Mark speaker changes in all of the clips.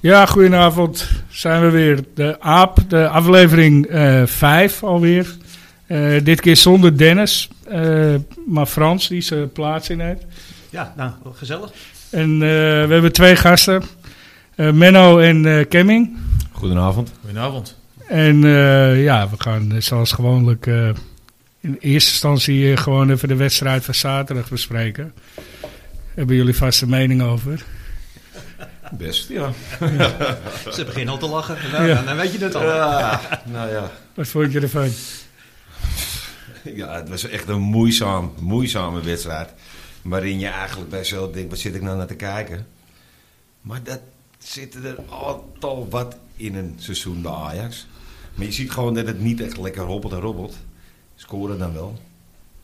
Speaker 1: Ja, goedenavond. Zijn we weer. De AAP, de aflevering eh 5 alweer. Eh, dit keer zonder Dennis, eh, maar Frans, die zijn plaats in heeft.
Speaker 2: Ja, nou, gezellig.
Speaker 1: En eh, we hebben twee gasten, eh, Menno en eh, Kemming.
Speaker 3: Goedenavond.
Speaker 2: Goedenavond.
Speaker 1: En eh, ja, we gaan eh, zoals gewoonlijk eh, in eerste instantie eh, gewoon even de wedstrijd van zaterdag bespreken. Hebben jullie vast een mening over?
Speaker 3: Best, ja.
Speaker 2: Ze beginnen al te lachen. Nou,
Speaker 1: Ja.
Speaker 2: nou, dan weet je het al.
Speaker 3: nou ja.
Speaker 1: Wat vond je ervan?
Speaker 3: ja, het was echt een moeizaam, moeizame wedstrijd. Waarin je eigenlijk bij jezelf denkt, wat zit ik nou naar te kijken? Maar dat zit er al wat in een seizoen bij Ajax. Maar je ziet gewoon dat het niet echt lekker hobbelt en robbelt. Scoren dan wel.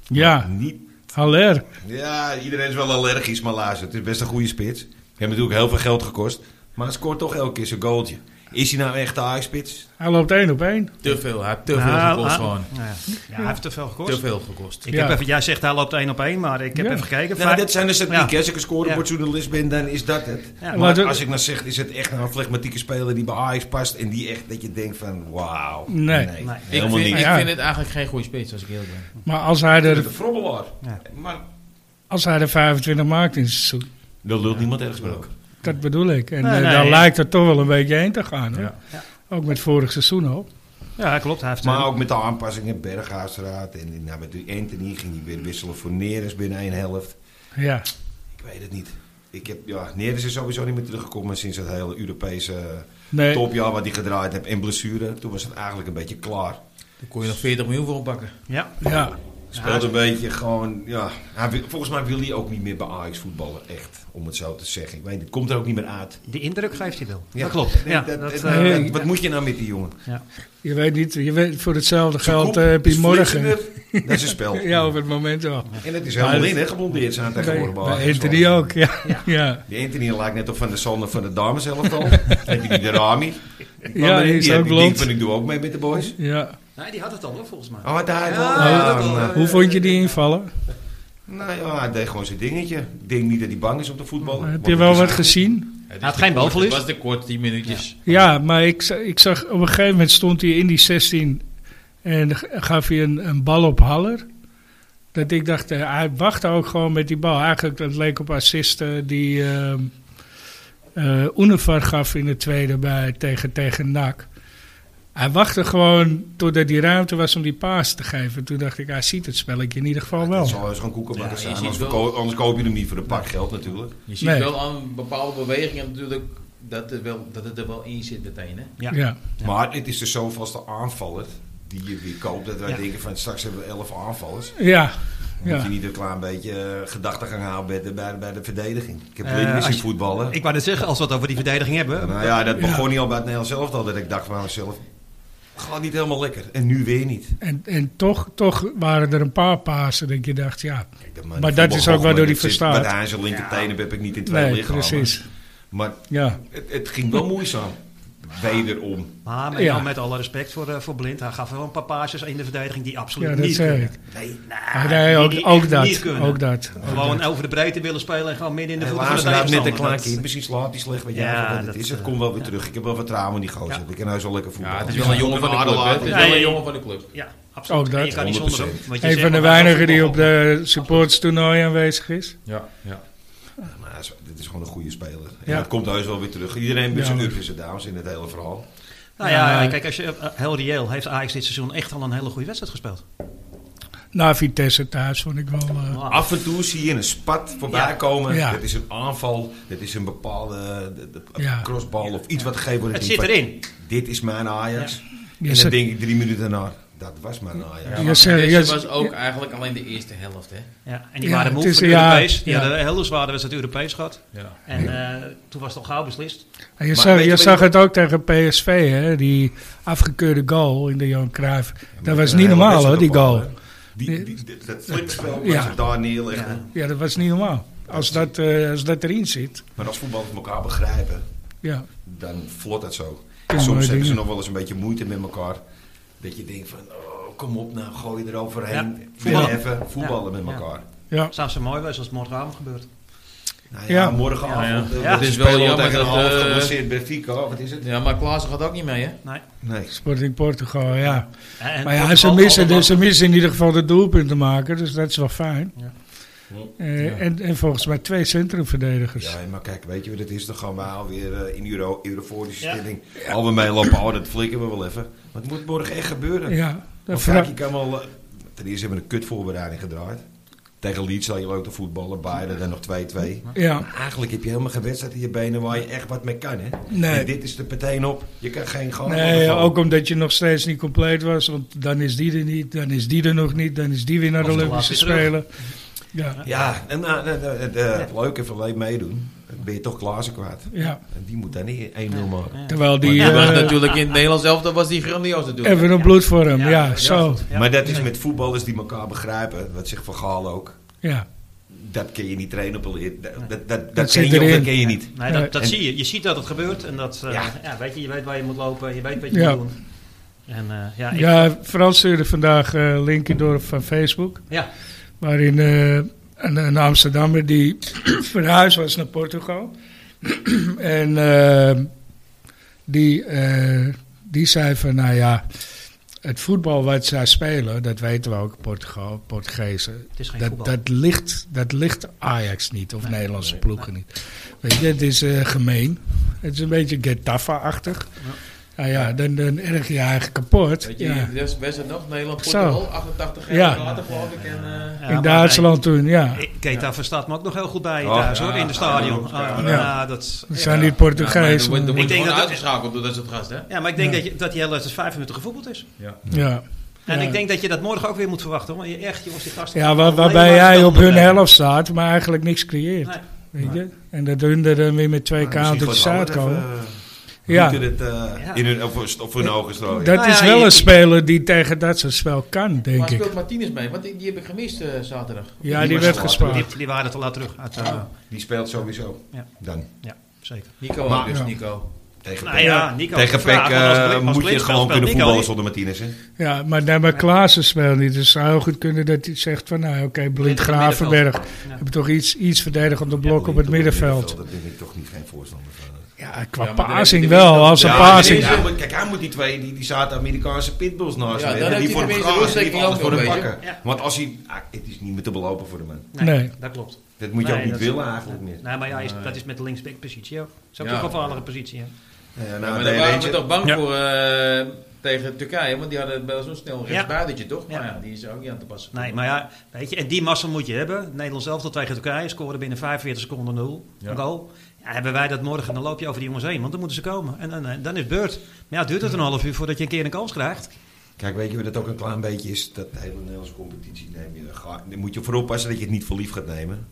Speaker 1: Ja,
Speaker 3: Maar Niet,
Speaker 1: Haller.
Speaker 3: ja, iedereen is wel allergisch, maar luister, het is best een goede spits. Hij heeft natuurlijk heel veel geld gekost. Maar hij scoort toch elke keer zijn goaltje. Is hij nou echt de Ajax-spits?
Speaker 1: Hij loopt één op één.
Speaker 4: Te veel, hij heeft te
Speaker 2: Nou,
Speaker 4: veel gekost
Speaker 2: ah,
Speaker 4: gewoon.
Speaker 2: nou ja. Ja, hij heeft te veel
Speaker 4: Te
Speaker 2: gekost.
Speaker 4: veel gekost.
Speaker 2: Ik
Speaker 1: Ja.
Speaker 2: heb even, jij zegt hij loopt één op één, maar ik heb
Speaker 1: Ja.
Speaker 2: even gekeken.
Speaker 3: Nou,
Speaker 2: Vijf-
Speaker 3: dat zijn de statistieken.
Speaker 2: Ja.
Speaker 3: Als ik een scorebordjournalist ben, dan is dat het.
Speaker 2: Ja,
Speaker 3: maar
Speaker 1: maar de-
Speaker 3: als ik nou zeg, is het echt een flegmatieke speler die bij Ajax past... en die echt dat je denkt van, wauw.
Speaker 1: Nee.
Speaker 2: Nee.
Speaker 4: Ik vind,
Speaker 3: Helemaal niet.
Speaker 4: ik
Speaker 1: Ja.
Speaker 4: vind het eigenlijk geen goede spits als ik heel ben.
Speaker 1: Maar als hij
Speaker 3: De
Speaker 1: er,
Speaker 3: frobbelaar.
Speaker 2: Ja.
Speaker 3: Maar
Speaker 1: als hij er 25 maakt in het seizoen,
Speaker 3: dat lult niemand ergens meer ook.
Speaker 1: dat bedoel ik. En
Speaker 2: Nee,
Speaker 1: eh,
Speaker 2: nee,
Speaker 1: daar
Speaker 2: ja.
Speaker 1: lijkt het toch wel een beetje heen te gaan. Hoor.
Speaker 4: Ja.
Speaker 2: Ja.
Speaker 1: Ook met vorig seizoen al.
Speaker 2: Ja, klopt. Hij heeft
Speaker 3: Maar ook met de aanpassingen, Berghuisraad... en en nou, met die Anthony ging hij weer wisselen voor Neres binnen één helft.
Speaker 1: Ja.
Speaker 3: Ik weet het niet. Ik heb, ja, Neres is sowieso niet meer teruggekomen sinds het hele Europese
Speaker 1: Nee.
Speaker 3: topjaar... wat hij gedraaid heeft en blessure. Toen was het eigenlijk een beetje klaar.
Speaker 4: Daar kon je nog 40 miljoen voor oppakken.
Speaker 2: Ja,
Speaker 1: Ja.
Speaker 3: Speelt een beetje gewoon, ja. Hij wil- volgens mij wil hij ook niet meer bij Ajax voetballen, echt. Om het zo te zeggen. Ik weet niet, het komt er ook niet meer uit.
Speaker 2: de indruk geeft hij wel.
Speaker 3: Ja.
Speaker 2: Dat klopt. Ja,
Speaker 3: Dat- dat-
Speaker 2: dat,
Speaker 3: dat-
Speaker 1: eh,
Speaker 3: wat moet je nou met die jongen?
Speaker 1: Je weet niet, je weet, voor hetzelfde
Speaker 3: Zijn
Speaker 1: geld
Speaker 3: kop
Speaker 1: eh, heb je
Speaker 3: is
Speaker 1: morgen.
Speaker 3: flitsender. Dat is een spel.
Speaker 1: Ja, op het moment wel.
Speaker 3: En het is helemaal
Speaker 1: Maar-
Speaker 3: in, hè, geblondeerd zijn
Speaker 1: Bij,
Speaker 3: tegenwoordig bij
Speaker 1: bij
Speaker 3: Ajax.
Speaker 1: Anthony ook, ja. ja.
Speaker 2: Ja.
Speaker 3: Die Anthony lijkt net op van de Sander van de dames zelf al. Heb je die de Rami? Die kwam
Speaker 1: Ja,
Speaker 3: erin,
Speaker 1: die is
Speaker 3: had
Speaker 1: ook
Speaker 3: die ding
Speaker 1: blond.
Speaker 3: van ik doe ook mee met de boys.
Speaker 1: Ja.
Speaker 2: nee, die had het al hoor, volgens mij.
Speaker 3: Oh, daar wel.
Speaker 2: Ja,
Speaker 3: Ja,
Speaker 2: dat wel.
Speaker 3: nou.
Speaker 1: Hoe vond je die invallen?
Speaker 3: Nou ja, hij deed gewoon zijn dingetje. Ik denk niet dat hij bang is om te voetballen.
Speaker 1: Heb
Speaker 3: Want
Speaker 1: je
Speaker 3: het
Speaker 1: wel
Speaker 3: is
Speaker 1: wat
Speaker 3: eigenlijk-
Speaker 1: gezien?
Speaker 4: Het
Speaker 2: had geen balverlies.
Speaker 4: Het was te kort, 10 minuutjes.
Speaker 1: Ja, maar ik, za- ik zag op een gegeven moment stond hij in die 16 en g- gaf hij een, een bal op Haller. Dat ik dacht, eh, hij wachtte ook gewoon met die bal. Eigenlijk, dat leek op assisten die ehm eh, Unifar gaf in de tweede bij, tegen, tegen NAC. Hij wachtte gewoon totdat die ruimte was om die paas te geven. Toen dacht ik, hij ziet het spelletje in ieder geval
Speaker 3: Dat
Speaker 1: wel.
Speaker 3: zal eens gewoon koekenbakken
Speaker 4: Ja,
Speaker 3: zijn.
Speaker 4: je ziet
Speaker 3: Anders,
Speaker 4: wel-
Speaker 3: verko- anders koop je hem niet voor een pak geld natuurlijk.
Speaker 4: Je ziet
Speaker 1: Nee.
Speaker 4: wel aan bepaalde bewegingen natuurlijk dat, er wel, dat het er wel in zit meteen. Hè?
Speaker 2: Ja.
Speaker 1: Ja.
Speaker 3: Maar het is dus zo vast de aanvaller die je weer koopt. Dat wij
Speaker 2: Ja.
Speaker 3: denken van straks hebben we elf aanvallers.
Speaker 1: Ja.
Speaker 3: Moet
Speaker 1: Ja.
Speaker 3: je niet een klein beetje eh, gedachtegang houden bij de, bij, bij de verdediging. Ik heb
Speaker 2: Eh,
Speaker 3: uh,
Speaker 2: als
Speaker 3: zien
Speaker 2: je-
Speaker 3: voetballen.
Speaker 2: Ik wou net zeggen, als we het over die verdediging hebben.
Speaker 3: Nou ja, dat begon niet al bij het Nederlands zelf al. Dat ik dacht van mezelf, gaat niet helemaal lekker. En nu weer niet.
Speaker 1: En, en toch, toch waren er een paar pasen dat je dacht, ja,
Speaker 3: Kijk, dat
Speaker 1: Maar dat is ook waardoor hij verstaat.
Speaker 3: Met aan zijn linkertenen heb ik niet in twee
Speaker 1: nee,
Speaker 3: lichamen.
Speaker 1: precies.
Speaker 3: Maar
Speaker 1: Ja.
Speaker 3: het, het ging wel moeizaam. Wederom.
Speaker 2: Maar met,
Speaker 1: Ja.
Speaker 2: nou, met alle respect voor, eh, voor Blind, hij gaf wel een paar paasjes in de verdediging die absoluut
Speaker 1: Ja, dat
Speaker 2: niet
Speaker 1: zei
Speaker 2: kunnen.
Speaker 1: ik.
Speaker 2: Nee, nee,
Speaker 1: Ah, nee, ook,
Speaker 2: die echt
Speaker 1: ook,
Speaker 2: niet
Speaker 1: dat,
Speaker 2: kunnen.
Speaker 1: ook dat.
Speaker 2: Gewoon over de breedte willen spelen en gewoon midden in de voeten van de
Speaker 3: Helaas, hij heeft net een
Speaker 2: tegenstander.
Speaker 3: klein
Speaker 2: Dat-
Speaker 3: kind. Misschien slaat hij slecht. Weet jij
Speaker 2: Ja,
Speaker 3: ja, wat het
Speaker 2: dat,
Speaker 3: is. Het
Speaker 2: eh,
Speaker 3: komt wel weer terug. Ik heb wel vertrouwen in die gozer.
Speaker 2: Ja.
Speaker 3: Ik ken hij zo lekker voetbal.
Speaker 4: Ja, het is wel een jongen van de club. hè. Het is
Speaker 2: Ja,
Speaker 4: wel
Speaker 2: ja,
Speaker 4: een
Speaker 2: ja.
Speaker 4: jongen van de club.
Speaker 2: Ja, absoluut.
Speaker 1: Ook Oh, dat.
Speaker 2: En je kan niet zonder hem.
Speaker 3: 100%.
Speaker 2: want je
Speaker 1: Een
Speaker 2: zegt,
Speaker 1: van de
Speaker 2: maar hij
Speaker 1: weinigen
Speaker 2: kan
Speaker 1: die op
Speaker 2: voetballen.
Speaker 1: de supportstoernooi aanwezig is.
Speaker 4: Ja, ja.
Speaker 3: Maar hij is- dit is gewoon een goede speler. En
Speaker 1: Ja.
Speaker 3: het komt heus wel weer terug. Iedereen met
Speaker 1: Ja,
Speaker 3: zijn
Speaker 1: maar-
Speaker 3: ups en downs in het hele verhaal.
Speaker 2: Nou ja,
Speaker 1: Ja.
Speaker 2: kijk, als je eh, heel reëel heeft Ajax dit seizoen echt al een hele goede wedstrijd gespeeld.
Speaker 1: Na Vitesse thuis vond ik wel... eh,
Speaker 2: Wow.
Speaker 3: Af en toe zie je een spat voorbij
Speaker 2: Ah. Ja.
Speaker 3: komen.
Speaker 1: Ja.
Speaker 3: Dat is een aanval. Dat is een bepaalde eh, de- de- een
Speaker 1: Ja.
Speaker 3: crossbal of iets wat gegeven wordt.
Speaker 2: Het
Speaker 3: Ik denk
Speaker 2: zit
Speaker 3: van,
Speaker 2: erin.
Speaker 3: Dit is mijn Ajax.
Speaker 1: Je
Speaker 3: En dan
Speaker 1: zegt-
Speaker 3: denk ik drie minuten daarna. Dat was mijn Ajax.
Speaker 1: Ja,
Speaker 4: Ja, maar
Speaker 1: zeg-
Speaker 4: deze
Speaker 1: ja, z-
Speaker 4: was ook eigenlijk alleen de eerste helft. Hè?
Speaker 2: Ja, en die
Speaker 1: Ja,
Speaker 2: waren
Speaker 1: het
Speaker 2: moe
Speaker 1: is-
Speaker 2: voor
Speaker 1: ja,
Speaker 2: Europees. Die
Speaker 1: ja.
Speaker 2: hadden een hele zware wedstrijd Europees gehad.
Speaker 4: Ja.
Speaker 2: En eh, toen was het al gauw beslist.
Speaker 1: je zag,
Speaker 3: weet je-
Speaker 1: je
Speaker 3: weet
Speaker 1: zag
Speaker 3: je-
Speaker 1: het ook tegen PSV, hè? die afgekeurde goal in de Johan Cruijff. dat was
Speaker 3: Een
Speaker 1: niet
Speaker 3: hele
Speaker 1: normaal, hoor,
Speaker 3: wedstrijd
Speaker 1: die
Speaker 3: op bal,
Speaker 1: goal.
Speaker 3: hè. Die, die, die- dat flipspel waar
Speaker 1: Ja.
Speaker 3: ze daar neerleggen.
Speaker 1: Ja, dat was niet normaal. Als dat, eh, als dat erin zit,
Speaker 3: Maar als voetballers elkaar begrijpen,
Speaker 1: ja.
Speaker 3: dan vlot dat zo.
Speaker 1: Ja, maar
Speaker 3: Soms hebben ze
Speaker 1: dingen.
Speaker 3: nog wel eens een beetje moeite met elkaar. Dat je denkt van, oh, kom op nou, gooi eroverheen.
Speaker 2: Ja,
Speaker 3: overheen.
Speaker 2: voetballen.
Speaker 3: Even voetballen met elkaar.
Speaker 1: ja.
Speaker 2: Zou ze mooi wezen als het morgenavond gebeurt.
Speaker 3: Nou
Speaker 1: Ja.
Speaker 3: morgenavond.
Speaker 4: Ja, ja.
Speaker 3: eh,
Speaker 2: Het
Speaker 3: we
Speaker 4: is wel
Speaker 3: spelen
Speaker 4: jammer
Speaker 3: tegen een
Speaker 4: dat,
Speaker 3: half
Speaker 4: eh,
Speaker 3: geblesseerd Benfica. Wat is het?
Speaker 4: Ja, maar Klaassen gaat ook niet mee, hè?
Speaker 2: Nee. Eh,
Speaker 3: Nee.
Speaker 1: Sporting Portugal, ja.
Speaker 2: En
Speaker 1: Maar ja, ze
Speaker 2: Portugal,
Speaker 1: missen, dus-
Speaker 2: allemaal-
Speaker 1: ze missen in ieder geval de doelpunt te maken, dus dat is wel fijn.
Speaker 2: Ja.
Speaker 1: Eh, en, en volgens mij twee centrumverdedigers.
Speaker 3: Ja, maar kijk, weet je wat het is? Dan gaan we alweer eh, in euro, euroforische
Speaker 2: Ja.
Speaker 3: stelling. Al we mee lopen, oh, dat flikken we wel even. Maar het moet morgen echt gebeuren.
Speaker 1: Ja, dat
Speaker 3: Want
Speaker 1: vra-
Speaker 3: kijk, je kan wel... eh, ten eerste hebben we een kutvoorbereiding gedraaid. Tegen Leeds zal je leuk te voetballen. Bayern dan nog 2-2.
Speaker 1: ja.
Speaker 3: Maar Eigenlijk heb je helemaal geen wedstrijd in je benen waar je echt wat mee kan, hè?
Speaker 1: Nee.
Speaker 3: En dit is er meteen op. Je kan geen gang
Speaker 1: Nee, ook omdat je nog steeds niet compleet was. Want dan is die er niet, dan is die er nog niet, dan is die weer naar de
Speaker 2: Of de
Speaker 1: Olympische
Speaker 2: laatste terug.
Speaker 1: Spelen. Ja,
Speaker 3: Ja, en, nou, nou, nou, het, eh, het leuke van leed meedoen. Dan ben je toch Klaassen kwaad.
Speaker 1: ja.
Speaker 3: En die moet dan niet 1-0 maken.
Speaker 1: Terwijl die
Speaker 4: Die was
Speaker 1: eh,
Speaker 4: natuurlijk in het Nederlands elftal was die grandioos natuurlijk.
Speaker 1: even een bloed voor hem. Ja, zo.
Speaker 2: Ja.
Speaker 3: Maar dat is met voetballers die elkaar begrijpen. Wat zegt Van Gaal ook.
Speaker 1: Ja,
Speaker 3: Dat kun je niet trainen op een leer. Dat, dat, dat, dat
Speaker 1: Dat
Speaker 3: ken
Speaker 1: zit
Speaker 3: je of dat
Speaker 1: erin.
Speaker 3: ken je niet.
Speaker 2: Nee, dat, dat
Speaker 3: En-
Speaker 2: zie je. Je ziet dat het gebeurt. En dat, eh,
Speaker 3: Ja.
Speaker 2: ja. weet je, je weet waar je moet lopen. Je weet wat je
Speaker 1: Ja.
Speaker 2: moet doen. En eh, ja, ik- ja.
Speaker 1: ja Frans stuurde vandaag eh linkje door van Facebook.
Speaker 2: Ja.
Speaker 1: Waarin eh, een, een Amsterdammer die verhuisd was naar Portugal. en eh, die, eh, die zei van, nou ja, het voetbal wat zij spelen, dat weten we ook, Portugal, Portugezen.
Speaker 2: Het is geen
Speaker 1: Dat,
Speaker 2: voetbal.
Speaker 1: dat, ligt, dat ligt Ajax niet, of Nederlandse ploegen niet. Weet je, het is eh, gemeen. Het is een beetje Getafe-achtig. Nou ja, dan, dan erg je eigenlijk kapot.
Speaker 4: Weet je,
Speaker 1: Ja.
Speaker 4: die wedstrijd wedstrijd nog, Nederland,
Speaker 1: Zo.
Speaker 4: Portugal, 88 jaar
Speaker 1: Ja.
Speaker 4: later geloof ik. En, eh,
Speaker 2: Ja,
Speaker 1: In
Speaker 2: maar
Speaker 1: Duitsland toen, ja.
Speaker 2: hij- ik- Keita verstaat me ook nog heel goed bij
Speaker 3: Oh,
Speaker 2: thuis,
Speaker 3: ja.
Speaker 2: hoor, in de stadion. Oh,
Speaker 3: Ja.
Speaker 2: ja,
Speaker 1: Ja.
Speaker 2: dat is-
Speaker 1: Dat
Speaker 2: ja.
Speaker 1: zijn niet
Speaker 4: ja, maar
Speaker 1: Portugees.
Speaker 4: dan wordt- dan
Speaker 1: maar-
Speaker 4: wordt
Speaker 2: Ik denk
Speaker 4: gewoon
Speaker 2: dat-
Speaker 4: uitgeschakeld door dat soort gasten, hè?
Speaker 2: Ja, maar ik denk dat, je, dat die hele wedstrijd vijf minuten gevoetbald is.
Speaker 1: Ja.
Speaker 2: En
Speaker 1: Ja.
Speaker 2: ik denk dat je dat morgen ook weer moet verwachten. Hoor. Je- Echt, jongens, die gasten...
Speaker 1: Ja, waar,
Speaker 2: alleen
Speaker 1: waarbij
Speaker 2: maar
Speaker 1: jij op hun
Speaker 2: spelbedrijven.
Speaker 1: helft staat, maar eigenlijk niks creëert.
Speaker 2: Nee.
Speaker 1: Weet je? En dat hun er dan weer met
Speaker 3: Nou,
Speaker 1: twee kaartjes uit komen. Ja.
Speaker 3: Ja. Het, eh, in hun, of, of hun ogen strooien.
Speaker 1: Dat
Speaker 2: Nou
Speaker 1: is
Speaker 2: ja,
Speaker 1: wel
Speaker 2: je-
Speaker 1: een speler die tegen dat soort spel kan,
Speaker 4: Maar
Speaker 1: denk ik.
Speaker 4: speelt Martinez mee, want die, die heb ik gemist eh, zaterdag.
Speaker 1: Ja,
Speaker 3: Die
Speaker 1: die
Speaker 3: was
Speaker 1: werd
Speaker 3: wel
Speaker 1: gespaard.
Speaker 2: Die, die waren het al laat terug. Uit, eh,
Speaker 3: Die speelt sowieso.
Speaker 2: Ja.
Speaker 3: Dan.
Speaker 2: ja, zeker.
Speaker 4: Nico ook
Speaker 3: Maar-
Speaker 4: dus,
Speaker 1: Ja.
Speaker 4: Nico.
Speaker 3: Tegen
Speaker 2: Nou
Speaker 3: Peck.
Speaker 2: ja, Nico.
Speaker 3: Tegen
Speaker 2: vraag,
Speaker 3: Peck
Speaker 2: want als
Speaker 3: eh,
Speaker 2: Blin- als
Speaker 3: moet je
Speaker 2: Blind
Speaker 3: gewoon
Speaker 2: speelt
Speaker 3: kunnen
Speaker 2: Nico
Speaker 3: voetballen
Speaker 2: niet.
Speaker 3: zonder Martinez. Hè?
Speaker 1: Ja, maar, nee, maar Klaassen speelt niet. Dus het zou heel goed kunnen dat hij zegt van... Nou, oké, Blind
Speaker 2: Blind op het
Speaker 1: Gravenberg.
Speaker 2: middenveld. Ja.
Speaker 1: Heb toch iets, iets verdedigend op blok op het middenveld.
Speaker 3: Dat ben ik toch niet geen voorstander van. eh.
Speaker 1: Ja, qua
Speaker 4: Ja, maar
Speaker 1: passing
Speaker 4: dan heeft
Speaker 1: wel.
Speaker 4: hij tenminste-
Speaker 1: Als een
Speaker 4: Ja,
Speaker 1: passing...
Speaker 4: maar
Speaker 3: hij moet- Kijk, hij moet die twee, die, die Zuid-Amerikaanse pitbulls naast
Speaker 4: Ja,
Speaker 3: hem
Speaker 4: dan
Speaker 3: hebben.
Speaker 4: heeft
Speaker 3: Die
Speaker 4: hij
Speaker 3: voor hem
Speaker 4: tenminste
Speaker 3: gaan, die
Speaker 4: de rustdekking
Speaker 3: alles
Speaker 4: ook
Speaker 3: voor hem
Speaker 4: wel een
Speaker 3: pakken.
Speaker 2: beetje. Ja.
Speaker 3: Want als hij... ah, het is niet meer te belopen voor de man.
Speaker 1: Nee.
Speaker 2: dat klopt.
Speaker 3: Dat moet je
Speaker 2: Nee,
Speaker 3: ook niet
Speaker 2: dat-
Speaker 3: willen eigenlijk meer.
Speaker 2: Nee, maar ja, is, dat is met de linksback-positie ook. Dat is ook
Speaker 4: Ja.
Speaker 2: een gevaarlijke positie. Hè?
Speaker 3: Ja,
Speaker 4: Ja,
Speaker 3: nou,
Speaker 4: maar
Speaker 3: de
Speaker 4: daar waren we
Speaker 3: eentje-
Speaker 4: toch bang
Speaker 1: Ja.
Speaker 4: voor eh, tegen Turkije, want die hadden wel zo'n snel rechtsbuitentje, toch? Maar
Speaker 2: Ja.
Speaker 4: ja, die is ook niet aan te passen. Nou,
Speaker 2: Nee, maar ja, weet je, en die massa moet je hebben. Nederland zelf tot tegen Turkije scoorde binnen 45 seconden 0.
Speaker 4: Ja.
Speaker 2: Een goal. Ja, hebben wij dat morgen, dan loop je over die jongens heen, want dan moeten ze komen. En, en, en dan is het beurt. Maar ja, duurt het een half uur voordat je een keer een kans krijgt.
Speaker 3: Kijk, weet je wat het ook een klein beetje is? Dat de hele Nederlandse competitie neem je. ga- Dan moet je vooral passen dat je het niet voor lief gaat nemen.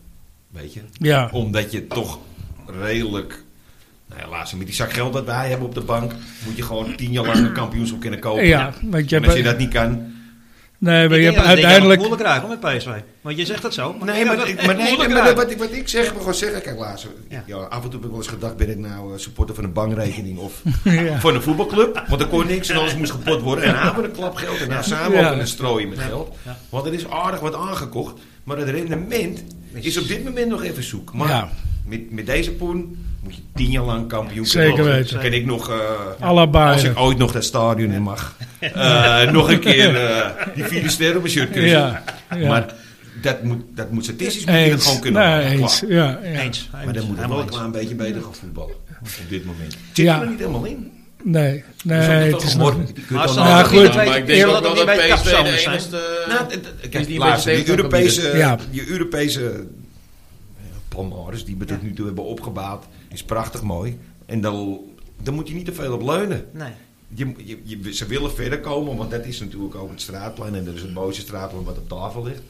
Speaker 3: Weet je?
Speaker 1: Ja.
Speaker 3: Omdat je toch redelijk. Nou ja, laatst met die zak geld dat wij hebben op de bank. moet je gewoon tien jaar lang een kampioenschap kunnen kopen.
Speaker 1: Ja, want je
Speaker 3: en als je
Speaker 1: hebt...
Speaker 3: dat niet kan.
Speaker 1: Nee, maar je hebt
Speaker 2: uiteindelijk...
Speaker 1: uiteindelijk...
Speaker 2: moeilijk krijgen hoor, met PSV. Want je zegt dat zo.
Speaker 3: Nee, maar,
Speaker 2: dat
Speaker 3: maar, nee, maar wat, ik, wat ik zeg, maar gewoon zeggen. Kijk, laatst. Ja.
Speaker 2: Ja.
Speaker 3: af en toe heb ik wel eens gedacht: ben ik nou eh, supporter van een bankrekening of
Speaker 1: Ja.
Speaker 3: van een voetbalclub? Want er kon niks en alles moest gepot worden. En hebben een klap geld en daar samen
Speaker 1: Ja.
Speaker 3: ook kunnen strooien met geld.
Speaker 2: Ja.
Speaker 3: Want er is aardig wat aangekocht. Maar het rendement is op dit moment nog even zoek. Maar
Speaker 1: Ja.
Speaker 3: met, met deze poen moet je tien jaar lang kampioen
Speaker 1: Zeker
Speaker 3: kunnen worden.
Speaker 1: weten.
Speaker 3: Kan ik nog. eh,
Speaker 1: Allebei.
Speaker 3: als ik ooit nog dat stadion in mag. eh, nog een keer eh, die vierde sterren op mijn shirt kussen.
Speaker 1: Ja, ja.
Speaker 3: Maar dat moet, dat moet statistisch moet je dat
Speaker 1: Eens.
Speaker 3: gewoon kunnen.
Speaker 1: Nee,
Speaker 3: Klaar.
Speaker 1: eens. Ja, ja.
Speaker 2: Eens.
Speaker 3: Maar dan moet het wel
Speaker 2: Helemaal
Speaker 3: een
Speaker 2: eens.
Speaker 3: klein beetje beter gaan voetballen. Op dit moment. Zit
Speaker 1: Ja.
Speaker 3: je er niet helemaal in.
Speaker 1: Nee, nee,
Speaker 3: Dus dat
Speaker 1: het
Speaker 3: toch
Speaker 1: is
Speaker 3: geworden.
Speaker 1: nog...
Speaker 3: Je kunt
Speaker 2: Maar
Speaker 3: dan-
Speaker 1: Ja,
Speaker 2: zal dat
Speaker 1: goed. Ja,
Speaker 2: niet bij
Speaker 4: Ja, maar ik
Speaker 2: twee-
Speaker 4: denk
Speaker 2: zal
Speaker 4: ook
Speaker 2: dat niet
Speaker 4: wel dat
Speaker 2: bij het
Speaker 4: PSV
Speaker 2: kapsalon
Speaker 4: de
Speaker 2: zijn?
Speaker 4: enigste...
Speaker 3: Nou, d- d-
Speaker 4: Is
Speaker 3: kijk,
Speaker 4: die
Speaker 3: laatste,
Speaker 4: een beetje
Speaker 3: die Europese,
Speaker 1: Ja.
Speaker 3: je Europese palmares die we tot nu toe hebben opgebouwd, is prachtig mooi. En dan, dan moet je niet te veel op leunen.
Speaker 2: Nee.
Speaker 3: Je, je, je- ze willen verder komen, want dat is natuurlijk ook het straatplan. En dat is het mooiste straatplan wat op tafel ligt.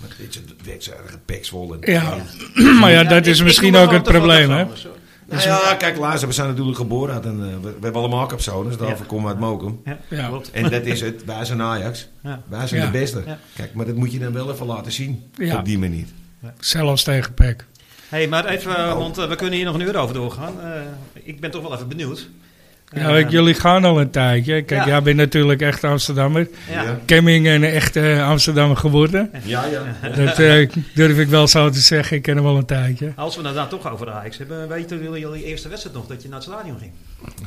Speaker 3: Maar dit is het wedstrijd, Pexwolle.
Speaker 1: Ja, maar ja, dat
Speaker 2: ik-
Speaker 1: is
Speaker 2: ik
Speaker 1: misschien
Speaker 2: noem
Speaker 1: ook het
Speaker 2: gewoon te
Speaker 1: probleem, hè?
Speaker 2: veranderen, sorry.
Speaker 3: Nou ja, kijk, Laas, we zijn natuurlijk geboren uit een... eh, we, we hebben allemaal kapzones, daarvoor
Speaker 2: Ja.
Speaker 3: komen we uit Mokum.
Speaker 2: Ja,
Speaker 1: Ja.
Speaker 2: klopt.
Speaker 3: En dat is het, wij zijn Ajax.
Speaker 2: Ja.
Speaker 3: Wij zijn
Speaker 1: Ja.
Speaker 3: de beste.
Speaker 2: Ja.
Speaker 3: Kijk, maar dat moet je dan wel even laten zien.
Speaker 1: Ja.
Speaker 3: Op die manier.
Speaker 1: Zelfs tegen Peck.
Speaker 3: Oh.
Speaker 2: Hé, hey, maar even, eh, want eh, we kunnen hier nog een uur over doorgaan. Eh, ik ben toch wel even benieuwd.
Speaker 1: Ja, Nou, ik- jullie gaan al een tijdje. Kijk,
Speaker 2: Ja.
Speaker 1: jij bent natuurlijk echt Amsterdammer.
Speaker 2: Ja.
Speaker 3: Ja.
Speaker 1: Kemming en een echte Amsterdammer geworden.
Speaker 3: Ja, ja.
Speaker 1: Dat eh, durf ik wel zo te zeggen. Ik ken hem al een tijdje.
Speaker 2: Als we het nou toch over de Ajax hebben, weten jullie jullie eerste wedstrijd nog dat je naar het stadion ging?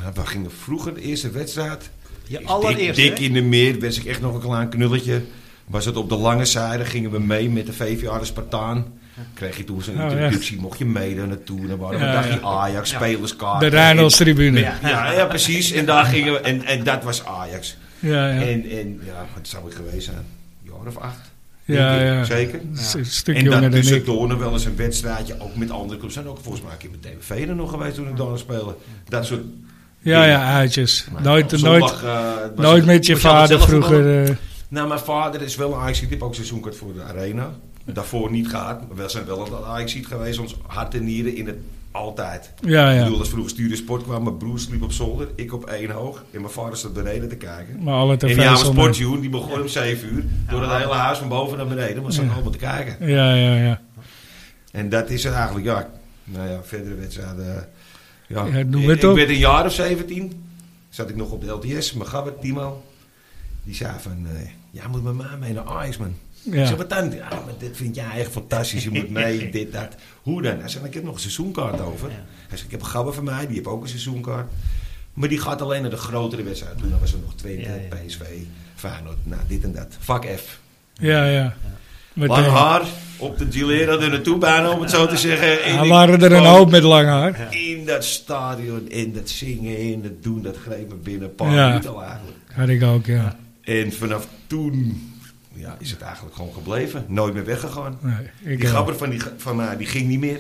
Speaker 3: Nou, we gingen vroeger de eerste wedstrijd.
Speaker 2: Je
Speaker 3: dik,
Speaker 2: allereerste.
Speaker 3: dik
Speaker 2: hè?
Speaker 3: in de meer, was ik echt nog een klein knulletje. Was het op de lange zijde, gingen we mee met de VVA de Spartaan. Kreeg je toen zo'n
Speaker 1: Oh,
Speaker 3: introductie, mocht je mee daar naartoe. Dan waren we
Speaker 1: Ja,
Speaker 3: een dagje
Speaker 1: ja.
Speaker 3: Ajax,
Speaker 2: Ja.
Speaker 3: spelerskaart.
Speaker 1: De Rijnolds tribune. Ja,
Speaker 2: Ja.
Speaker 3: Ah, Ja, ja, precies. En, daar gingen we, en, en dat was Ajax.
Speaker 1: ja. ja.
Speaker 3: En, en ja, wat zou ik geweest zijn? Een jaar of acht.
Speaker 1: ja,
Speaker 3: denk ik. Zeker.
Speaker 1: S- Een stuk
Speaker 3: En
Speaker 1: jonger
Speaker 3: dat
Speaker 1: dan
Speaker 3: dus
Speaker 1: ik.
Speaker 3: ik door nog wel eens een wedstrijdje, ook met andere clubs. Zijn ook volgens mij een keer met DVV er nog geweest toen ik daar speelde. Dat soort.
Speaker 1: Ja,
Speaker 3: dingen.
Speaker 1: ja, uitjes.
Speaker 3: Maar op
Speaker 1: Nooit, nooit,
Speaker 3: zondag, eh, was
Speaker 1: nooit
Speaker 3: het-
Speaker 1: met je
Speaker 2: Moet je altijd
Speaker 1: vader
Speaker 2: zelf
Speaker 1: vroeger. eh,
Speaker 3: Nou, mijn vader is wel een Ajax. Ik heb ook seizoenkort voor de Arena. Daarvoor niet gehad. Maar we zijn wel een Ajax geweest. Ons hart en nieren in het altijd.
Speaker 1: eh, Ah, Ja,
Speaker 3: Ik
Speaker 1: ja.
Speaker 3: bedoel, als vroeger stuurde sport kwam, mijn broer sliep op zolder, ik op één hoog en mijn vader zat beneden te kijken.
Speaker 1: Maar alle
Speaker 3: En die oude
Speaker 1: tv zonder-
Speaker 3: sportjoen, die begon om 7 uur door het hele huis van boven naar beneden, maar ze zaten allemaal te kijken.
Speaker 1: Ja, ja, ja.
Speaker 3: En dat is het eigenlijk, ja. Nou ja, verdere wedstrijden. eh, Ja,
Speaker 1: Ja, noem
Speaker 3: ik,
Speaker 1: het
Speaker 3: ik
Speaker 1: op.
Speaker 3: werd een jaar of 17. Zat ik nog op de LTS. Mijn gabber, Timo. Die zei van, eh, jij moet met mij mee naar Ajax, man. Ik zei,
Speaker 1: ja.
Speaker 3: wat dan? Ja, maar dit vind jij echt fantastisch. Je moet mee, dit, dat. Hoe dan? Hij zei, ik heb nog een seizoenkaart over.
Speaker 2: Ja.
Speaker 3: Hij zei, ik heb een gabber van mij, die heeft ook een seizoenkaart. Maar die gaat alleen naar de grotere wedstrijd. Toen was er nog Twente,
Speaker 2: Ja, ja.
Speaker 3: PSV, Feyenoord, nou dit en dat. Vak F.
Speaker 1: Ja, ja. Met,
Speaker 3: Lang
Speaker 1: eh,
Speaker 3: haar, op de Gilera er naartoe bijna, om het zo te zeggen. En
Speaker 1: er
Speaker 3: ik
Speaker 1: waren er een
Speaker 3: kwam
Speaker 1: hoop met lang haar.
Speaker 3: In dat stadion, in dat zingen, in dat doen, dat greep me binnen een paar
Speaker 1: Ja.
Speaker 3: minuten al eigenlijk.
Speaker 1: Had ik ook, ja.
Speaker 3: En vanaf toen ja, is het eigenlijk gewoon gebleven. Nooit meer weggegaan.
Speaker 1: Nee, ik eh,
Speaker 3: Die
Speaker 1: ook.
Speaker 3: gabber van, die, van mij, die ging niet meer.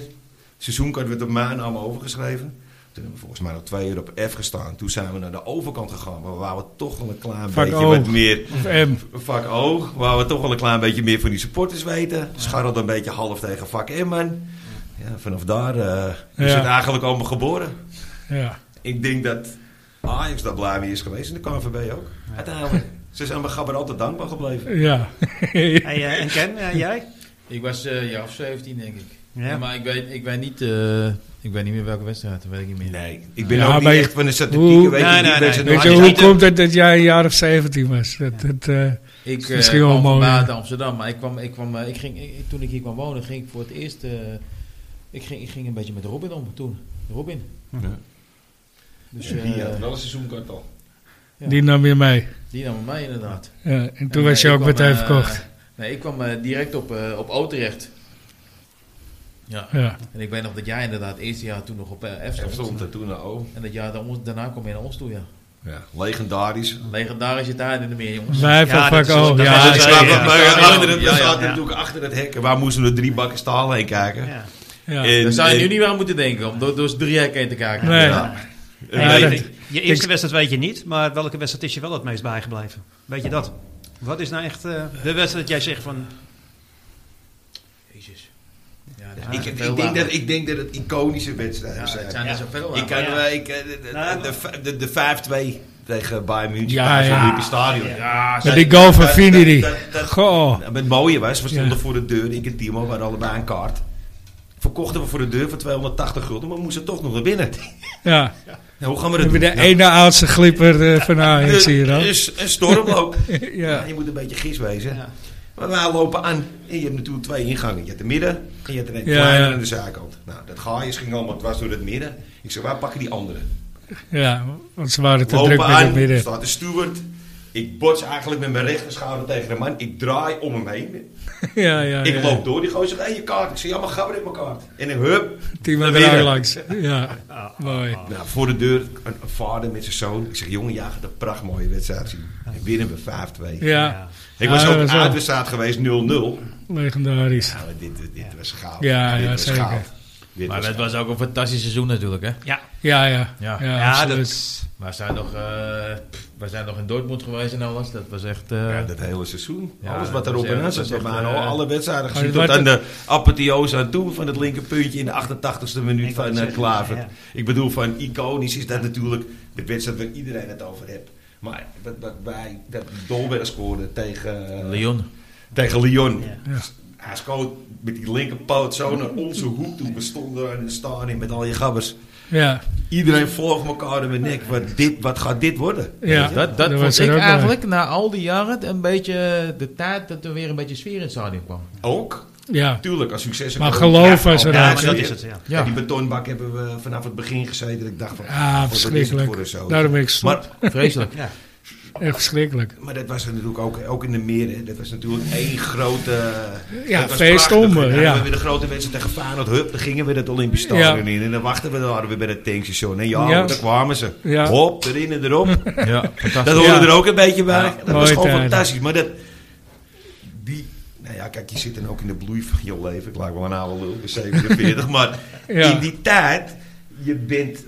Speaker 3: Seizoenkaart werd op mijn naam overgeschreven. Toen hebben we volgens mij nog twee uur op F gestaan. Toen zijn we naar de overkant gegaan. Waar we wouden toch wel een klein
Speaker 1: Vak
Speaker 3: beetje
Speaker 1: O.
Speaker 3: wat meer...
Speaker 1: Of M.
Speaker 3: Vak O, waar we toch wel een klein beetje meer van die supporters weten. Scharrelde een beetje half tegen vak M, man. Ja, vanaf daar eh, is
Speaker 1: Ja.
Speaker 3: het eigenlijk allemaal geboren.
Speaker 1: Ja.
Speaker 3: Ik denk dat Ajax daar blij mee is geweest. En de KNVB ook. Uiteindelijk. Ze zijn mijn gabber altijd dankbaar gebleven.
Speaker 1: Ja.
Speaker 2: Hey, eh, en Ken, eh, jij?
Speaker 4: Ik was eh jaar of 17, denk ik.
Speaker 2: Ja.
Speaker 4: Maar ik weet, ik weet niet... eh, ik weet niet meer welke wedstrijd, dat weet ik niet meer.
Speaker 3: Nee, ik ben
Speaker 1: Ja,
Speaker 3: ook niet
Speaker 1: maar je-
Speaker 3: echt van de
Speaker 1: Hoe-
Speaker 3: statistieken. Weet
Speaker 2: Nee, nee,
Speaker 3: je, die
Speaker 2: nee.
Speaker 3: mensen
Speaker 1: Weet
Speaker 3: nog
Speaker 1: je,
Speaker 2: had je
Speaker 1: hoe
Speaker 2: niet de-
Speaker 1: komt het dat jij een jaar of 17 was? Dat, dat, eh,
Speaker 4: Ik eh
Speaker 1: Misschien wel
Speaker 4: kwam van
Speaker 1: mooi, ja.
Speaker 4: buiten Amsterdam, maar ik kwam, ik kwam, eh, ik ging, ik- toen ik hier kwam wonen, ging ik voor het eerst, eh, ik, ging, ik ging een beetje met Robin om toen. Robin.
Speaker 3: Ja.
Speaker 4: Dus eh,
Speaker 3: Die had wel een seizoenkart al.
Speaker 4: Ja.
Speaker 1: Die nam je mee.
Speaker 4: die nam mij inderdaad.
Speaker 1: Ja, en toen
Speaker 4: En,
Speaker 1: was je
Speaker 4: eh,
Speaker 1: ook
Speaker 4: ik kwam,
Speaker 1: meteen
Speaker 4: eh,
Speaker 1: verkocht.
Speaker 4: Nee, ik kwam eh, direct op, eh op O terecht. Ja.
Speaker 1: Ja.
Speaker 4: En ik weet nog dat jij inderdaad het eerste jaar toen nog op eh, F
Speaker 3: F
Speaker 4: stond.
Speaker 3: stond er toen naar O.
Speaker 4: En dat jaar daarom- daarna kwam je naar ons toe, ja.
Speaker 3: Ja, legendarisch.
Speaker 4: Legendarische tijden in de meer, jongens.
Speaker 1: Wij van
Speaker 2: Ja,
Speaker 1: vak
Speaker 2: dat is-
Speaker 1: O.
Speaker 2: dat
Speaker 1: Ja,
Speaker 2: is-
Speaker 1: ja,
Speaker 2: dat is-
Speaker 1: ja.
Speaker 3: Maar
Speaker 4: ja,
Speaker 3: achter het-
Speaker 4: ja,
Speaker 3: we
Speaker 4: ja,
Speaker 3: zaten
Speaker 2: ja.
Speaker 3: natuurlijk achter het hek. en Waar moesten we drie bakken staal heen kijken?
Speaker 2: Ja.
Speaker 1: Ja.
Speaker 4: Daar zou je
Speaker 3: en-
Speaker 4: nu niet meer aan moeten denken, om door, door z'n drieën heen te kijken.
Speaker 1: Nee.
Speaker 3: Ja.
Speaker 1: Ja,
Speaker 3: En-
Speaker 1: dat-
Speaker 2: Je eerste wedstrijd weet je niet, maar welke wedstrijd is je wel het meest bijgebleven? Weet je dat? Wat is nou echt eh, de wedstrijd dat jij zegt van...
Speaker 4: Jezus. Ja,
Speaker 2: Ja,
Speaker 3: Ik, ik, denk dat, ik denk dat het iconische wedstrijden
Speaker 4: Ja,
Speaker 3: zijn.
Speaker 4: het zijn er
Speaker 2: Ja.
Speaker 4: zoveel.
Speaker 3: Ik kan
Speaker 2: Ja.
Speaker 3: wel- ik, eh, de-
Speaker 2: Nou,
Speaker 3: de- de- de- de 5-2 tegen Bayern München.
Speaker 1: Ja,
Speaker 3: Ja,
Speaker 2: ah,
Speaker 1: ja.
Speaker 3: ja. Het stadion.
Speaker 4: Ja,
Speaker 1: Met
Speaker 3: dat-
Speaker 1: die goal van
Speaker 3: dat-
Speaker 1: Vinidi.
Speaker 3: dat- dat- dat-
Speaker 1: Goh.
Speaker 3: Nou, maar het mooie was, we stonden
Speaker 1: Ja.
Speaker 3: voor de deur. Ik en Timo waren allebei een kaart. Verkochten we voor de deur voor 280 gulden, maar we moesten toch nog naar binnen.
Speaker 1: Ja.
Speaker 3: Nou, hoe gaan we dat
Speaker 1: Hebben
Speaker 3: doen?
Speaker 1: de ene oudste glipper eh, van Ajax hier
Speaker 3: Nou,
Speaker 1: dan.
Speaker 3: dus een stormloop.
Speaker 1: Ja.
Speaker 3: Nou, je moet een beetje gis wezen.
Speaker 2: Ja.
Speaker 3: Maar wij lopen aan. En je hebt natuurlijk twee ingangen. Je hebt de midden en je hebt er een
Speaker 1: Ja,
Speaker 3: kleine
Speaker 1: ja.
Speaker 3: aan de zijkant. Nou, dat gaaiers ging allemaal dwars door het midden. Ik zei, waar pakken die anderen?
Speaker 1: Ja, want ze waren te druk
Speaker 3: Lopen
Speaker 1: met het
Speaker 3: aan,
Speaker 1: midden.
Speaker 3: staat de steward. Ik bots eigenlijk met mijn rechterschouder tegen de man. Ik draai om hem heen.
Speaker 1: Ja, ja,
Speaker 3: Ik
Speaker 1: Eh, ja.
Speaker 3: loop door. Die gozer zegt, hé, je kaart. Ik zeg, ja, maar gabber in mijn kaart. En ik hup.
Speaker 1: Timo
Speaker 3: naar
Speaker 1: er
Speaker 3: binnen.
Speaker 1: ook langs. Ja, mooi.
Speaker 3: Nou, voor de deur een een vader met zijn zoon. Ik zeg, jongen, ja, gaat een prachtmooie wedstrijd zien. En winnen we 5-2.
Speaker 1: Ja,
Speaker 3: Ik was
Speaker 1: Ja,
Speaker 3: ook
Speaker 1: dat
Speaker 3: op
Speaker 1: was wel-
Speaker 3: uitwedstrijd geweest, 0-0.
Speaker 1: legendarisch.
Speaker 3: Ja, maar dit, dit, dit was goud.
Speaker 1: Ja,
Speaker 3: dit
Speaker 1: ja,
Speaker 3: was
Speaker 1: zeker.
Speaker 3: goud. Dit
Speaker 4: Maar
Speaker 3: was
Speaker 4: dat was ook een fantastisch seizoen natuurlijk, hè.
Speaker 2: Ja,
Speaker 1: Ja, ja.
Speaker 4: Ja.
Speaker 1: Ja,
Speaker 2: ja,
Speaker 1: absoluut.
Speaker 2: dat,
Speaker 4: We zijn nog, eh, pff, we zijn nog in Dortmund geweest en alles. Dat was echt... eh,
Speaker 3: Ja, dat hele seizoen.
Speaker 4: Ja,
Speaker 3: Alles wat
Speaker 4: dat
Speaker 3: erop
Speaker 4: is
Speaker 3: en
Speaker 4: echt-
Speaker 3: aan
Speaker 4: dat
Speaker 3: zat.
Speaker 4: is
Speaker 3: We
Speaker 4: echt,
Speaker 3: hebben
Speaker 4: eh,
Speaker 3: alle wedstrijden
Speaker 1: Maar
Speaker 3: gezien.
Speaker 1: wat-
Speaker 3: Tot aan de apotheose aan toe van het linkerpuntje in de 88ste minuut
Speaker 2: Ik wou het
Speaker 3: van eh,
Speaker 2: zeggen,
Speaker 3: Klaver.
Speaker 2: ja.
Speaker 3: Ik bedoel, van iconisch is dat natuurlijk de wedstrijd waar iedereen het over heeft. Maar wat, wat wij, dat Dolberg scoorde tegen, eh,
Speaker 4: Leon.
Speaker 3: tegen Lyon.
Speaker 2: Ja.
Speaker 1: Ja.
Speaker 3: Hij schoot met die linkerpoot zo naar onze hoek toe. We stonden daar in de stadion met al je gabbers.
Speaker 1: Ja,
Speaker 3: Iedereen volgt elkaar in mijn nek. Wat, dit, wat gaat dit worden?
Speaker 1: ja.
Speaker 4: Dus Dat, dat
Speaker 1: was
Speaker 4: vond
Speaker 1: er
Speaker 4: ik
Speaker 1: ook bij.
Speaker 4: eigenlijk na al die jaren een beetje de tijd dat er weer een beetje sfeer in het stadion kwam.
Speaker 3: Ook,
Speaker 1: Ja,
Speaker 3: tuurlijk, als succes.
Speaker 1: Maar geloof was er
Speaker 2: Ja,
Speaker 1: Ja,
Speaker 2: maar dat is het. Ja.
Speaker 3: Ja.
Speaker 4: Ja.
Speaker 3: die betonbak hebben we vanaf het begin gezeten. Ik dacht van,
Speaker 1: Ah,
Speaker 3: ah,
Speaker 1: verschrikkelijk. daarom ben ik gestopt.
Speaker 3: Maar,
Speaker 4: Vreselijk.
Speaker 2: Ja.
Speaker 1: Echt verschrikkelijk.
Speaker 3: maar dat was er natuurlijk ook, ook in de meren. Dat was natuurlijk één grote...
Speaker 1: Ja,
Speaker 3: dat was
Speaker 1: feest
Speaker 3: prachtig.
Speaker 1: om,
Speaker 3: En dan
Speaker 1: ja.
Speaker 3: hadden we weer de grote wedstrijd tegen Feyenoord. Hup, dan gingen we dat Olympisch Stadion in. En dan wachten we, dan hadden we bij het tankstation. En ja,
Speaker 1: Ja.
Speaker 3: daar kwamen ze.
Speaker 1: Ja.
Speaker 3: Hop, erin en erop.
Speaker 4: Ja,
Speaker 3: Dat
Speaker 4: fantastisch.
Speaker 3: hoorde
Speaker 1: Ja.
Speaker 3: er ook een beetje bij.
Speaker 1: Ja,
Speaker 3: dat was
Speaker 1: mooie
Speaker 3: gewoon
Speaker 1: tijden.
Speaker 3: fantastisch. Maar dat... Die, nou ja, kijk, je zit dan ook in de bloei van je leven. Ik lijk wel een oude lul, ik ben 47. maar
Speaker 1: Ja.
Speaker 3: in die tijd, je bent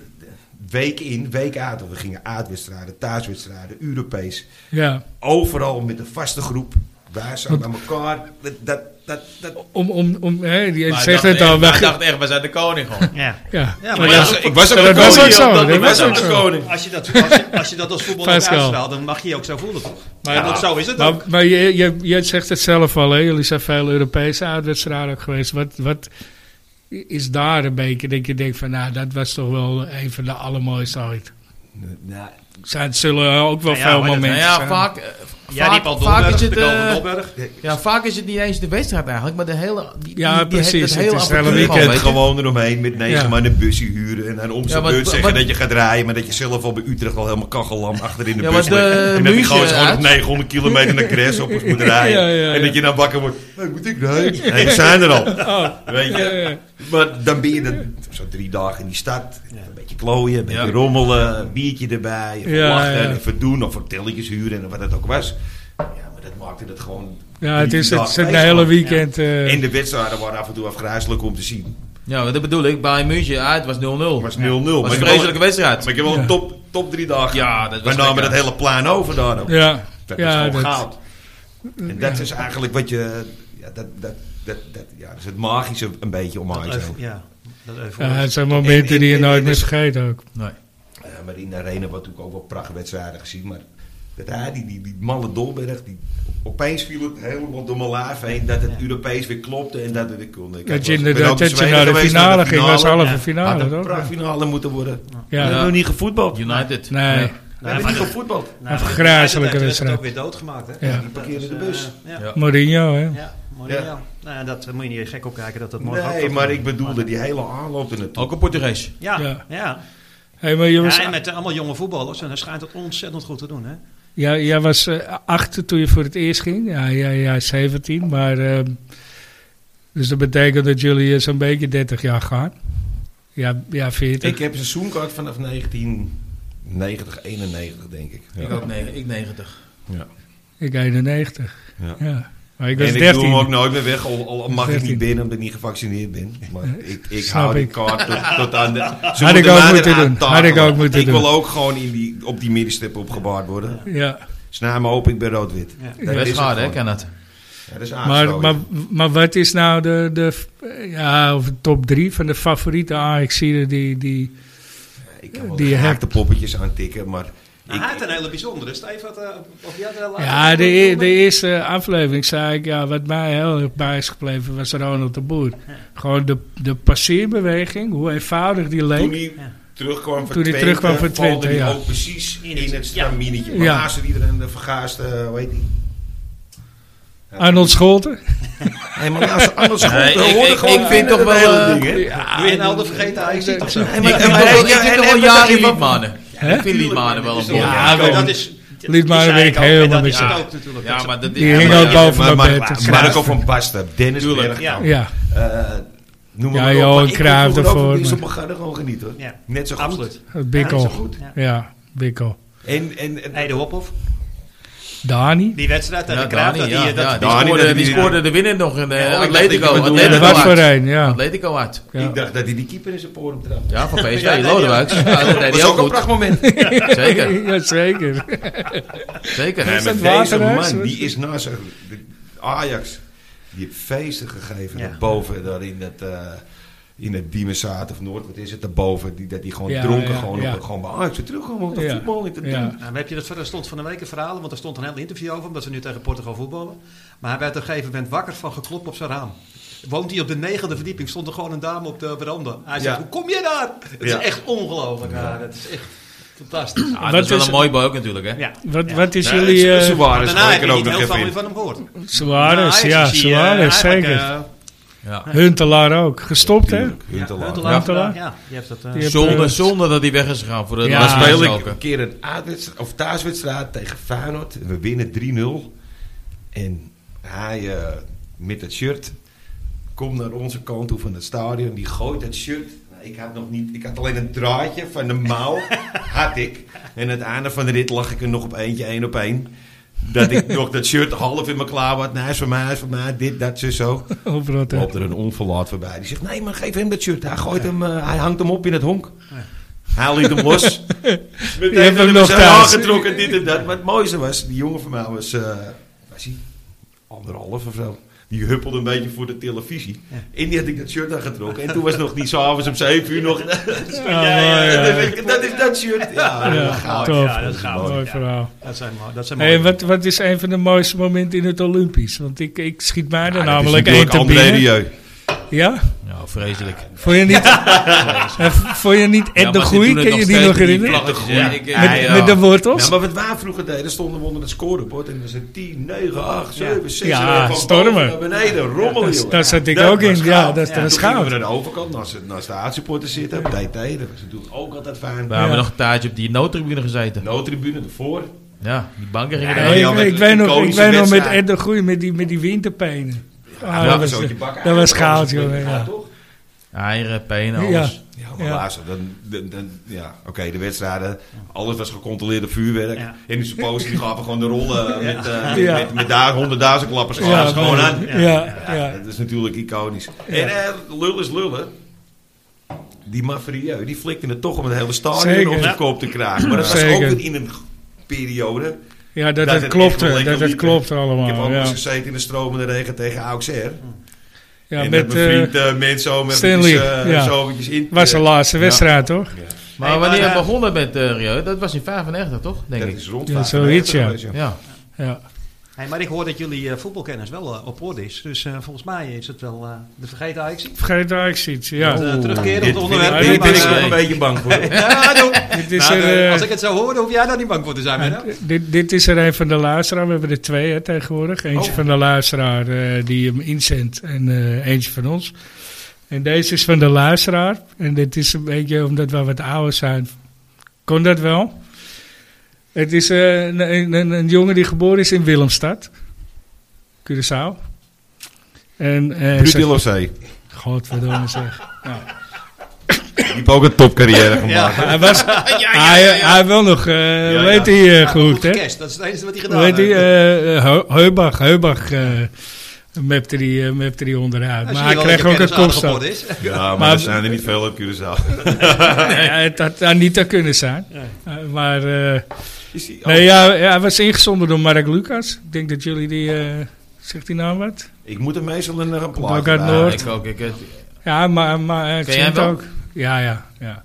Speaker 3: week in, week uit. Want we gingen uitwedstrijden, thuiswedstrijden, Europees.
Speaker 1: Ja,
Speaker 3: Overal met een vaste groep. Wij zijn bij elkaar. Dat, dat, dat, dat.
Speaker 1: om, om, om hè, die
Speaker 4: Maar
Speaker 1: zegt
Speaker 4: ik
Speaker 1: het al.
Speaker 4: dacht echt-
Speaker 1: wij-
Speaker 4: maar Ik dacht echt, we zijn de koning gewoon.
Speaker 2: Ja.
Speaker 1: Ja,
Speaker 2: Ja,
Speaker 1: maar
Speaker 2: maar
Speaker 1: dat-
Speaker 2: ja,
Speaker 3: ik was ook
Speaker 1: dat was ook zo.
Speaker 3: dat
Speaker 1: Dat
Speaker 3: was
Speaker 1: was ook
Speaker 3: ook
Speaker 1: zo.
Speaker 3: koning.
Speaker 2: Als je dat, als je, als je dat als voetballer
Speaker 1: Pascal.
Speaker 2: uitstraalt, dan mag je je ook zo voelen, toch?
Speaker 1: Maar-
Speaker 2: Maar zo is het
Speaker 1: Maar,
Speaker 2: ook.
Speaker 1: maar je, je, je zegt het zelf al, hè? jullie zijn veel Europese uitwedstrijden ook geweest. Wat, wat is daar een beetje dat je denkt van, nou, dat was toch wel een van de allermooiste ooit.
Speaker 3: Nou,
Speaker 1: Zijn, het zullen ook wel
Speaker 2: Ja, ja,
Speaker 1: veel
Speaker 2: maar dat-
Speaker 1: momenten
Speaker 4: Nou ja,
Speaker 1: zijn.
Speaker 4: vaak, eh,
Speaker 2: Ja, die
Speaker 4: vaak,
Speaker 2: Paul
Speaker 4: vaak
Speaker 2: Dolberg,
Speaker 4: is
Speaker 2: de
Speaker 4: het,
Speaker 2: Paul
Speaker 4: eh,
Speaker 2: van Dolberg.
Speaker 4: ja, vaak is het niet eens de wedstrijd eigenlijk, maar de hele, die,
Speaker 1: Ja,
Speaker 4: die- die-
Speaker 1: precies,
Speaker 4: dat
Speaker 1: het
Speaker 4: hele
Speaker 1: is het hele
Speaker 3: een
Speaker 1: Een
Speaker 4: avontuur
Speaker 1: weekend.
Speaker 4: gewoon,
Speaker 3: weekend
Speaker 4: weet je.
Speaker 3: gewoon eromheen met negen
Speaker 1: Ja.
Speaker 3: man een busje huren. En dan om zijn
Speaker 4: Ja, maar
Speaker 3: beurt
Speaker 4: wa-
Speaker 3: zeggen
Speaker 4: wat-
Speaker 3: dat je gaat rijden. Maar dat je zelf al bij Utrecht al helemaal kachelam achter in de
Speaker 4: Ja,
Speaker 3: bus
Speaker 4: maar de
Speaker 3: ligt. En dat je
Speaker 4: muziek
Speaker 3: gewoon gewoon
Speaker 4: uit.
Speaker 3: nog 900 kilometer naar Gresshoppers moet rijden.
Speaker 1: Ja, ja, ja.
Speaker 3: En dat je dan wakker wordt. Hey, moet ik rijden? Nee, we zijn er al. Weet je?
Speaker 1: Oh. Ja, ja.
Speaker 3: Maar dan ben je dan zo drie dagen in die stad. Een beetje klooien, een beetje rommelen. Een biertje erbij. Even
Speaker 1: Ja,
Speaker 3: lachen,
Speaker 1: ja.
Speaker 3: even verdoen. Of vertelletjes huren en wat het ook was. Ja, maar dat maakte het gewoon...
Speaker 1: Ja, het
Speaker 3: drie
Speaker 1: is het,
Speaker 3: dagen
Speaker 1: zijn de
Speaker 3: feest,
Speaker 1: hele
Speaker 3: man.
Speaker 1: weekend. eh,
Speaker 3: En de wedstrijden waren af en toe afgrijzelijk om te zien.
Speaker 4: Ja, dat bedoel ik. Bij München uit was 0-0.
Speaker 3: Het
Speaker 4: was
Speaker 3: was 0-0. maar
Speaker 4: een
Speaker 3: ik
Speaker 4: vreselijke
Speaker 3: wel-
Speaker 4: wedstrijd.
Speaker 3: Maar ik heb wel een top, top drie dagen.
Speaker 4: Ja, dat
Speaker 3: We
Speaker 4: was
Speaker 3: namen
Speaker 4: lekker.
Speaker 3: dat hele plan over daar. ook.
Speaker 1: ja,
Speaker 3: Dat is
Speaker 1: ja,
Speaker 3: gewoon
Speaker 1: dat,
Speaker 3: goud. En dat is eigenlijk wat je... Ja, dat, dat, dat, dat, ja, dat is het magische een beetje om
Speaker 2: Dat
Speaker 3: Ajax
Speaker 2: eufor-
Speaker 3: heen.
Speaker 2: Ja, dat eufor-
Speaker 1: ja, het zijn momenten
Speaker 3: En-
Speaker 1: die je
Speaker 3: en-
Speaker 1: nooit
Speaker 3: en-
Speaker 1: meer vergeet ook.
Speaker 4: Nee.
Speaker 3: Ja, Eh, maar in de arena wordt natuurlijk ook wel prachtwedstrijden gezien. Maar dat, hij, die, die, die malle Dolberg, die, opeens viel het helemaal door mijn laaf heen. Dat het
Speaker 2: Ja.
Speaker 3: Europees weer klopte en dat we weer konden. Ik
Speaker 1: Dat
Speaker 3: had
Speaker 1: je
Speaker 3: wel eens- ik ben
Speaker 1: inderdaad
Speaker 3: ook in
Speaker 1: dat je
Speaker 3: Zweden
Speaker 1: naar de
Speaker 3: geweest,
Speaker 1: finale ging, was halve
Speaker 2: Ja.
Speaker 3: Had
Speaker 1: finale,
Speaker 3: een
Speaker 1: toch?
Speaker 3: prachtfinale moeten worden.
Speaker 1: Ja,
Speaker 3: We
Speaker 1: nee.
Speaker 3: hebben niet gevoetbald.
Speaker 4: United.
Speaker 1: Nee.
Speaker 3: We hebben
Speaker 2: maar-
Speaker 3: niet gevoetbald.
Speaker 1: Een
Speaker 2: Nou, maar
Speaker 1: vergrijzelijke
Speaker 2: United heeft
Speaker 1: wedstrijd.
Speaker 2: het ook weer doodgemaakt, hè?
Speaker 1: Ja.
Speaker 3: Die parkeerden de
Speaker 2: Dat is,
Speaker 3: bus.
Speaker 2: eh, ja.
Speaker 4: Ja.
Speaker 1: Mourinho, hè?
Speaker 2: Ja, Mourinho.
Speaker 3: Ja.
Speaker 2: Nou, ja, dat moet je niet gek opkijken dat dat morgen ook
Speaker 3: Nee,
Speaker 2: toch-
Speaker 3: maar ik bedoelde die hele aanloop er naartoe.
Speaker 4: Ook een Portugees.
Speaker 2: Ja,
Speaker 1: Ja.
Speaker 2: ja.
Speaker 1: Hey, maar je was,
Speaker 2: Ja, en met eh, allemaal jonge voetballers. En dan schijnt het ontzettend goed te doen, hè? Nou,
Speaker 1: Ja, jij was eh, acht toen je voor het eerst ging. Ja, ja, ja 17. Maar, ehm, dus dat betekent dat jullie eh, zo'n beetje 30 jaar gaan. Ja, ja 40.
Speaker 3: Ik heb een seizoenkaart vanaf 1990, 91 denk ik. Ja.
Speaker 4: Ik ook negen- ik 90.
Speaker 1: Ik 91.
Speaker 3: Ja.
Speaker 1: Ja. Maar ik was
Speaker 3: en ik
Speaker 1: 13.
Speaker 3: doe hem ook nooit meer weg, al, al mag ik
Speaker 1: 13.
Speaker 3: niet binnen omdat ik niet gevaccineerd ben. Maar ik, ik
Speaker 1: Snap
Speaker 3: hou die
Speaker 1: ik.
Speaker 3: kaart tot, tot aan de... Ze
Speaker 1: ik
Speaker 3: moeten
Speaker 1: ook
Speaker 3: mij
Speaker 1: moeten
Speaker 3: eraan
Speaker 1: doen.
Speaker 3: takelen.
Speaker 1: Had ik ook moeten
Speaker 3: Ik
Speaker 1: doen.
Speaker 3: wil ook gewoon in die, op die middenstip opgebaard worden. Dus
Speaker 1: Ja.
Speaker 3: Snij me op, ik ben rood-wit.
Speaker 2: Ja.
Speaker 3: Dat is
Speaker 4: Best
Speaker 3: het
Speaker 4: schade, hè,
Speaker 3: gewoon.
Speaker 4: Kenneth?
Speaker 3: Ja, dat is
Speaker 1: Maar,
Speaker 3: aangestoken.
Speaker 1: maar, maar wat is nou de, de, eh, ja, of de top 3 van de favoriete ajax die, die...
Speaker 3: ik kan wel
Speaker 1: die
Speaker 3: die
Speaker 1: hebt-
Speaker 3: gehaakte poppetjes aantikken, maar...
Speaker 2: Nou, hij had een hele bijzondere. Steve had... eh, of jij had er al
Speaker 1: Ja,
Speaker 2: later-
Speaker 1: de, e- de eerste aflevering zei ik, ja, wat mij heel erg bij is gebleven was Ronald de Boer. Gewoon de, de passeerbeweging, hoe eenvoudig die
Speaker 3: Toen
Speaker 1: leek.
Speaker 3: hij
Speaker 2: Ja.
Speaker 3: terugkwam van
Speaker 1: Toen hij
Speaker 3: Twente,
Speaker 1: terugkwam van
Speaker 3: valde
Speaker 1: Twente,
Speaker 3: hij
Speaker 1: ja.
Speaker 3: ook precies
Speaker 2: In
Speaker 3: in,
Speaker 2: het-
Speaker 3: het
Speaker 2: ja.
Speaker 3: staminetje.
Speaker 1: Ja.
Speaker 3: Maar naast hem iedereen de vergaaste, hoe heet die?
Speaker 1: Arnold Scholten.
Speaker 3: Hey, maar naast Arnold Schoen,
Speaker 4: Nee,
Speaker 3: dat
Speaker 4: ik-
Speaker 3: hoorde
Speaker 4: ik-
Speaker 3: gewoon
Speaker 4: ik vind
Speaker 3: een
Speaker 4: toch wel,
Speaker 3: hele
Speaker 4: eh,
Speaker 3: ding, hè?
Speaker 2: Doe je een oude vergeten Ajax of zo?
Speaker 3: Hey,
Speaker 4: Ik
Speaker 3: maar-
Speaker 4: heb
Speaker 3: maar-
Speaker 4: wel- ik
Speaker 3: ja, en-
Speaker 4: heb toch
Speaker 3: en-
Speaker 4: al jaren
Speaker 3: en-
Speaker 4: Liedmanen. Ik vind Liedmanen wel een
Speaker 3: Ja,
Speaker 4: bom.
Speaker 1: Ja,
Speaker 3: maar
Speaker 2: dat
Speaker 1: dat
Speaker 2: is...
Speaker 1: Liet maar
Speaker 2: die
Speaker 1: een
Speaker 2: zei
Speaker 1: week
Speaker 2: ik ook, en
Speaker 1: helemaal
Speaker 2: Dat is
Speaker 1: bezig.
Speaker 2: het ook natuurlijk.
Speaker 4: Ja, maar dat
Speaker 1: Die hing
Speaker 4: maar-
Speaker 1: ook boven mijn
Speaker 3: maar, maar,
Speaker 1: bed,
Speaker 3: maar,
Speaker 1: het
Speaker 3: Marco
Speaker 1: kruis.
Speaker 3: van Basten, Dennis
Speaker 4: Tuurlijk,
Speaker 3: Bergkamp.
Speaker 1: Ja,
Speaker 3: eh, noem
Speaker 1: Ja,
Speaker 3: maar op.
Speaker 1: Johan
Speaker 3: Maar ik
Speaker 1: Cruijff
Speaker 3: vond vroeger ook
Speaker 1: daarvoor,
Speaker 3: niet
Speaker 1: maar-
Speaker 3: Zo mag er gewoon genieten hoor.
Speaker 2: Ja.
Speaker 3: Net zo goed.
Speaker 2: Absoluut.
Speaker 1: het
Speaker 3: Ja,
Speaker 1: Bikkel.
Speaker 3: zo goed.
Speaker 1: Ja, Bikkel.
Speaker 3: En, en, en
Speaker 2: Hey, de Hophoff.
Speaker 1: Dani.
Speaker 2: Die wedstrijd tegen
Speaker 4: Ja,
Speaker 2: de Cruijff, dat
Speaker 4: Dani, ja,
Speaker 2: die... dat-
Speaker 4: ja, die
Speaker 3: Dani, dat
Speaker 4: scoorde-
Speaker 3: die-
Speaker 4: Die scoorde de winnaar nog in eh,
Speaker 3: Ja, ik dacht
Speaker 4: Atletico.
Speaker 3: dat ik bedoelde-
Speaker 1: Ja,
Speaker 4: Atletico
Speaker 1: wat voor
Speaker 4: uit.
Speaker 1: een, ja.
Speaker 4: Atletico uit.
Speaker 1: ja.
Speaker 3: ik dacht dat hij die keeper in zijn poren trapte.
Speaker 4: Ja, van PSV,
Speaker 2: Ja,
Speaker 4: ja,
Speaker 2: nee,
Speaker 4: Lodewijks. Ja, dat deed
Speaker 3: Dat is
Speaker 4: hij ook
Speaker 3: ook een
Speaker 4: goed.
Speaker 3: prachtmoment.
Speaker 4: Zeker,
Speaker 1: Ja, zeker.
Speaker 4: zeker.
Speaker 3: Nee,
Speaker 1: Is dat
Speaker 3: maar deze
Speaker 1: Waterhuis?
Speaker 3: man, die is na zijn de- Ajax, die heeft feesten gegeven
Speaker 2: Ja.
Speaker 3: boven daar in dat... eh in het Diemenzaad of Noord, wat is het daarboven? Die, dat die gewoon
Speaker 1: Ja,
Speaker 3: dronken,
Speaker 1: ja,
Speaker 3: gewoon,
Speaker 1: ja.
Speaker 3: Op, gewoon bij Ajax weer terugkomen op dat
Speaker 1: Ja.
Speaker 3: voetbal. niet te doen.
Speaker 1: Ja.
Speaker 2: Nou, maar heb je dat verder stond van de week een verhaal? Want er stond een heel interview over, omdat ze nu tegen Portugal voetballen. Maar hij werd op een gegeven moment wakker van geklop op zijn raam. Woont hij op de negende verdieping, stond er gewoon een dame op de veranda. Hij zegt,
Speaker 3: Ja.
Speaker 2: hoe kom je daar? Het
Speaker 3: Ja.
Speaker 2: is echt ongelooflijk. Ja, dat is echt fantastisch.
Speaker 1: Wat
Speaker 4: Ah, dat is wel
Speaker 1: is-
Speaker 4: een mooi boy ook natuurlijk, hè?
Speaker 2: Ja.
Speaker 1: Wat,
Speaker 2: Ja.
Speaker 1: wat is
Speaker 3: Nee,
Speaker 1: jullie...
Speaker 3: Su-
Speaker 1: eh,
Speaker 3: Suarez
Speaker 2: Maar daarna
Speaker 3: gooi ik
Speaker 2: heb
Speaker 3: er
Speaker 2: je
Speaker 3: ook
Speaker 2: niet heel
Speaker 3: nog
Speaker 2: veel
Speaker 3: even
Speaker 2: meer
Speaker 3: in.
Speaker 2: van hem gehoord.
Speaker 1: Suarez,
Speaker 2: Nou,
Speaker 1: ja,
Speaker 2: is hij, eh,
Speaker 1: Suarez,
Speaker 2: eigenlijk,
Speaker 1: zeker.
Speaker 2: eh,
Speaker 4: Ja.
Speaker 1: Huntelaar ook. Gestopt, hè?
Speaker 3: Tuurlijk, Huntelaar.
Speaker 2: Huntelaar.
Speaker 1: Ja.
Speaker 2: Huntelaar, Ja, je hebt dat... eh,
Speaker 1: Die heb-
Speaker 4: Zonder, zonder dat hij weg is gegaan voor de
Speaker 1: Ja.
Speaker 3: Dan
Speaker 1: Ah,
Speaker 3: speel ik
Speaker 4: Schalke.
Speaker 3: een keer een uitwedstrijd, of thuiswedstrijd tegen Feyenoord. En we winnen 3-0. En hij eh, met het shirt komt naar onze kant toe van het stadion. Die gooit het shirt. Nou, Ik had, nog niet, ik had alleen een draadje van de mouw. had ik. En aan het einde van de rit lag ik er nog op eentje, één op één. Dat ik nog dat shirt half in me klaar had. Nou, hij is van mij, hij is van mij. Dit, dat, zo, zo.
Speaker 1: Overal te-
Speaker 3: Loopt er een onverlaat voorbij. Die zegt, nee, maar geef hem dat shirt. Hij, gooit hem, eh, hij hangt hem op in het honk. Hij liet hem los. Meteen
Speaker 1: hebt hem
Speaker 3: dat hij
Speaker 1: nog
Speaker 3: zijn
Speaker 1: thuis.
Speaker 3: aangetrokken, dit en dat. Maar het mooiste was, die jongen van mij was, eh was hij anderhalf of zo. Die huppelde een beetje voor de televisie. En die had ik dat shirt aangetrokken. En toen was het nog niet s'avonds om 7 uur nog. dat, is van,
Speaker 1: Ah,
Speaker 3: ja, ja,
Speaker 1: mooi,
Speaker 3: dat
Speaker 1: ja.
Speaker 3: is- dat is dat shirt. Ja,
Speaker 1: Ja,
Speaker 3: dat gaat.
Speaker 1: tof.
Speaker 2: Ja, dat gaat.
Speaker 1: Mooi
Speaker 2: Ja.
Speaker 1: verhaal.
Speaker 2: Dat zijn, mooi- dat zijn
Speaker 1: Hey,
Speaker 2: mooie
Speaker 1: en wat, wat is een van de mooiste momenten in het Olympisch? Want ik, ik schiet mij er
Speaker 3: Ja, dat is
Speaker 1: namelijk één
Speaker 3: natuurlijk
Speaker 1: te
Speaker 3: André
Speaker 1: binnen.
Speaker 3: Rieu.
Speaker 1: Ja?
Speaker 4: Ja, vreselijk.
Speaker 1: Vond je niet, Eh, vond je niet Ed
Speaker 4: Ja,
Speaker 1: de
Speaker 4: maar ze
Speaker 1: Goeie?
Speaker 4: doen het
Speaker 1: Ken je die
Speaker 4: steeds
Speaker 1: nog
Speaker 4: met
Speaker 1: herinneren?
Speaker 4: die vlaggetjes,
Speaker 3: Ja.
Speaker 4: hè? Ik, eh,
Speaker 1: Met,
Speaker 4: ja, ja.
Speaker 1: met de wortels?
Speaker 3: Ja, maar wat wij vroeger deden, stonden we onder het scorebord. En dan zijn 10, 9, 8, 7, 6.
Speaker 1: Ja,
Speaker 3: en dan van
Speaker 1: stormen.
Speaker 3: boven Naar beneden, rommelen,
Speaker 1: dat-
Speaker 3: jongen.
Speaker 1: daar zat ik
Speaker 3: Dat
Speaker 1: ook in.
Speaker 3: was
Speaker 1: Ja,
Speaker 3: goud.
Speaker 1: dat- dat
Speaker 3: toen
Speaker 1: is
Speaker 3: gingen
Speaker 1: goud.
Speaker 3: we aan de overkant, naast, het- naast de aardsupporters zitten. op DT, dat was natuurlijk ook altijd fijn.
Speaker 4: We hebben
Speaker 1: Ja.
Speaker 4: nog een taartje op die noodtribune gezeten.
Speaker 3: Noodtribune ervoor.
Speaker 4: Ja, die banken gingen
Speaker 3: Ja,
Speaker 4: daar
Speaker 1: Nee,
Speaker 3: ja,
Speaker 1: ik,
Speaker 3: met
Speaker 1: ik weet nog, ik
Speaker 3: iconische
Speaker 1: weet nog met
Speaker 3: wedstrijd.
Speaker 1: Ed de Goeie, met die, met die winterpenen. Ah,
Speaker 3: Ja,
Speaker 1: dat,
Speaker 3: een
Speaker 1: was,
Speaker 3: zootje bakken.
Speaker 1: dat was goud,
Speaker 3: Ja,
Speaker 1: joh. Ja.
Speaker 3: toch?
Speaker 4: Eieren, penen,
Speaker 1: Ja.
Speaker 4: alles.
Speaker 3: Ja, maar
Speaker 1: Ja.
Speaker 3: luister, dan, dan, dan, ja, oké, de wedstrijden, alles was gecontroleerd op vuurwerk.
Speaker 2: Ja.
Speaker 3: En die supposed die gaven gewoon de rollen eh, met, eh,
Speaker 1: Ja.
Speaker 3: met, met, met daar honderdduizend klappers.
Speaker 1: Ja,
Speaker 3: Ja, gewoon aan.
Speaker 1: ja, ja,
Speaker 3: Ja, dat is natuurlijk iconisch. En eh, lul is lullen. Die Mafrieu, die flikte het toch om het hele
Speaker 1: Zeker.
Speaker 3: stadion op
Speaker 1: Ja.
Speaker 3: zijn kop te krijgen. Maar dat was
Speaker 1: Zeker.
Speaker 3: ook weer in een g- periode.
Speaker 1: Ja, dat,
Speaker 3: Dat
Speaker 1: dat,
Speaker 3: het
Speaker 1: klopt, eh,
Speaker 3: echt wel
Speaker 1: dat,
Speaker 3: lekker
Speaker 1: dat
Speaker 3: liep, hè.
Speaker 1: klopt allemaal.
Speaker 3: Ik heb ook
Speaker 1: ja.
Speaker 3: eens gezeten in de stromende regen tegen AXR.
Speaker 1: Ja, met,
Speaker 3: en met mijn
Speaker 1: eh
Speaker 3: vriend eh Mens zo met eh,
Speaker 1: Stanley, ja.
Speaker 3: zo eventjes in.
Speaker 1: was de laatste wedstrijd, toch?
Speaker 4: Maar
Speaker 2: Hey,
Speaker 4: wanneer
Speaker 2: maar, eh,
Speaker 4: begonnen met eh Rio? Dat was in 95, toch? Denk
Speaker 3: dat
Speaker 4: ik.
Speaker 3: is rond
Speaker 1: Ja,
Speaker 3: 95
Speaker 1: zoiets, ja.
Speaker 3: geweest,
Speaker 4: Ja.
Speaker 1: Ja.
Speaker 2: Hey, maar ik hoor dat jullie eh, voetbalkennis wel eh, op orde is. Dus eh, volgens mij is het wel eh, de vergeten Ajax.
Speaker 1: Vergeet daar, ik zie het. Ja.
Speaker 2: Ja. terugkeren op
Speaker 3: Dit
Speaker 2: het onderwerp.
Speaker 1: ik-
Speaker 3: Hier ben ik
Speaker 2: maar,
Speaker 3: nog
Speaker 2: eh,
Speaker 3: een beetje bang voor.
Speaker 2: ja, doe.
Speaker 1: Dit is
Speaker 2: Nou,
Speaker 1: er,
Speaker 2: de-
Speaker 1: eh,
Speaker 2: als ik het zou horen, hoef jij daar niet bang voor te zijn. hè?
Speaker 1: Dit, dit is er een van de luisteraar. We hebben er twee hè, tegenwoordig. Eentje
Speaker 3: Oh.
Speaker 1: van de luisteraar eh, die hem inzendt en eh, eentje van ons. En deze is van de luisteraar. En dit is een beetje omdat we wat ouder zijn. Kon dat wel? Het is eh, een, een- een, een jongen die geboren is in Willemstad. Curaçao. En, eh,
Speaker 3: Ruud
Speaker 1: ze-
Speaker 3: Willowsee,
Speaker 1: Godverdomme zeg.
Speaker 3: die heeft ook een topcarrière gemaakt.
Speaker 1: Hij was... Hij, hij heeft wel nog... eh
Speaker 3: ja.
Speaker 1: Weet hij eh,
Speaker 2: Ja,
Speaker 1: goed, hè?
Speaker 2: nou, gecast. Dat is het enige wat hij
Speaker 1: Hoe
Speaker 2: gedaan
Speaker 1: heet die?
Speaker 2: heeft.
Speaker 1: eh, Heu- Heubach. Heubach eh mepte die, eh, mepte die onderuit.
Speaker 2: Dan zie
Speaker 1: maar
Speaker 2: je
Speaker 1: hij
Speaker 2: wel
Speaker 1: kreeg
Speaker 2: dat je
Speaker 1: ook een
Speaker 2: kennis aardig op
Speaker 1: kopstoot.
Speaker 2: orde is.
Speaker 3: Ja, maar,
Speaker 1: Maar-
Speaker 3: er zijn er niet veel op Curaçao.
Speaker 1: Nee, het had daar niet aan kunnen zijn.
Speaker 2: Nee.
Speaker 1: Eh, maar eh,
Speaker 3: Is die- oh,
Speaker 1: nee, ja, ja, hij was ingezonden door Mark Lucas. Ik denk dat jullie die... eh, zegt die naam wat?
Speaker 3: Ik moet er meestal een, een plaatje
Speaker 1: Ook uit
Speaker 3: bij.
Speaker 1: Noord.
Speaker 4: Ik ook. Ik, eh, het-
Speaker 1: Ja, maar, maar eh, ik
Speaker 4: Ken jij
Speaker 1: zingt
Speaker 4: hem wel?
Speaker 1: ook. Ja, ja, ja.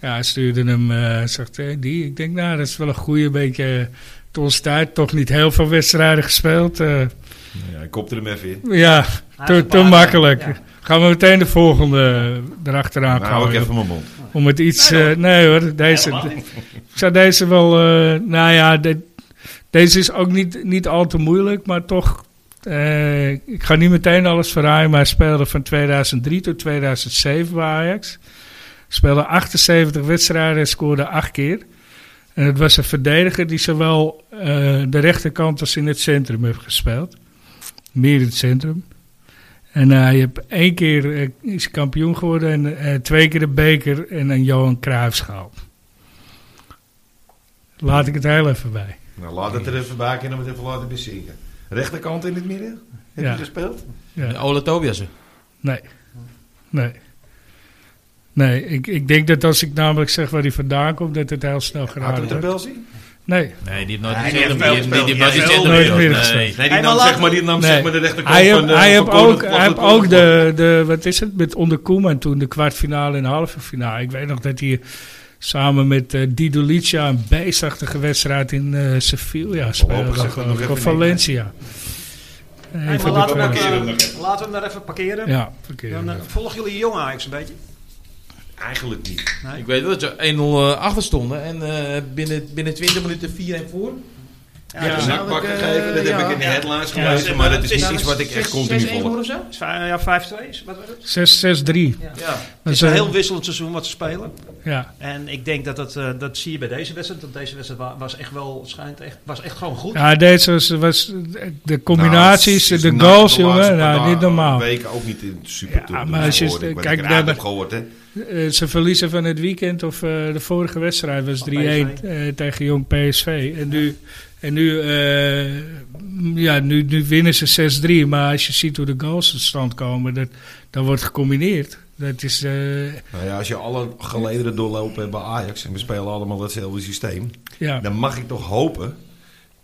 Speaker 1: Ja, hij stuurde hem, eh, zegt eh, die. Ik denk, nou, dat is wel een goede beetje... eh, tot onze tijd toch niet heel veel wedstrijden gespeeld. eh.
Speaker 3: Ja, ik kopte hem even in.
Speaker 1: ja, te, te
Speaker 2: Aangepakt.
Speaker 1: makkelijk.
Speaker 2: Ja.
Speaker 1: Gaan we meteen de volgende erachteraan
Speaker 3: Nou, hou ik
Speaker 1: gooien.
Speaker 3: even mijn mond.
Speaker 1: Om het iets... eh, nee hoor, deze... ik zou deze wel... eh, nou ja, de- deze is ook niet, niet al te moeilijk, maar toch... eh, ik ga niet meteen alles verraaien, maar hij speelde van 2003 tot 2007 bij Ajax. Speelde 78 wedstrijden en scoorde 8 keer. En het was een verdediger die zowel eh, de rechterkant als in het centrum heeft gespeeld. Meer in het centrum. En eh, hij heeft één keer eh, is kampioen geworden en eh, twee keer de beker en een Johan Cruijffschaal. Laat ik het heel even bij.
Speaker 3: Nou, laat het er even bij en dan het even laten bezinken. Rechterkant in het midden? Heb
Speaker 1: Ja.
Speaker 3: je gespeeld?
Speaker 1: Ja.
Speaker 4: Ole Tobiasen.
Speaker 1: Nee. Nee. Nee, ik, ik denk dat als ik namelijk zeg waar hij vandaan komt, dat het heel snel
Speaker 3: Had
Speaker 1: geraden
Speaker 3: het de
Speaker 1: wordt.
Speaker 3: bel zien?
Speaker 1: Nee.
Speaker 4: Nee, die heeft nooit
Speaker 3: Hij
Speaker 4: in het
Speaker 3: heeft
Speaker 4: centrum-
Speaker 3: wel
Speaker 4: die- die- die
Speaker 3: gespeeld.
Speaker 4: was in het
Speaker 3: Hij heeft
Speaker 4: centrum.
Speaker 1: nooit
Speaker 4: gespeeld.
Speaker 1: meer
Speaker 4: Nee.
Speaker 3: Nee,
Speaker 2: Hij
Speaker 3: die nam,
Speaker 2: laat-
Speaker 3: zeg maar, die nam
Speaker 1: Nee.
Speaker 3: zeg maar de rechterkant
Speaker 1: Hij heeft,
Speaker 3: van... eh,
Speaker 1: hij
Speaker 3: van
Speaker 1: heeft
Speaker 3: Cor-
Speaker 1: ook,
Speaker 3: van
Speaker 1: hij heeft
Speaker 3: Cor-
Speaker 1: ook de, de, wat is het, met onder Koeman toen de kwartfinale en halve finale. Ik weet nog dat hij samen met eh Dido Licia een beestachtige wedstrijd in eh Sevilla speelde.
Speaker 3: Voorlopig zegt Oh, dat nog
Speaker 1: geloof ik, Of
Speaker 3: even niks.
Speaker 1: Valencia.
Speaker 2: Hey, maar
Speaker 1: Even
Speaker 2: laten,
Speaker 1: de
Speaker 2: we hem,
Speaker 3: ook,
Speaker 1: terug.
Speaker 3: parkeren
Speaker 2: eh,
Speaker 3: hem nog even.
Speaker 2: laten we hem daar even parkeren.
Speaker 1: Ja, verkeerd.
Speaker 2: Dan eh, volgen jullie jong Ajax een beetje.
Speaker 3: Eigenlijk niet.
Speaker 2: Nee.
Speaker 4: Ik weet wel dat je 1-0 eh, achter stonden en eh, binnen, binnen 20 minuten 4-1 voor.
Speaker 2: Ja,
Speaker 3: Ja,
Speaker 2: dus,
Speaker 1: nou,
Speaker 3: zakbakken
Speaker 4: ik, eh,
Speaker 3: geven, dat heb
Speaker 4: ja.
Speaker 3: ik in de
Speaker 2: Ja.
Speaker 3: headlines
Speaker 1: Ja,
Speaker 3: gelezen,
Speaker 2: zeg
Speaker 3: maar
Speaker 2: maar, het
Speaker 3: dat is
Speaker 2: is
Speaker 3: niet
Speaker 2: nou
Speaker 3: iets wat ik echt continu
Speaker 4: 6-1
Speaker 3: volg.
Speaker 4: voor of zo?
Speaker 2: eh, ja 5-2 is, wat was het?
Speaker 1: 6-6-3.
Speaker 4: Ja.
Speaker 2: Het is
Speaker 1: Dat
Speaker 2: een
Speaker 1: is, eh,
Speaker 2: heel wisselend seizoen wat ze spelen.
Speaker 1: Ja,
Speaker 2: En ik denk dat dat, eh, dat zie je bij deze wedstrijd. Want deze wedstrijd wa- was echt wel, schijnt echt, was echt gewoon goed.
Speaker 1: ja deze was, was de combinaties,
Speaker 3: Nou, het is
Speaker 1: de
Speaker 3: na
Speaker 1: goals,
Speaker 3: de laatste
Speaker 1: jongen.
Speaker 3: paar
Speaker 1: Nou, niet
Speaker 3: dagen,
Speaker 1: normaal.
Speaker 3: weken ook niet in super
Speaker 1: Ja, maar als je- kijk,
Speaker 3: kijk, ik
Speaker 1: daar-
Speaker 3: raad heb gehoord, hè.
Speaker 1: Eh, ze verliezen van het weekend of eh, de vorige wedstrijd was 3-1
Speaker 2: Van PSV.
Speaker 1: eh, tegen Jong PSV. En nu, en nu, eh, m, ja, nu, nu winnen ze 6-3. Maar als je ziet hoe de goals tot stand komen, dat, dan wordt gecombineerd. Dat is, eh,
Speaker 3: Nou ja, als je alle gelederen doorloopt hebt bij Ajax en we spelen allemaal hetzelfde systeem,
Speaker 1: ja.
Speaker 3: dan mag ik toch hopen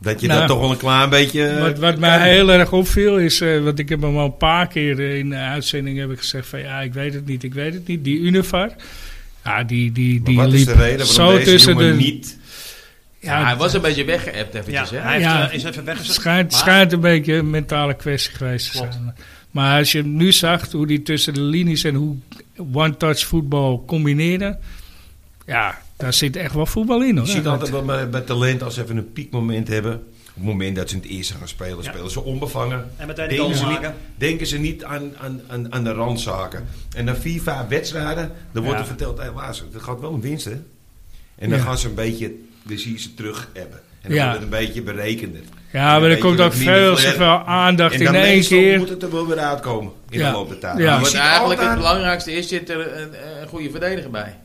Speaker 3: dat je
Speaker 1: Nou,
Speaker 3: dat toch wel een klein beetje. eh,
Speaker 1: Wat, wat mij heel erg opviel is, eh, want ik heb hem al een paar keer eh, in de uitzending heb ik gezegd van ja, ik weet het niet, ik weet het niet. Die Univar, ja, die, die,
Speaker 3: maar
Speaker 1: die
Speaker 3: wat
Speaker 1: liep
Speaker 3: is de reden
Speaker 1: zo
Speaker 3: waarom deze
Speaker 1: tussen
Speaker 3: jongen
Speaker 1: de...
Speaker 3: niet?
Speaker 1: ja,
Speaker 4: hij was een beetje weggeëpt
Speaker 2: Ja,
Speaker 4: eventjes, hè?
Speaker 2: hij heeft,
Speaker 1: Ja.
Speaker 2: eh, is even
Speaker 1: Het
Speaker 2: weggezet.
Speaker 1: schijnt,
Speaker 2: Maar-
Speaker 1: schijnt een beetje een mentale kwestie geweest te
Speaker 2: Klopt.
Speaker 1: zijn. Maar als je hem nu zag, hoe die tussen de linies en hoe one-touch voetbal combineren. Ja, daar zit echt wel voetbal in hoor.
Speaker 3: Je ziet altijd wel bij, bij talent als ze even een piekmoment hebben. Op het moment dat ze in het eerste gaan spelen,
Speaker 2: Ja.
Speaker 3: spelen ze onbevangen.
Speaker 2: En meteen die
Speaker 3: Denken
Speaker 2: goal
Speaker 3: ze, niet,
Speaker 2: maken.
Speaker 3: denken ze niet aan, aan, aan, aan de randzaken. En na vier, vijf wedstrijden, dan wordt
Speaker 1: Ja.
Speaker 3: er verteld, hé, luister, het gaat wel een winst, hè? En dan
Speaker 1: Ja.
Speaker 3: gaan ze een beetje, dan zie je ze terug hebben. En dan
Speaker 1: Ja.
Speaker 3: wordt het een beetje berekender.
Speaker 1: ja, maar er
Speaker 3: Weet je,
Speaker 1: komt ook
Speaker 3: dat minder
Speaker 1: veel te
Speaker 3: flair.
Speaker 1: veel aandacht
Speaker 3: en
Speaker 1: in
Speaker 3: dan
Speaker 1: één
Speaker 3: meestal
Speaker 1: keer.
Speaker 3: moet het er wel weer uitkomen in
Speaker 1: Ja.
Speaker 3: de loop der tijd.
Speaker 1: Ja.
Speaker 3: Maar je
Speaker 4: Wat
Speaker 3: ziet
Speaker 4: eigenlijk het
Speaker 3: altijd-
Speaker 4: belangrijkste is, zit er een, een goede verdediger bij.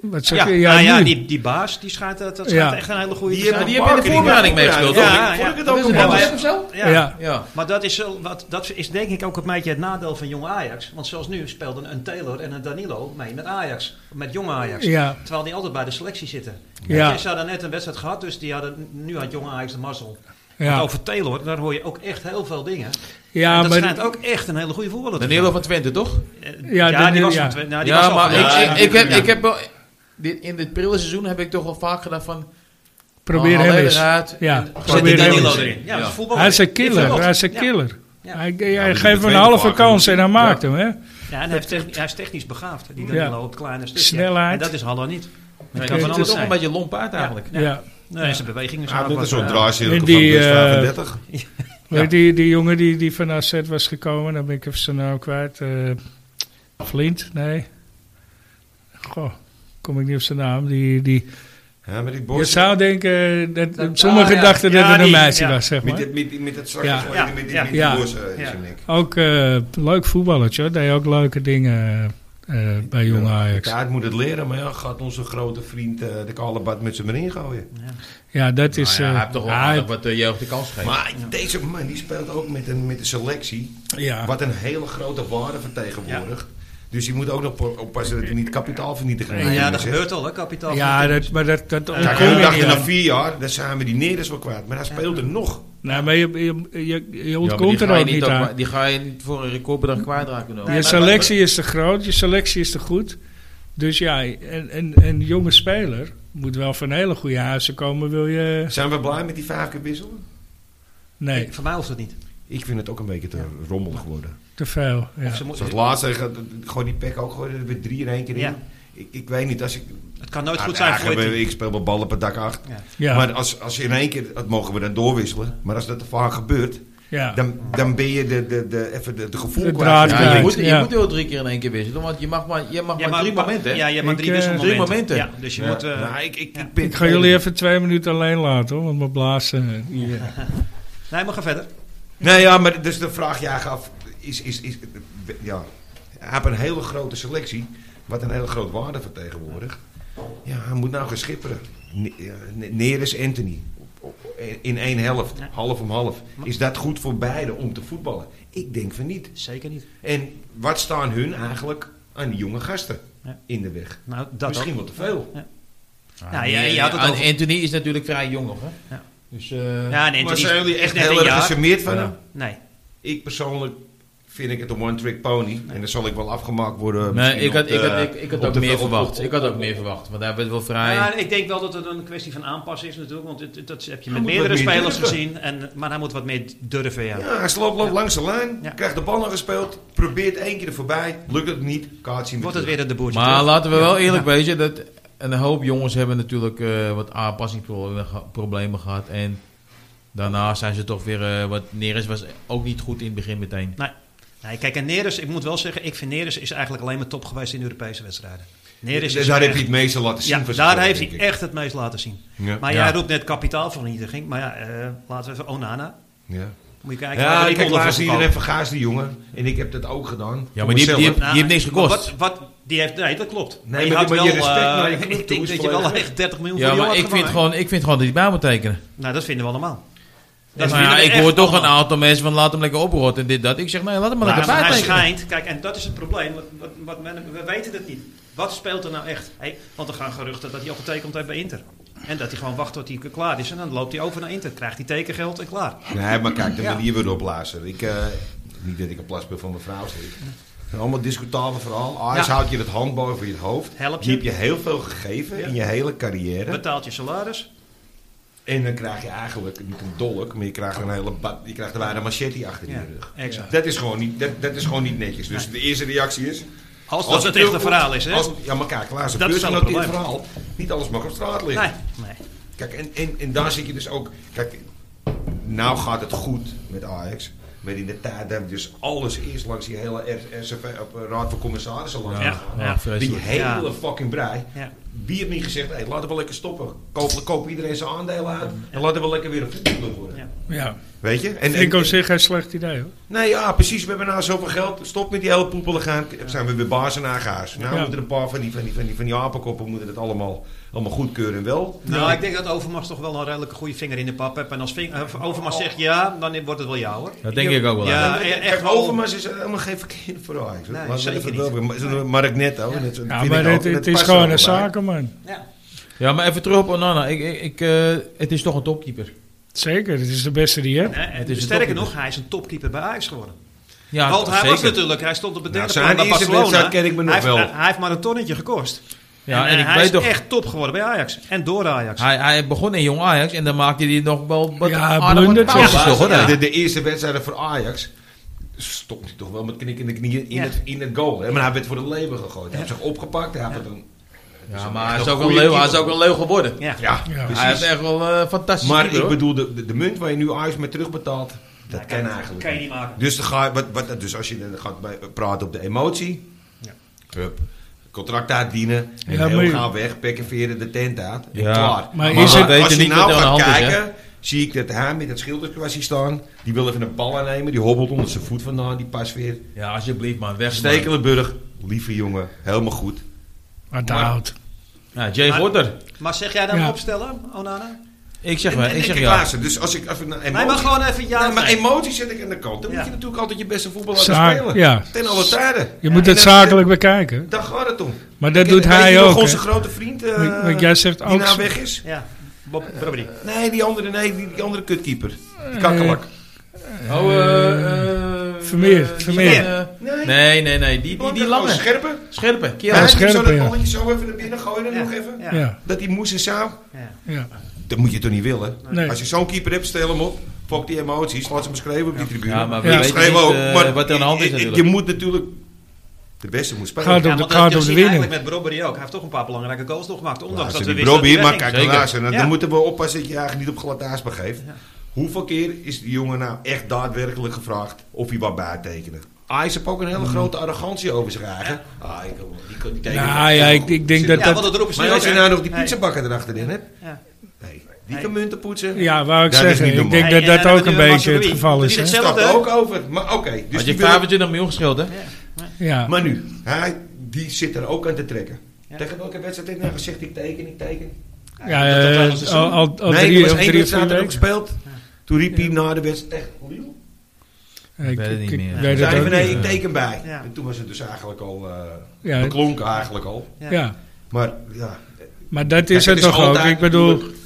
Speaker 1: Wat zeg
Speaker 2: Ja,
Speaker 1: je?
Speaker 2: nou
Speaker 1: Ja,
Speaker 2: ja,
Speaker 1: nu.
Speaker 2: die, die baas, die schijnt, eh, dat schijnt
Speaker 1: Ja.
Speaker 2: echt een hele goede
Speaker 3: Die
Speaker 2: te zijn.
Speaker 4: Maar
Speaker 3: hebben
Speaker 4: die heb je
Speaker 3: Parker,
Speaker 4: in de voorbereiding
Speaker 3: die-
Speaker 4: meegespeeld,
Speaker 2: Ja,
Speaker 4: toch?
Speaker 2: ja,
Speaker 3: Vond ik het
Speaker 4: Dat
Speaker 3: ook
Speaker 4: is
Speaker 3: een
Speaker 4: een
Speaker 2: Ja, maar-
Speaker 4: Belgisch of zo?
Speaker 1: ja.
Speaker 2: Ja.
Speaker 4: Ja.
Speaker 2: Maar dat is, eh, wat, dat is denk ik ook een beetje het nadeel van jonge Ajax. Want zoals nu speelden een Taylor en een Danilo mee met Ajax. Met jonge Ajax.
Speaker 1: Ja.
Speaker 2: Terwijl die altijd bij de selectie zitten.
Speaker 1: Ja.
Speaker 2: Ja. Ze hadden net een wedstrijd gehad, dus die hadden, nu had jonge Ajax de mazzel. Want
Speaker 1: ja.
Speaker 2: over Taylor, daar hoor je ook echt heel veel dingen.
Speaker 1: Ja,
Speaker 2: en dat
Speaker 1: maar
Speaker 2: schijnt ook echt een hele goede voorbeelder te
Speaker 4: Danilo van Twente, toch?
Speaker 2: zijn. Eh,
Speaker 1: Ja,
Speaker 2: Ja,
Speaker 1: Danilo,
Speaker 2: die was
Speaker 1: ja.
Speaker 2: van Twente. Nou, die was
Speaker 4: Ja,
Speaker 2: al
Speaker 4: maar
Speaker 2: van-
Speaker 3: Ja,
Speaker 4: ik, ik, ik
Speaker 3: ja.
Speaker 4: heb, ik heb wel... Dit, in dit prille seizoen heb ik toch wel vaak gedaan van...
Speaker 1: probeer
Speaker 4: haal
Speaker 2: Oh,
Speaker 1: hem
Speaker 4: hij
Speaker 1: eens.
Speaker 4: eruis.
Speaker 1: Ja,
Speaker 2: Zet
Speaker 1: probeer
Speaker 2: die
Speaker 1: hem
Speaker 2: Danilo
Speaker 1: eens.
Speaker 2: erin. Ja,
Speaker 4: Ja.
Speaker 2: dat is voetbal.
Speaker 1: Hij is een
Speaker 2: Ja,
Speaker 1: killer,
Speaker 2: klopt.
Speaker 1: hij is een
Speaker 2: Ja.
Speaker 1: killer.
Speaker 2: Ja.
Speaker 1: Hij, hij
Speaker 3: die
Speaker 1: geeft hem een
Speaker 3: tweede
Speaker 1: halve
Speaker 3: vaak
Speaker 1: kans en
Speaker 3: moet-
Speaker 1: hij maakt hem, hè?
Speaker 2: Ja, en hij, heeft technisch, hij is technisch begaafd, die
Speaker 1: Ja.
Speaker 2: Danilo, op kleine stukje.
Speaker 1: Snelheid.
Speaker 2: En dat is Hallo niet.
Speaker 4: Nee,
Speaker 2: kan
Speaker 4: dat
Speaker 2: van
Speaker 4: is
Speaker 2: alles
Speaker 4: toch
Speaker 2: zijn.
Speaker 4: een beetje lomp uit eigenlijk.
Speaker 2: Ja.
Speaker 1: ja.
Speaker 2: Nee, zijn beweging is
Speaker 3: Hij heeft
Speaker 2: ook
Speaker 3: net een
Speaker 2: wat,
Speaker 3: soort
Speaker 2: eh,
Speaker 3: draaicirkel
Speaker 1: En
Speaker 3: van
Speaker 1: die,
Speaker 3: plus
Speaker 1: eh,
Speaker 3: 35.
Speaker 1: Weet je, die, die jongen die, die van AZ was gekomen, dan ben ik even zijn naam kwijt. eh Vlind, nee. Goh, kom ik niet op zijn naam. Die, die,
Speaker 3: Ja, met die
Speaker 1: je
Speaker 3: borst.
Speaker 1: zou denken, dat,
Speaker 2: Dat-
Speaker 1: sommigen
Speaker 2: ah, ja.
Speaker 1: dachten dat
Speaker 2: Ja,
Speaker 1: het een
Speaker 2: die,
Speaker 1: meisje
Speaker 2: ja.
Speaker 1: was, zeg
Speaker 3: Met,
Speaker 1: maar.
Speaker 3: dit- met, die- met dat strakke
Speaker 1: Ja.
Speaker 3: gooien,
Speaker 2: Ja.
Speaker 3: met, die-
Speaker 2: Ja.
Speaker 3: met die
Speaker 1: Ja.
Speaker 3: borst eh, in
Speaker 2: Ja.
Speaker 3: zijn nek.
Speaker 1: Ook eh, leuk voetballertje, hoor. deed ook leuke dingen eh, bij jonge
Speaker 3: Ja,
Speaker 1: Ajax.
Speaker 3: Kaart moet het leren, maar ja, gaat onze grote vriend eh, de Kalebad met z'n erin gooien.
Speaker 1: Ja, dat
Speaker 4: Nou
Speaker 1: is...
Speaker 4: ja,
Speaker 1: eh,
Speaker 4: hij heeft toch wel
Speaker 1: hij-
Speaker 4: aardig wat de jeugd de kans gegeven.
Speaker 3: Maar deze man die speelt ook met een, met een selectie,
Speaker 1: ja.
Speaker 3: wat een hele grote waarde vertegenwoordigt. Dus je moet ook nog op- oppassen dat hij niet kapitaalvernietiging
Speaker 2: Ja, ja, dat
Speaker 3: is, hè.
Speaker 2: gebeurt al, hè, kapitaal.
Speaker 1: ja, dat, maar dat, dat
Speaker 2: Ja,
Speaker 3: Kijk,
Speaker 1: ontkom je
Speaker 3: we dachten
Speaker 1: niet
Speaker 3: na
Speaker 1: aan.
Speaker 3: vier jaar, dan zijn we die Neres wel kwijt. Maar hij speelt er nog.
Speaker 1: Nou, maar je, je, je, je
Speaker 4: Ja, maar
Speaker 1: ontkomt
Speaker 4: die
Speaker 1: er
Speaker 4: ga je
Speaker 1: ook niet aan.
Speaker 4: Die ga je niet voor een recordbedrag kwijtraken. dan.
Speaker 1: Je selectie is te groot, je selectie is te goed. Dus ja, een, een, een jonge speler moet wel van hele goede huizen komen, wil je...
Speaker 3: Zijn we blij met die vijf keer wisselen?
Speaker 1: Nee,
Speaker 2: Voor mij hoeft het niet.
Speaker 3: Ik vind het ook een beetje te rommelig worden.
Speaker 1: te veel.
Speaker 2: Of
Speaker 1: Ja.
Speaker 2: ze moeten-
Speaker 3: Zoals laatst tegen, gewoon die pek ook gooien, er weer drie in één keer in.
Speaker 2: Ja. Oh,
Speaker 3: Ik, ik weet niet, als ik...
Speaker 2: het kan nooit
Speaker 3: Ah,
Speaker 2: goed zijn
Speaker 3: ja,
Speaker 2: voor je
Speaker 3: ik-
Speaker 2: team.
Speaker 3: Ik speel wel ballen per dak acht.
Speaker 2: Ja.
Speaker 1: Ja,
Speaker 3: Maar als, als je in één keer, dat mogen we dan doorwisselen. Maar als dat te vaak gebeurt,
Speaker 1: ja.
Speaker 3: dan, dan ben je de, de, de, even de, de gevoel
Speaker 1: De
Speaker 3: kwijt.
Speaker 1: draad
Speaker 4: Ja, je,
Speaker 1: kwijt.
Speaker 4: moet, je
Speaker 1: Ja.
Speaker 4: moet wel drie keer in één keer wisselen. Want je mag maar, je mag
Speaker 2: Ja,
Speaker 4: maar drie momenten. hè?
Speaker 2: Ja, je hebt maar
Speaker 1: Ik,
Speaker 2: drie
Speaker 1: eh,
Speaker 2: wisselmomenten.
Speaker 4: Drie momenten.
Speaker 2: Ja, dus je
Speaker 3: Ja.
Speaker 2: moet... eh,
Speaker 3: Nou, ik, ik,
Speaker 2: ja.
Speaker 3: ik, ben-
Speaker 1: Ik ga jullie even twee minuten alleen laten, hoor, want mijn blazen... Ja.
Speaker 2: Nee, maar ga verder.
Speaker 3: Nou ja, maar dus de vraag jij gaf, is, is, is, ja, hij heeft een hele grote selectie, wat een hele groot waarde vertegenwoordigt. Ja, hij moet nou gaan schipperen. Ne- ja, Ne- Neres Anthony, Op- op- in één helft,
Speaker 2: Ja.
Speaker 3: half om half. Is dat goed voor beiden om te voetballen? Ik denk van niet.
Speaker 2: Zeker niet.
Speaker 3: En wat staan hun eigenlijk aan die jonge gasten
Speaker 2: Ja.
Speaker 3: in de weg?
Speaker 2: Nou, dat
Speaker 3: Misschien wel te veel.
Speaker 4: Ah,
Speaker 2: Ja,
Speaker 4: nee,
Speaker 2: ja, je had het
Speaker 4: An-
Speaker 2: over-
Speaker 4: Anthony is natuurlijk vrij jong nog. Hè?
Speaker 2: Ja.
Speaker 4: Dus, eh,
Speaker 2: Ja, nee,
Speaker 3: maar
Speaker 2: het is-
Speaker 3: zijn jullie
Speaker 2: het is
Speaker 3: echt
Speaker 2: net een
Speaker 3: heel erg
Speaker 2: jaar.
Speaker 3: gecharmeerd van hem?
Speaker 2: Nee.
Speaker 3: Ik persoonlijk vind ik het een one-trick pony. En dan zal ik wel afgemaakt worden.
Speaker 4: Nee,
Speaker 3: misschien
Speaker 4: ik had,
Speaker 3: op
Speaker 4: ik
Speaker 3: de-
Speaker 4: had, ik, ik had
Speaker 3: op
Speaker 4: ook
Speaker 3: de-
Speaker 4: meer
Speaker 3: op- op-
Speaker 4: verwacht. Ik had ook meer verwacht. Want daar werd wel vrij...
Speaker 2: Ja, ik denk wel dat het een kwestie van aanpassen is natuurlijk. Want het- het- dat heb je met
Speaker 3: moet
Speaker 2: meerdere
Speaker 3: wat meer
Speaker 2: spelers
Speaker 3: durven.
Speaker 2: gezien. En, maar hij moet wat meer durven, ja.
Speaker 3: Ja, hij loopt, loopt langs de lijn,
Speaker 2: Ja.
Speaker 3: krijgt de bal nog gespeeld, probeert één keer er voorbij, lukt het niet, kaart zien we
Speaker 2: Wordt het
Speaker 3: terug.
Speaker 2: weer de boertje
Speaker 4: Maar
Speaker 2: terug.
Speaker 4: laten we wel eerlijk
Speaker 2: Ja.
Speaker 4: wezen, dat een hoop jongens hebben natuurlijk eh, wat aanpassingsproblemen gehad. En daarna zijn ze toch weer, eh, wat Neres was ook niet goed in het begin meteen.
Speaker 2: Nee, kijk, en Neres, ik moet wel zeggen, ik vind Neres is eigenlijk alleen maar top geweest in Europese wedstrijden. Neres is
Speaker 3: daar
Speaker 2: echt-
Speaker 3: heb je het meeste laten zien.
Speaker 2: ja,
Speaker 3: van
Speaker 2: daar
Speaker 3: zichzelf,
Speaker 2: heeft
Speaker 3: denk
Speaker 2: hij
Speaker 3: ik.
Speaker 2: echt het meest laten zien.
Speaker 3: Ja.
Speaker 2: Maar
Speaker 4: Ja.
Speaker 2: jij roept net kapitaalvernietiging. Maar ja, eh, laten we even Onana.
Speaker 3: Ja.
Speaker 2: Moet je kijken. waar
Speaker 3: Ja,
Speaker 2: die
Speaker 3: ik kijk,
Speaker 2: onder
Speaker 3: Klaas
Speaker 2: voor
Speaker 3: iedereen
Speaker 2: verkoopt.
Speaker 3: vergaast die jongen. En ik heb dat ook gedaan.
Speaker 4: Ja, maar die, die,
Speaker 3: Mezelf.
Speaker 4: heeft- die heeft niks
Speaker 2: Nou,
Speaker 4: gekost.
Speaker 2: maar Wat, wat, die heeft, nee, dat klopt.
Speaker 3: maar
Speaker 2: je
Speaker 3: die-
Speaker 2: had
Speaker 3: maar
Speaker 2: wel,
Speaker 3: je respect
Speaker 2: eh,
Speaker 3: naar je club
Speaker 2: ik
Speaker 3: toe
Speaker 2: denk
Speaker 3: is
Speaker 2: dat je wel
Speaker 3: volledig.
Speaker 2: echt 30 miljoen
Speaker 4: Ja,
Speaker 2: voor die
Speaker 4: maar
Speaker 2: jongen
Speaker 4: ik vind,
Speaker 2: had gevangen,
Speaker 4: gewoon, ik vind gewoon dat hij bij moet tekenen.
Speaker 2: hè? Nou, dat vinden we allemaal.
Speaker 4: Maar
Speaker 2: Dat
Speaker 4: ja,
Speaker 2: vinden we
Speaker 4: ik
Speaker 2: echt
Speaker 4: hoor toch een
Speaker 2: allemaal.
Speaker 4: aantal mensen van laat hem lekker oprotten en dit dat. Ik zeg nee, laat hem maar
Speaker 2: Maar
Speaker 4: lekker bij
Speaker 2: hij
Speaker 4: tekenen.
Speaker 2: schijnt, kijk, en dat is het probleem. Wat, wat, wat men, we weten het niet. Wat speelt er nou echt? Hey, want er gaan geruchten dat hij al getekend heeft bij Inter. En dat hij gewoon wacht tot hij klaar is. En dan loopt hij over naar Inter. Krijgt hij tekengeld en klaar.
Speaker 3: Nee, maar kijk, de
Speaker 2: Ja.
Speaker 3: manier waarop blazen. Ik, eh, niet dat ik een plaspeel van mijn vrouw steek. Allemaal discutabel verhaal. Ajax
Speaker 2: Ja.
Speaker 3: houdt je het hand boven je hoofd.
Speaker 2: Help je.
Speaker 3: Die heb je heel veel gegeven
Speaker 2: Ja.
Speaker 3: in je hele carrière.
Speaker 2: Betaalt je salaris.
Speaker 3: En dan krijg je eigenlijk, niet een dolk, maar je krijgt een hele bad, je krijgt er bijna een machete achter
Speaker 2: Ja,
Speaker 3: je rug.
Speaker 2: exact.
Speaker 3: Dat is gewoon niet, dat, dat is gewoon niet netjes. Dus de eerste reactie is...
Speaker 2: Als,
Speaker 3: als
Speaker 2: dat het
Speaker 3: terugkomt-
Speaker 2: echt een verhaal is, hè?
Speaker 3: als- ja, maar kijk, Klaas,
Speaker 2: Dat
Speaker 3: dat
Speaker 2: is
Speaker 3: is
Speaker 2: wel
Speaker 3: een
Speaker 2: een probleem.
Speaker 3: verhaal. Niet alles mag op straat liggen.
Speaker 2: Nee, nee.
Speaker 3: Kijk, en, en, en daar zit je dus ook. Kijk, nou gaat het goed met Ajax. Maar in de tijd hebben we dus alles eerst langs die hele R- RCV, op eh, Raad van Commissarissen langs
Speaker 2: Ja.
Speaker 3: gegaan.
Speaker 4: Ja, vreselijk.
Speaker 3: Die hele
Speaker 2: Ja.
Speaker 3: fucking brei.
Speaker 2: Ja.
Speaker 3: Wie heeft niet gezegd, hey, laten we lekker stoppen. Koop, koop iedereen zijn aandelen uit. En laten we lekker weer een voetballer worden.
Speaker 2: Ja.
Speaker 1: Ja,
Speaker 3: Weet je? En,
Speaker 1: vind ik
Speaker 3: en-
Speaker 1: op zich geen slecht idee hoor.
Speaker 3: nee, ja, precies. We hebben nou zoveel geld. Stop met die hele poepelen gaan. Zijn we weer baas en aangaars. Nou
Speaker 1: Ja.
Speaker 3: moeten een paar van die, van die, van die, van die apenkoppen moeten het allemaal, allemaal goedkeuren en wel.
Speaker 2: Nou, ik denk dat Overmars toch wel een redelijke goede vinger in de pap heeft. En als ving- eh, Overmars zegt ja, dan wordt het wel jou hoor.
Speaker 4: Dat denk ik ook wel.
Speaker 2: Ja.
Speaker 4: aan.
Speaker 2: e- echt
Speaker 3: Kijk,
Speaker 2: wel-
Speaker 3: Overmars is helemaal geen verkeerde voor Ajax. hoor.
Speaker 2: Nee,
Speaker 3: Laten we
Speaker 2: zeker
Speaker 3: even
Speaker 2: niet.
Speaker 3: wel weer- maar- zo'n Mark Netto. dat- dat
Speaker 1: Ja,
Speaker 3: vind
Speaker 1: maar
Speaker 3: ik ook,
Speaker 1: het,
Speaker 3: dat
Speaker 1: het is
Speaker 3: past er
Speaker 1: gewoon
Speaker 3: allemaal
Speaker 1: een
Speaker 3: bij.
Speaker 1: zakenman.
Speaker 2: Ja.
Speaker 4: Ja, maar even terug op Onana. Ik, ik, ik, eh, het is toch een topkeeper.
Speaker 1: Zeker, het is de beste die je hebt.
Speaker 2: En
Speaker 4: Het is een
Speaker 2: sterker
Speaker 4: topkeeper.
Speaker 2: nog, hij is een topkeeper bij Ajax geworden.
Speaker 4: Ja,
Speaker 2: Want hij was
Speaker 4: zeker.
Speaker 2: natuurlijk, hij stond op het
Speaker 3: Nou,
Speaker 2: derde
Speaker 3: zijn
Speaker 2: plan bij
Speaker 3: eerste
Speaker 2: Barcelona.
Speaker 3: wedstrijd ken ik me nog
Speaker 2: hij, heeft,
Speaker 3: wel.
Speaker 2: hij heeft maar een tonnetje gekost.
Speaker 4: Ja,
Speaker 2: en,
Speaker 4: en
Speaker 2: eh,
Speaker 4: ik
Speaker 2: hij
Speaker 4: weet
Speaker 2: is
Speaker 4: toch,
Speaker 2: echt top geworden bij Ajax. En door Ajax.
Speaker 4: hij, hij begon in Jong Ajax en dan maakte hij nog wel wat
Speaker 1: Ja,
Speaker 4: aardig wat
Speaker 1: blundertjes.
Speaker 4: pauzes toch, hoor.
Speaker 3: Ja, de, de eerste wedstrijd voor Ajax stond hij toch wel met knik in de knieën in,
Speaker 2: Ja.
Speaker 3: het, in het goal. Hè? Maar hij werd voor de leven gegooid. Hij heeft zich opgepakt. Hij had een,
Speaker 4: Ja, maar hij
Speaker 3: echt
Speaker 4: is,
Speaker 3: een
Speaker 4: ook Dus een
Speaker 3: goede
Speaker 4: leeuw, hij is
Speaker 3: keeper.
Speaker 4: ook een leeuw geworden.
Speaker 2: ja.
Speaker 3: ja,
Speaker 1: Ja.
Speaker 3: precies.
Speaker 4: Hij is echt wel eh, fantastisch.
Speaker 3: maar
Speaker 4: keeper,
Speaker 3: ik
Speaker 4: hoor.
Speaker 3: bedoel, de, de, de munt waar je nu Ajax mee terugbetaalt, dat
Speaker 2: Ja,
Speaker 3: kan eigenlijk
Speaker 2: Kan je niet maken.
Speaker 3: Dus, dan ga, je- wat, wat, dus als je dan gaat bij, praten op de emotie.
Speaker 2: Ja.
Speaker 3: Hup. Contract uitdienen. En
Speaker 1: Ja,
Speaker 3: heel
Speaker 1: maar-
Speaker 3: gauw weg. Pekken veren de tent uit. En
Speaker 4: Ja.
Speaker 3: klaar.
Speaker 1: Maar is het-
Speaker 4: weet
Speaker 3: als
Speaker 4: je
Speaker 3: je
Speaker 4: niet
Speaker 3: nou
Speaker 4: wat er
Speaker 3: gaat
Speaker 4: aan de hand is,
Speaker 3: kijken... Zie ik dat hij met het schilderkwastje staan. Die wil even een bal aannemen. Die hobbelt onder zijn voet vandaan. Die pas weer.
Speaker 4: Ja, alsjeblieft man, weg. man.
Speaker 3: Stekelenburg. Lieve jongen. Helemaal goed.
Speaker 1: Maar
Speaker 3: Maar-
Speaker 1: houdt.
Speaker 4: Ja, Jay
Speaker 2: Maar-
Speaker 4: Gorter.
Speaker 2: Maar zeg jij dan
Speaker 1: Ja.
Speaker 2: opstellen, Onana?
Speaker 4: Ik zeg,
Speaker 3: En-
Speaker 4: wel,
Speaker 3: en-
Speaker 4: ik
Speaker 3: en
Speaker 4: zeg
Speaker 3: kijk,
Speaker 4: ja.
Speaker 3: luister, Dus als ik even naar emotie...
Speaker 2: Hij mag gewoon even ja
Speaker 3: Nee,
Speaker 2: of
Speaker 3: maar
Speaker 2: nee.
Speaker 3: emotie zet ik aan de kant. Dan
Speaker 2: Ja.
Speaker 3: moet je natuurlijk altijd je beste voetbal laten
Speaker 1: Zaak-
Speaker 3: spelen.
Speaker 1: ja.
Speaker 3: Ten alle tijden.
Speaker 1: Je moet
Speaker 3: En
Speaker 1: het
Speaker 3: dan-
Speaker 1: zakelijk bekijken.
Speaker 3: Daar gaat het om.
Speaker 1: Maar dat
Speaker 3: Ik-
Speaker 1: doet
Speaker 3: weet je
Speaker 1: hij
Speaker 3: nog
Speaker 1: ook.
Speaker 3: Onze
Speaker 1: hè?
Speaker 3: grote vriend eh,
Speaker 1: Want- want jij zegt
Speaker 3: die
Speaker 1: ook-
Speaker 3: nou weg is.
Speaker 2: Ja, Bob Brobbery.
Speaker 3: Nee, die andere, nee, die, die andere kutkeeper. Die kakkelak.
Speaker 1: Eh,
Speaker 4: Oh, eh, eh,
Speaker 1: Vermeer,
Speaker 4: die
Speaker 1: Vermeer.
Speaker 4: van, eh,
Speaker 3: nee,
Speaker 4: Nee, nee, nee, die, die, die
Speaker 3: Oh,
Speaker 4: lange.
Speaker 3: Scherpe.
Speaker 4: Scherpe,
Speaker 3: Ja,
Speaker 4: kerel.
Speaker 3: hij
Speaker 1: Scherpe,
Speaker 3: zou dat
Speaker 1: ja.
Speaker 3: balletje zo even naar binnen gooien en nog even.
Speaker 2: Ja.
Speaker 1: Ja,
Speaker 3: Dat die moes en saam.
Speaker 2: Ja.
Speaker 1: ja.
Speaker 3: Dat moet je toch niet willen?
Speaker 1: Nee.
Speaker 3: Als je zo'n keeper hebt, stel hem op. Fok die emoties. Laat ze hem schreeuwen op die tribune.
Speaker 4: Ja, maar we
Speaker 1: Ja.
Speaker 4: weten niet
Speaker 3: Schreeuwen ook,
Speaker 4: eh,
Speaker 3: maar
Speaker 4: wat er aan de hand is
Speaker 3: je- je-
Speaker 4: natuurlijk.
Speaker 3: Je moet natuurlijk... De beste moet spelen.
Speaker 1: Gaat door
Speaker 2: Ja,
Speaker 1: de
Speaker 2: want
Speaker 1: kaart op
Speaker 2: dat
Speaker 1: de
Speaker 2: zien
Speaker 1: winning.
Speaker 2: eigenlijk met Brobbery ook. Hij heeft toch een paar belangrijke goals nog gemaakt. Ondanks
Speaker 3: Laatste
Speaker 2: dat we
Speaker 3: die
Speaker 2: wisten dat hij
Speaker 3: Brobby,
Speaker 2: wegging.
Speaker 3: maar kijk,
Speaker 4: Zeker.
Speaker 3: luister, dan, dan
Speaker 2: Ja.
Speaker 3: moeten we oppassen dat je je eigenlijk niet op glad ijs begeeft.
Speaker 2: Ja.
Speaker 3: Hoeveel keer is die jongen nou echt daadwerkelijk gevraagd of hij wat Hmm. bijtekende? Ajax heeft ook Ah, een hele grote arrogantie over zich eigen. Ah, ik wil- die kan niet tekenen.
Speaker 1: Ja, Nou, ja, ik- ik denk dat-
Speaker 2: Ja, want dat roepen ze
Speaker 3: Maar
Speaker 2: nu
Speaker 3: als je
Speaker 2: ook, hè?
Speaker 3: nou nog die
Speaker 2: Nee.
Speaker 3: pizzabakker erachterin hebt,
Speaker 2: Ja.
Speaker 3: nee, die
Speaker 2: Nee.
Speaker 3: kan munten poetsen.
Speaker 1: ja wou ik
Speaker 3: Dat is
Speaker 1: zeggen.
Speaker 3: niet
Speaker 1: Ik denk
Speaker 3: normaal.
Speaker 1: dat
Speaker 2: Hey, en
Speaker 1: dat
Speaker 2: dan
Speaker 1: ook
Speaker 2: hebben
Speaker 1: een
Speaker 2: we
Speaker 1: beetje het
Speaker 2: Mazraoui.
Speaker 1: geval
Speaker 2: Dus
Speaker 1: is.
Speaker 2: die
Speaker 1: hè?
Speaker 2: zegt-
Speaker 3: Staat
Speaker 2: Hetzelfde.
Speaker 3: ook over. Maar oké, dus
Speaker 4: Had
Speaker 3: die
Speaker 4: je
Speaker 3: willen-
Speaker 4: 25 miljoen geschild, hè?
Speaker 1: Ja.
Speaker 3: maar nu, hij, die zit er ook aan te trekken.
Speaker 2: Ja.
Speaker 3: Tegen welke wedstrijd heeft hij nou gezegd, ik teken, ik teken?
Speaker 1: Ja,
Speaker 3: dat
Speaker 1: eh,
Speaker 3: was een seizoen.
Speaker 1: al, al, al
Speaker 3: nee, er
Speaker 1: drie
Speaker 3: was
Speaker 1: of
Speaker 3: één
Speaker 1: drie of
Speaker 3: wedstrijd
Speaker 1: vier
Speaker 3: er ook
Speaker 1: weken.
Speaker 3: gespeeld. Toen riep hij na de wedstrijd echt, Liel?
Speaker 1: Ik
Speaker 4: weet het niet meer.
Speaker 1: weet het
Speaker 3: Zei hij
Speaker 1: ook
Speaker 3: van nee,
Speaker 1: niet.
Speaker 3: ik teken bij.
Speaker 2: Ja.
Speaker 3: En toen was het dus eigenlijk al eh
Speaker 1: Ja.
Speaker 3: beklonken eigenlijk al.
Speaker 1: Ja,
Speaker 3: Maar ja,
Speaker 1: maar dat is het
Speaker 3: Kijk, het is
Speaker 1: toch ook.
Speaker 3: altijd
Speaker 1: Ik bedoel,
Speaker 3: natuurlijk-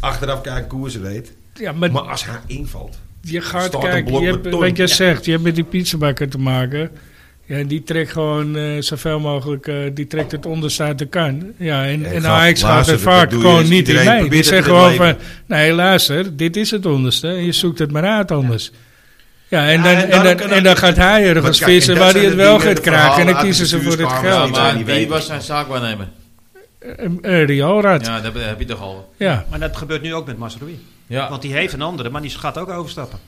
Speaker 3: achteraf kijken hoe ze weet.
Speaker 1: ja, maar
Speaker 3: Maar als hij invalt,
Speaker 1: je gaat
Speaker 3: Staat een
Speaker 1: kijken,
Speaker 3: blok
Speaker 1: je hebt,
Speaker 3: beton.
Speaker 1: wat je
Speaker 2: Ja.
Speaker 1: zegt, je hebt met die pizzabakker te maken. Ja, en die trekt gewoon eh, zoveel mogelijk, eh, die trekt het onderste uit de kan. Ja, en,
Speaker 3: Ja, ik
Speaker 1: en
Speaker 3: ga-
Speaker 1: Ajax gaat
Speaker 3: luister,
Speaker 1: het
Speaker 3: dat
Speaker 1: vaak
Speaker 3: doe je
Speaker 1: gewoon
Speaker 3: eens.
Speaker 1: niet in
Speaker 3: Iedereen
Speaker 1: mee. Die
Speaker 3: probeert het
Speaker 1: zeggen
Speaker 3: in
Speaker 1: gewoon
Speaker 3: het
Speaker 1: van, nee luister, dit is het onderste. Je zoekt het maar uit anders. Ja, en
Speaker 3: Ja,
Speaker 1: dan,
Speaker 3: en
Speaker 1: en
Speaker 3: daarom
Speaker 1: dan,
Speaker 3: kan
Speaker 1: en
Speaker 3: dat-
Speaker 1: dan gaat hij
Speaker 3: Want
Speaker 1: ergens
Speaker 3: kijk,
Speaker 1: vissen
Speaker 3: en dat
Speaker 1: waar hij
Speaker 3: zijn
Speaker 1: het
Speaker 3: de
Speaker 1: wel
Speaker 3: dingen,
Speaker 1: gaat
Speaker 3: de
Speaker 1: kraken. En dan
Speaker 3: verhalen
Speaker 1: kiezen ze
Speaker 3: achter de
Speaker 1: voor het
Speaker 3: vuurkamer
Speaker 1: geld.
Speaker 3: die
Speaker 1: Ja,
Speaker 3: wij
Speaker 4: maar
Speaker 3: niet
Speaker 4: wie
Speaker 3: weten.
Speaker 4: was zijn zaakwaarnemer?
Speaker 1: Rioolraad,
Speaker 4: Ja, dat heb je toch al.
Speaker 1: ja.
Speaker 2: Maar dat gebeurt nu ook met Masroui.
Speaker 4: Ja,
Speaker 2: Want die heeft een andere, maar die gaat ook overstappen.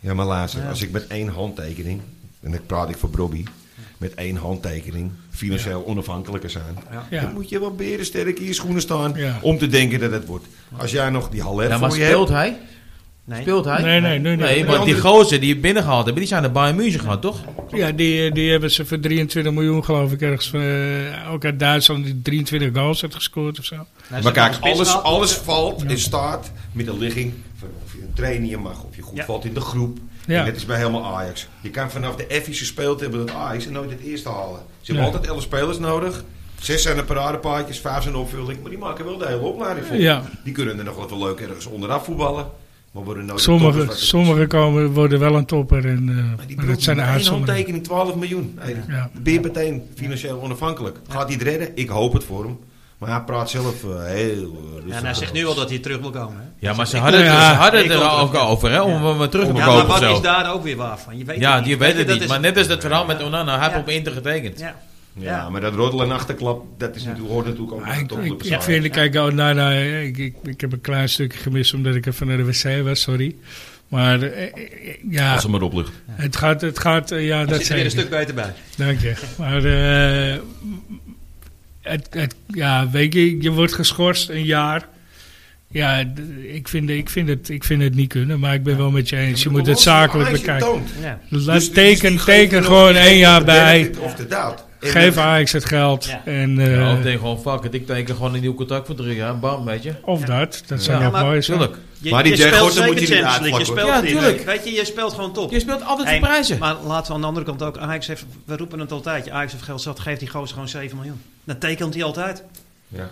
Speaker 3: Ja, maar luister,
Speaker 2: Ja.
Speaker 3: als ik met één handtekening, en dan praat ik voor Bobby, met één handtekening financieel onafhankelijker zijn,
Speaker 1: Ja.
Speaker 3: dan moet je wel berensterk in je schoenen staan
Speaker 1: Ja.
Speaker 3: om te denken dat het wordt. Als jij nog die Haller
Speaker 4: ja maar
Speaker 3: voor je hebt,
Speaker 4: speelt hij?
Speaker 2: Nee.
Speaker 4: Speelt hij?
Speaker 1: Nee, nee, nee, nee.
Speaker 4: Nee,
Speaker 3: Nee,
Speaker 4: want die gozer die je binnengehaald hebben, die zijn naar Bayern München gegaan, toch?
Speaker 1: Ja, die, eh, die hebben ze voor 23 miljoen, geloof ik, ergens. eh, ook uit Duitsland, die 23 goals heeft gescoord of zo.
Speaker 2: Nou,
Speaker 3: maar
Speaker 2: ze
Speaker 3: kijk,
Speaker 2: hebben een spits
Speaker 3: alles,
Speaker 2: gehad.
Speaker 3: alles valt en staat met de ligging van of je een training mag, of je goed
Speaker 2: Ja.
Speaker 3: valt in de groep.
Speaker 1: Ja.
Speaker 3: En dat is bij helemaal Ajax. Je kan vanaf de F's gespeeld hebben dat Ajax en nooit het eerste halen. Ze hebben
Speaker 1: Nee.
Speaker 3: altijd 11 spelers nodig. Zes zijn de paradepaardjes, vijf zijn opvulling, maar die maken wel de hele opleiding vol.
Speaker 1: Ja.
Speaker 3: Die kunnen er nog wat wel leuk ergens onderaf voetballen. Maar worden nooit de toppers
Speaker 1: Sommige,
Speaker 3: wat het is.
Speaker 1: sommige komen, worden wel een topper. En, eh,
Speaker 3: Maar die
Speaker 1: maar dat zijn de
Speaker 3: één
Speaker 1: uitzonderingen.
Speaker 3: handtekening 12 miljoen. Hey,
Speaker 1: Ja.
Speaker 3: Ben je meteen financieel onafhankelijk? Gaat hij het redden? Ik hoop het voor hem. Maar hij praat zelf eh, heel eh, rustig.
Speaker 2: Ja, en hij zegt nu al dat hij terug wil komen. Hè?
Speaker 4: Ja, maar ze hadden,
Speaker 1: Ja.
Speaker 4: het- ze hadden
Speaker 2: Ik
Speaker 4: het er
Speaker 2: wil
Speaker 4: ook
Speaker 2: terug.
Speaker 4: over, hè, om hem weer terug te
Speaker 2: Ja, maar
Speaker 4: kopen of
Speaker 2: wat
Speaker 4: zo.
Speaker 2: is daar ook weer waar van? Je weet
Speaker 4: Ja,
Speaker 2: het
Speaker 4: die
Speaker 2: niet.
Speaker 4: weet het
Speaker 2: je,
Speaker 4: niet.
Speaker 2: dat
Speaker 4: Maar
Speaker 2: is-
Speaker 4: net als dat verhaal met Onana, hij heeft
Speaker 2: Ja.
Speaker 4: op Inter getekend.
Speaker 2: Ja.
Speaker 3: Ja,
Speaker 2: Ja.
Speaker 3: maar dat roddelen en achterklap, dat is natuurlijk, hoort natuurlijk ook
Speaker 1: Maar Ik,
Speaker 3: tot de
Speaker 1: ik, ik
Speaker 3: bezwaar.
Speaker 1: vind, kijk, oh, nou, nou, ik, ik, ik heb een klein stukje gemist omdat ik even naar de wc was, sorry. Maar eh, eh, ja,
Speaker 3: Als hem maar oplucht.
Speaker 1: het gaat, het gaat, eh, ja,
Speaker 2: Er
Speaker 1: dat
Speaker 2: zit er weer
Speaker 1: zeker.
Speaker 2: een stuk beter bij.
Speaker 1: Dank je. Maar eh, het, het, ja, weet je, je wordt geschorst een jaar. Ja, d- ik vind, ik, vind het, ik vind het niet kunnen, maar ik ben wel met je eens. Je moet het zakelijk bekijken.
Speaker 2: Ja.
Speaker 1: Laat- teken teken gewoon één jaar bij.
Speaker 3: Of de daad. En
Speaker 1: Geef
Speaker 3: dat-
Speaker 1: Ajax het geld.
Speaker 2: Ja.
Speaker 1: En, eh,
Speaker 4: Ja, of denk gewoon, fuck it, ik teken gewoon een nieuw contract voor drie jaar. Bam, weet je.
Speaker 1: of dat, dat zou
Speaker 4: Ja,
Speaker 1: nog
Speaker 2: maar-
Speaker 1: mooi zijn.
Speaker 4: Tuurlijk.
Speaker 2: Je,
Speaker 3: Maar die
Speaker 2: je
Speaker 3: Den
Speaker 2: speelt
Speaker 3: Gorten
Speaker 2: zeker
Speaker 3: moet je niet
Speaker 2: Champions League, je speelt
Speaker 4: uitvlakken,
Speaker 2: niet.
Speaker 4: hoor. Ja, tuurlijk.
Speaker 2: Weet je, je speelt gewoon top.
Speaker 4: Je speelt altijd
Speaker 2: Hey,
Speaker 4: voor prijzen.
Speaker 2: Maar laten we aan de andere kant ook. Ajax heeft, we roepen het altijd. Ajax heeft geld zat, geeft die gozer gewoon 7 miljoen. Dan tekent hij altijd.
Speaker 3: Ja.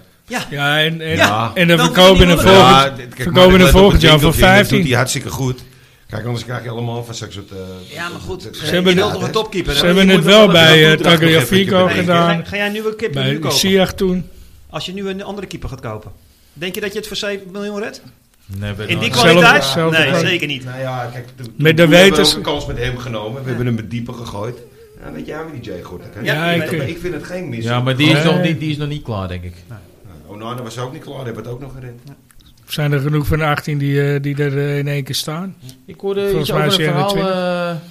Speaker 1: Ja, en, en,
Speaker 3: Ja.
Speaker 1: en dan
Speaker 2: Dan
Speaker 1: verkopen we
Speaker 2: verdienen
Speaker 1: een
Speaker 2: we
Speaker 3: Ja,
Speaker 1: volgend,
Speaker 3: dit- kijk, maar
Speaker 1: verkopen
Speaker 3: let
Speaker 1: we
Speaker 3: op
Speaker 1: volgend
Speaker 3: het
Speaker 1: jaar voor
Speaker 3: winkeltje, dat doet
Speaker 1: 15.
Speaker 3: hij hartstikke goed. Kijk, anders krijg je allemaal van seks soort... eh,
Speaker 2: Ja, maar goed.
Speaker 3: soort-
Speaker 2: Ze
Speaker 3: eh,
Speaker 1: hebben
Speaker 2: je
Speaker 1: de-
Speaker 2: wilt
Speaker 3: ja,
Speaker 2: toch een
Speaker 3: dat-
Speaker 2: topkeeper.
Speaker 1: Ze
Speaker 2: hè?
Speaker 1: hebben
Speaker 2: Je
Speaker 1: het
Speaker 2: moet
Speaker 1: wel
Speaker 2: nog een
Speaker 1: bij
Speaker 3: wel
Speaker 1: eh,
Speaker 3: een goed
Speaker 1: Tagliafico
Speaker 3: draagvlak
Speaker 2: keeper-
Speaker 1: gedaan,
Speaker 2: Ga, ga jij nu een keeper nu
Speaker 1: bij
Speaker 2: kopen?
Speaker 1: Siach toen.
Speaker 2: Als je nu een andere keeper gaat kopen. Denk je dat je het voor 7 miljoen redt?
Speaker 4: Nee, weet
Speaker 2: In
Speaker 4: ik
Speaker 2: die
Speaker 4: wel.
Speaker 1: Zelf-
Speaker 2: kwaliteit?
Speaker 1: zelf-
Speaker 2: Ah, nee,
Speaker 1: zelf-
Speaker 2: zeker niet.
Speaker 3: Nou ja, kijk, de,
Speaker 1: Met de
Speaker 3: we hebben
Speaker 1: wetens-
Speaker 3: ook een kans met hem genomen. We hebben hem met dieper gegooid. Ja, weet jij wie die Jay goed
Speaker 2: Ja,
Speaker 1: Ja, ik-
Speaker 3: ik, vind het geen mis.
Speaker 4: Ja, maar die is,
Speaker 1: Nee.
Speaker 4: nog niet, die is nog niet klaar, denk ik.
Speaker 3: Onana was ook niet klaar, hebben het ook nog gered.
Speaker 1: Zijn er genoeg van de 18 die, eh, die er eh, in één keer staan?
Speaker 4: Ik hoorde
Speaker 1: Volgens
Speaker 4: iets
Speaker 1: mij
Speaker 4: over een
Speaker 1: is hij
Speaker 4: verhaal
Speaker 1: in de
Speaker 4: eh,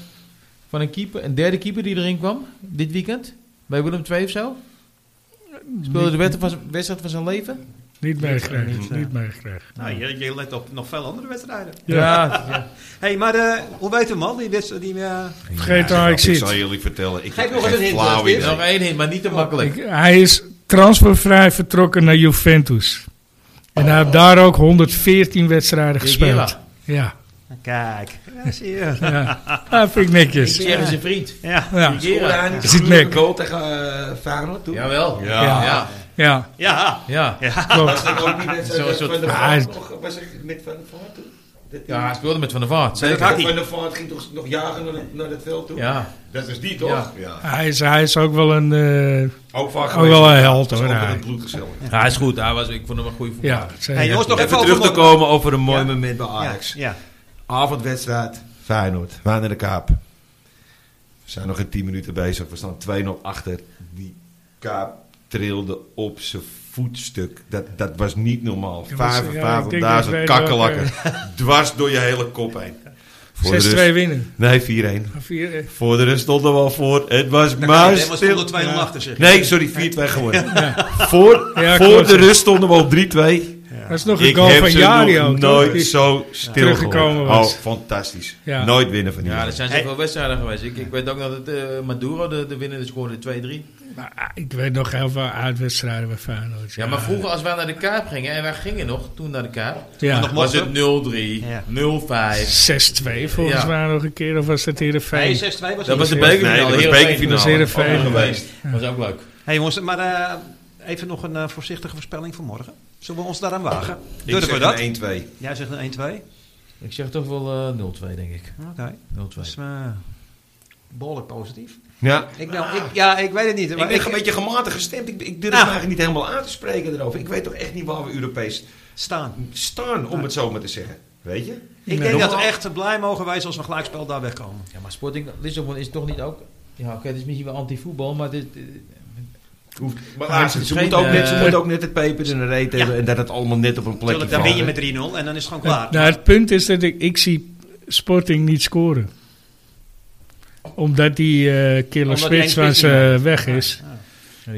Speaker 4: van een keeper, een derde keeper die erin kwam, dit weekend. Bij Willem II of zo. Speelde de wet- van zijn- wedstrijd van zijn leven.
Speaker 1: Niet meegekregen.
Speaker 2: niet, eh.
Speaker 1: Niet meegekregen.
Speaker 2: Nou, je, je let op nog veel andere wedstrijden.
Speaker 1: Ja.
Speaker 2: hey, maar eh, hoe weet hem al? Die wedstrijd die... eh,
Speaker 1: Vergeet
Speaker 3: Ja,
Speaker 1: waar ik
Speaker 3: grap,
Speaker 1: zit.
Speaker 3: zal jullie vertellen. Ik
Speaker 2: Geef
Speaker 3: heb
Speaker 2: nog eens
Speaker 3: geen
Speaker 2: een hint,
Speaker 3: flauw
Speaker 2: Lars,
Speaker 3: idee.
Speaker 2: dit.
Speaker 4: Nog één hint, maar niet te makkelijk.
Speaker 1: Ik- hij is transfervrij vertrokken naar Juventus. En hij heeft daar ook 114 wedstrijden gespeeld.
Speaker 4: Higuera.
Speaker 1: Ja,
Speaker 2: Kijk, ja, zie je.
Speaker 1: ja. dat vind ik
Speaker 4: Ik
Speaker 1: netjes.
Speaker 4: zeg eens een vriend.
Speaker 2: Ja,
Speaker 1: Ja,
Speaker 3: Scoorde hij niet
Speaker 1: Is het
Speaker 3: een
Speaker 1: nek?
Speaker 3: goal tegen eh Feyenoord toen?
Speaker 4: Jawel.
Speaker 3: Ja.
Speaker 4: Ja.
Speaker 1: ja
Speaker 2: ja.
Speaker 4: Ja.
Speaker 1: klopt.
Speaker 3: Was dat ook niet met
Speaker 4: Zo'n
Speaker 3: met
Speaker 4: soort-
Speaker 3: Van der
Speaker 1: Ah,
Speaker 3: Vaart? nog? Was het met Van der Vaart toen? Dat die-
Speaker 4: Ja, hij speelde met Van der Vaart.
Speaker 3: dat
Speaker 4: Zeker.
Speaker 2: had hij.
Speaker 3: Van der Vaart ging toch nog jagen naar, het- naar het veld toe?
Speaker 4: Ja.
Speaker 3: Dat is die toch?
Speaker 4: Ja.
Speaker 1: Hij is, hij is ook wel een... eh,
Speaker 3: Ook vaak
Speaker 1: Ook
Speaker 3: geweest.
Speaker 1: wel een held,
Speaker 3: Was
Speaker 1: hoor,
Speaker 3: Ook in
Speaker 1: hij.
Speaker 3: het bloed gezellig.
Speaker 4: Ja, hij is goed. Hij was, ik vond hem een goede voetballer.
Speaker 1: ja, zeker.
Speaker 2: Hey, jongens, nog even,
Speaker 3: Even
Speaker 2: over
Speaker 3: terug te
Speaker 2: Mo-
Speaker 3: komen over een mooi
Speaker 2: Ja.
Speaker 3: moment bij
Speaker 2: Ja,
Speaker 3: Ajax.
Speaker 2: Ja,
Speaker 3: Avondwedstrijd. Feyenoord. Wij naar de Kaap. We zijn nog geen 10 minuten bezig. We staan 2-0 achter. Die Kaap trilde op zijn voetstuk. Dat, dat was niet normaal.
Speaker 1: Jongens, ja, ik denk dat eh, ik
Speaker 3: 55.000
Speaker 1: weet
Speaker 3: kakkelakken. Dwars door je hele kop heen. Voor de
Speaker 1: 6-2
Speaker 3: rust-
Speaker 1: winnen.
Speaker 3: Nee, 4-1.
Speaker 1: Vier, eh,
Speaker 3: Voor de rust stonden we al voor. Het was
Speaker 2: Maar
Speaker 3: muis.
Speaker 2: stonden 2-0 achter zich.
Speaker 3: Nee, sorry, 4-2 geworden. Voor,
Speaker 1: Ja,
Speaker 3: voor
Speaker 1: klopt.
Speaker 3: de rust stonden we op 3-2.
Speaker 1: Dat is nog een
Speaker 3: Ik
Speaker 1: goal
Speaker 3: heb
Speaker 1: van
Speaker 3: ze
Speaker 1: Jari
Speaker 3: nog
Speaker 1: ook.
Speaker 3: nooit
Speaker 1: Die-
Speaker 3: zo stil
Speaker 1: teruggekomen
Speaker 3: gehoord.
Speaker 1: was.
Speaker 3: Oh, fantastisch.
Speaker 1: Ja.
Speaker 3: Nooit winnen van die.
Speaker 4: Ja, er
Speaker 3: jongen.
Speaker 4: zijn zoveel wedstrijden geweest. Ik, ik weet ook dat het, eh, Maduro de, de winnende scoorde 2-3.
Speaker 1: Maar, ah, ik weet nog heel veel uitwedstrijden bij Feyenoord.
Speaker 4: Ja, maar vroeger als wij naar de Kaap gingen, en wij gingen nog toen naar de Kaap,
Speaker 1: Ja,
Speaker 2: nog-
Speaker 4: was
Speaker 2: Mochten?
Speaker 4: het 0-3,
Speaker 2: Ja.
Speaker 4: 0-5.
Speaker 1: 6-2 volgens
Speaker 4: Ja.
Speaker 1: mij nog een keer. Of was dat
Speaker 2: Nee,
Speaker 1: Heerenveen?
Speaker 2: 6-2 was
Speaker 4: Dat was de
Speaker 2: het.
Speaker 4: bekerfinale.
Speaker 3: Nee, dat was
Speaker 4: Heerenveen.
Speaker 3: bekerfinale.
Speaker 1: Dat was Heerenveen.
Speaker 4: Ook nog
Speaker 3: Ja.
Speaker 4: geweest. was ook leuk.
Speaker 2: Hey jongens, maar eh, even nog een eh,
Speaker 3: Dus
Speaker 2: voorzichtige voorspelling voor morgen. Zullen we ons daaraan wagen?
Speaker 3: Ik
Speaker 2: Durven
Speaker 3: zeg
Speaker 2: we dat?
Speaker 3: een 1-2.
Speaker 2: Jij zegt een 1-2.
Speaker 4: Ik zeg toch wel eh, 0-2, denk ik.
Speaker 2: Oké,
Speaker 4: 0-2.
Speaker 2: dat is eh, behoorlijk positief.
Speaker 3: Ja.
Speaker 2: Ik ben, ik, ja, ik weet het niet.
Speaker 3: ik
Speaker 2: Maar
Speaker 3: ben
Speaker 2: ik,
Speaker 3: een beetje gematigd gestemd. Ik, ik durf
Speaker 2: Nou.
Speaker 3: me eigenlijk niet helemaal aan te spreken erover. Ik weet toch echt niet waar we Europees
Speaker 2: staan.
Speaker 3: staan, om het zo maar te zeggen. Weet je?
Speaker 2: Ik
Speaker 1: Ja.
Speaker 2: denk dat we
Speaker 3: Normaal-
Speaker 2: echt blij mogen wij als we een gelijkspel daar wegkomen.
Speaker 4: Ja, maar Sporting Lissabon is toch niet ook... Ja, oké, het is misschien wel anti-voetbal, maar dit...
Speaker 3: Hoeft, maar
Speaker 4: Maar
Speaker 3: laat ze,
Speaker 4: het
Speaker 3: ze
Speaker 4: is geen,
Speaker 3: moeten ook net, ze
Speaker 4: eh,
Speaker 3: moeten ook net het pepers en de reet hebben. En dat het allemaal net op een plekje
Speaker 2: Tuurlijk, dan win je met
Speaker 3: valt.
Speaker 2: 3-0 en dan is het gewoon klaar.
Speaker 1: Nou, het punt is dat ik, ik zie Sporting niet scoren. Omdat die eh killer
Speaker 2: Omdat
Speaker 1: spits
Speaker 2: Henk
Speaker 1: van
Speaker 2: Spits niet
Speaker 1: ze eh, weg is.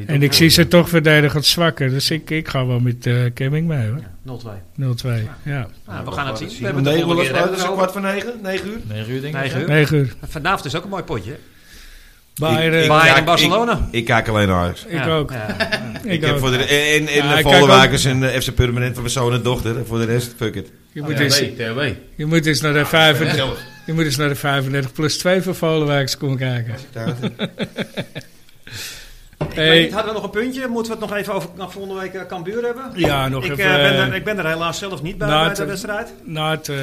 Speaker 1: En ik zie ze toch verdedigend zwakker. Dus ik, ik ga wel met eh Kemming mee hoor.
Speaker 2: Ja, 0-2.
Speaker 1: 0-2. Ja.
Speaker 2: Nou, we gaan het zien. We
Speaker 3: Om
Speaker 2: hebben het de
Speaker 3: negen
Speaker 2: volgende
Speaker 3: was
Speaker 2: keer
Speaker 3: het, dat is een
Speaker 2: erover.
Speaker 3: kwart voor negen, negen uur.
Speaker 4: 9 uur, denk ik.
Speaker 2: Negen
Speaker 4: hè?
Speaker 2: uur.
Speaker 1: 9 uur.
Speaker 2: Vanavond is ook een mooi potje. hè?
Speaker 1: Bayern,
Speaker 3: Ik-
Speaker 1: eh,
Speaker 3: ik-
Speaker 2: Bayern
Speaker 3: kijk-
Speaker 2: en Barcelona.
Speaker 3: Ik, ik kijk alleen naar Ajax.
Speaker 1: Ik
Speaker 2: eh, Ja,
Speaker 1: ook.
Speaker 2: ja.
Speaker 1: Ik,
Speaker 3: Ik heb
Speaker 1: ook.
Speaker 3: voor de, en en
Speaker 1: Ja,
Speaker 3: de
Speaker 1: ik
Speaker 3: Vollenwakers en eh, FC Permanent van mijn zoon en dochter. En voor de rest, fuck it.
Speaker 1: Je, moet eens,
Speaker 4: THW.
Speaker 1: je moet eens naar de 35,
Speaker 3: Zelf.
Speaker 1: je moet eens naar de 35 plus 2 voor Volenwijks komen kijken.
Speaker 2: Ik
Speaker 1: Hey.
Speaker 2: weet niet, hadden we nog een puntje? Moeten we het nog even over naar volgende week eh, Cambuur hebben?
Speaker 1: Ja, nog
Speaker 2: ik, eh,
Speaker 1: even.
Speaker 2: ben er,
Speaker 1: eh,
Speaker 2: ik ben er helaas zelf niet bij,
Speaker 1: Nou,
Speaker 2: bij de
Speaker 1: het-
Speaker 2: wedstrijd.
Speaker 1: na het, eh,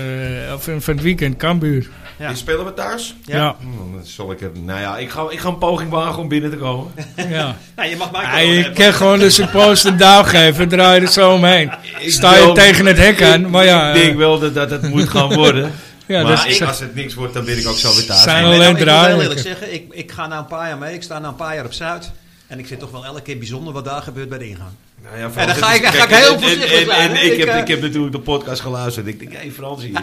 Speaker 1: of in- van het weekend, Kambuur.
Speaker 2: Ja.
Speaker 3: Die spelen we thuis?
Speaker 1: Ja. ja.
Speaker 3: Hm, dan zal ik er, nou ja, ik ga, ik ga een poging wagen om binnen te komen.
Speaker 2: Nou, je mag mij
Speaker 1: Ah,
Speaker 2: ook wel
Speaker 1: je
Speaker 2: hebben.
Speaker 1: kan gewoon de supporters een duw geven, draai je er zo omheen.
Speaker 3: Ik
Speaker 1: Sta je
Speaker 3: wil-
Speaker 1: tegen het hek aan, maar ja.
Speaker 3: Ik
Speaker 1: eh,
Speaker 3: denk wel dat dat, het moet gaan worden.
Speaker 1: ja dat
Speaker 3: maar
Speaker 1: is-
Speaker 3: ik- als het niks wordt, dan ben ik ook zo weer thuis.
Speaker 1: Zijn
Speaker 2: Ik
Speaker 1: alleen
Speaker 2: ben ook- ik moet heel
Speaker 1: draaien.
Speaker 2: eerlijk zeggen, ik, ik ga na een paar jaar mee. Ik sta na een paar jaar op Zuid. En ik vind toch wel elke keer bijzonder wat daar gebeurt bij de ingang.
Speaker 3: Nou ja,
Speaker 2: En dan
Speaker 3: Frans,
Speaker 2: ga
Speaker 3: het
Speaker 2: ik-
Speaker 3: is-
Speaker 2: ga ik
Speaker 3: kijk,
Speaker 2: heel
Speaker 3: en-
Speaker 2: voorzichtig
Speaker 3: en-
Speaker 2: zijn,
Speaker 3: En,
Speaker 2: hè?
Speaker 3: ik,
Speaker 2: Ik,
Speaker 3: heb,
Speaker 2: eh,
Speaker 3: ik heb natuurlijk de podcast geluisterd. Ik denk, hé, Frans hier.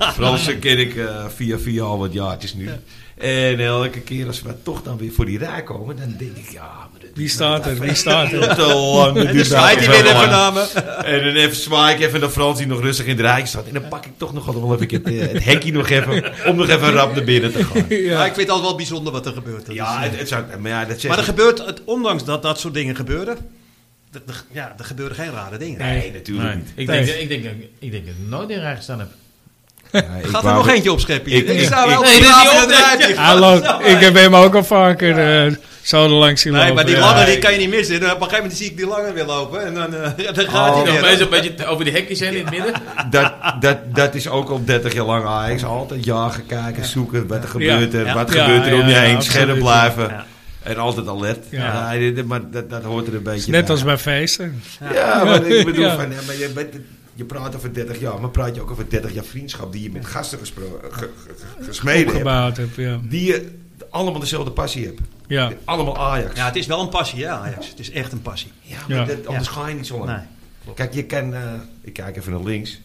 Speaker 3: Frans eh, ken ik eh, via via al wat jaartjes nu. En elke keer als we maar toch dan weer voor die raak komen, dan denk ik, ja, maar dat
Speaker 1: Wie staat er? Wie
Speaker 3: dat
Speaker 1: staat er?
Speaker 3: duurt te lang. dat
Speaker 2: En dan
Speaker 3: duurt
Speaker 2: zwaait hij
Speaker 3: wel
Speaker 2: weer
Speaker 3: lang.
Speaker 2: even naar me.
Speaker 3: En dan even zwaai ik even naar Frans die nog rustig in de rij staat. En dan pak ik toch nog wel even het, eh, het hekje nog even, om nog even rap naar binnen te gaan.
Speaker 2: Maar
Speaker 1: ja.
Speaker 2: ik vind het altijd wel bijzonder wat er gebeurt. Dat is,
Speaker 3: Ja,
Speaker 2: eh,
Speaker 3: het, het zou, maar ja, dat zegt
Speaker 2: maar er gebeurt, het, ondanks dat dat soort dingen gebeuren, er- er- ja, er gebeuren geen rare dingen.
Speaker 3: Nee, natuurlijk
Speaker 4: Nee,
Speaker 3: niet.
Speaker 4: ik, denk, ik, denk, ik denk dat ik nooit in rij gestaan heb.
Speaker 3: Ja, ik
Speaker 2: Gaat er
Speaker 3: wou-
Speaker 2: nog eentje opscheppen hier?
Speaker 3: Ik-
Speaker 2: Ik,
Speaker 3: ik-
Speaker 2: sta wel
Speaker 4: ik- nee,
Speaker 2: op
Speaker 4: dit is niet
Speaker 2: tafel en
Speaker 4: op-
Speaker 2: eruit.
Speaker 1: Hallo, ik heb hem ook al vaker eh, zo er langs zien
Speaker 2: Nee,
Speaker 1: lopen.
Speaker 2: maar die
Speaker 1: Ja.
Speaker 2: lange die kan je niet missen. En Op een gegeven moment zie ik die lange weer lopen. En dan, eh, ja, dan gaat
Speaker 3: Oh.
Speaker 2: hij
Speaker 4: Ja,
Speaker 2: weer.
Speaker 4: een beetje over die hekjes heen in het midden.
Speaker 3: dat, dat, dat is ook al 30 jaar lang Ajax. Altijd jagen, kijken, zoeken. Wat er gebeurt er,
Speaker 2: Ja.
Speaker 3: wat
Speaker 1: Ja,
Speaker 3: gebeurt er om je
Speaker 1: ja, ja,
Speaker 3: heen.
Speaker 1: absoluut.
Speaker 3: Scherp blijven.
Speaker 2: Ja.
Speaker 3: En altijd alert.
Speaker 1: Ja.
Speaker 3: Ja. dit- maar dat, dat hoort er een beetje
Speaker 1: Net
Speaker 3: bij.
Speaker 1: als bij feesten.
Speaker 3: Ja, maar ik bedoel
Speaker 1: Ja.
Speaker 3: van... Ja, maar je, bent- je praat over 30 jaar, maar praat je ook over 30 jaar vriendschap... die je met gasten gespro- ge- ge- ge- gesmeden hebt.
Speaker 1: Opgebouwd heb, ja.
Speaker 3: Die je allemaal dezelfde passie hebt.
Speaker 1: ja.
Speaker 3: Allemaal Ajax.
Speaker 2: Ja, het is wel een passie, ja, Ajax. Het is echt een passie.
Speaker 3: Ja, maar
Speaker 1: Ja.
Speaker 3: dat- anders ga je niet zo lang.
Speaker 2: Nee.
Speaker 3: Kijk, je kan... eh, ik kijk even naar links.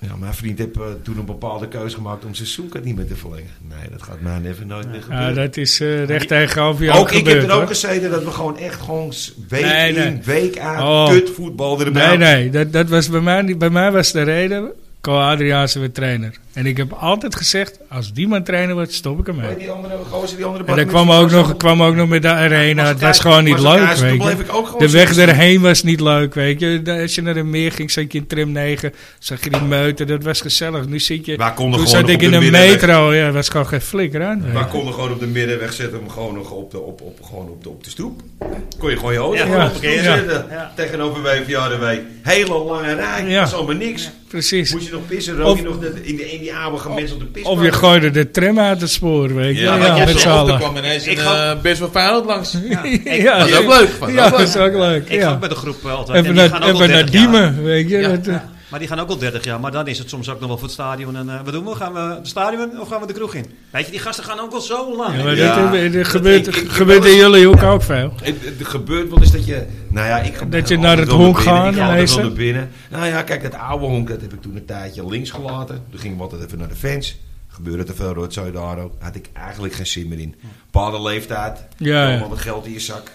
Speaker 3: Ja, mijn vriend heeft eh, toen een bepaalde keuze gemaakt om zijn zoekkaart niet meer te verlengen. Nee, dat gaat mij even nooit meer
Speaker 1: Ja,
Speaker 3: gebeuren.
Speaker 1: dat is eh, recht tegenover jou
Speaker 3: ook, ik
Speaker 1: gebeurd,
Speaker 3: heb er ook
Speaker 1: hoor.
Speaker 3: gezeten dat we gewoon echt gewoon s- week
Speaker 1: Nee, nee.
Speaker 3: in, week uit
Speaker 1: Oh.
Speaker 3: kut voetbal erbij.
Speaker 1: Nee, nee, dat, dat was bij mij, niet- bij mij was de reden. Ko Adriaanse werd trainer. En ik heb altijd gezegd: als die man trainer wordt, stop ik
Speaker 3: Hoe heet
Speaker 1: ermee.
Speaker 3: Die andere gozer, die andere
Speaker 1: En
Speaker 3: bak
Speaker 1: dan
Speaker 3: met
Speaker 1: kwam
Speaker 3: die
Speaker 1: ook,
Speaker 3: gasten?
Speaker 1: nog, kwam ook nog met de arena.
Speaker 3: Was
Speaker 1: Het was
Speaker 3: elkaar-
Speaker 1: gewoon niet
Speaker 3: was
Speaker 1: leuk,
Speaker 3: elkaar- toen
Speaker 1: weet
Speaker 3: bleef
Speaker 1: je.
Speaker 3: ik ook gewoon
Speaker 1: De weg
Speaker 3: zitten.
Speaker 1: erheen was niet leuk, weet je. Da- Als je naar de meer ging, zat je in tram 9. Zag je die meuten, dat was gezellig. Nu zit je...
Speaker 3: Wij konden
Speaker 1: Toen
Speaker 3: gewoon
Speaker 1: zat
Speaker 3: nog
Speaker 1: ik
Speaker 3: op
Speaker 1: in
Speaker 3: de
Speaker 1: een
Speaker 3: middenweg.
Speaker 1: metro. Ja, was gewoon geen flikker aan. weet je.
Speaker 3: Maar konden gewoon op de middenweg zetten hem gewoon nog op de, op, op, gewoon op de, op de stoep. Kon je gewoon je auto
Speaker 2: Ja,
Speaker 3: gewoon op de
Speaker 2: ja.
Speaker 3: stoep
Speaker 1: Ja.
Speaker 3: zetten.
Speaker 2: Ja.
Speaker 3: Tegenover WVA de week. Hele lange rij,
Speaker 1: Ja.
Speaker 3: dat is allemaal niks.
Speaker 1: Precies.
Speaker 3: Moest je nog pissen, rook
Speaker 1: Of-
Speaker 3: je nog de, in, de, in die oude gemenselde pis.
Speaker 1: Of je gooide de tram uit het spoor, weet je.
Speaker 3: Ja,
Speaker 1: Ja,
Speaker 3: maar
Speaker 4: Ja,
Speaker 1: met z'n
Speaker 4: Er
Speaker 1: allen.
Speaker 4: kwam ineens
Speaker 2: Ik
Speaker 4: een,
Speaker 2: ga-
Speaker 4: eh, best wel Feyenoord langs.
Speaker 1: Ja,
Speaker 4: Dat is ook leuk. vond ik
Speaker 1: Ja,
Speaker 4: ook
Speaker 1: dat
Speaker 4: leuk.
Speaker 1: is ook leuk.
Speaker 2: Ik ga ook
Speaker 1: Ja.
Speaker 2: met de groep eh, altijd.
Speaker 1: Even
Speaker 2: en die gaan
Speaker 1: naar,
Speaker 2: ook al
Speaker 1: even
Speaker 2: 30
Speaker 1: naar
Speaker 2: jaar.
Speaker 1: Diemen, weet je.
Speaker 2: Ja,
Speaker 1: dat, eh,
Speaker 2: ja. Maar die gaan ook al 30 jaar. Maar dan is het soms ook nog wel voor het stadion. En eh, wat doen we? Gaan we het stadion of gaan we de kroeg in? Weet je, die gasten gaan ook al zo lang.
Speaker 1: Ja,
Speaker 2: hè?
Speaker 1: maar
Speaker 3: Ja.
Speaker 1: dit, eh, dit
Speaker 3: Dat
Speaker 1: gebeurt,
Speaker 3: ik- ik-
Speaker 1: gebeurt in jullie hoek ook veel.
Speaker 3: Het, het gebeurt wel eens dat je... Nou ja, ik ga
Speaker 1: Dat je
Speaker 3: altijd
Speaker 1: naar het
Speaker 3: wel
Speaker 1: honk
Speaker 3: binnen,
Speaker 1: gaat
Speaker 3: Ik ga altijd wel
Speaker 1: ineens.
Speaker 3: naar binnen. Nou ja, kijk, dat oude honk, dat heb ik toen een tijdje links gelaten. Toen gingen we altijd even naar de fans. Gebeurde te veel rotzooi daar ook. Had ik eigenlijk geen zin meer in. Bepaalde leeftijd.
Speaker 1: Ja, ja.
Speaker 3: Allemaal wat geld in je zak.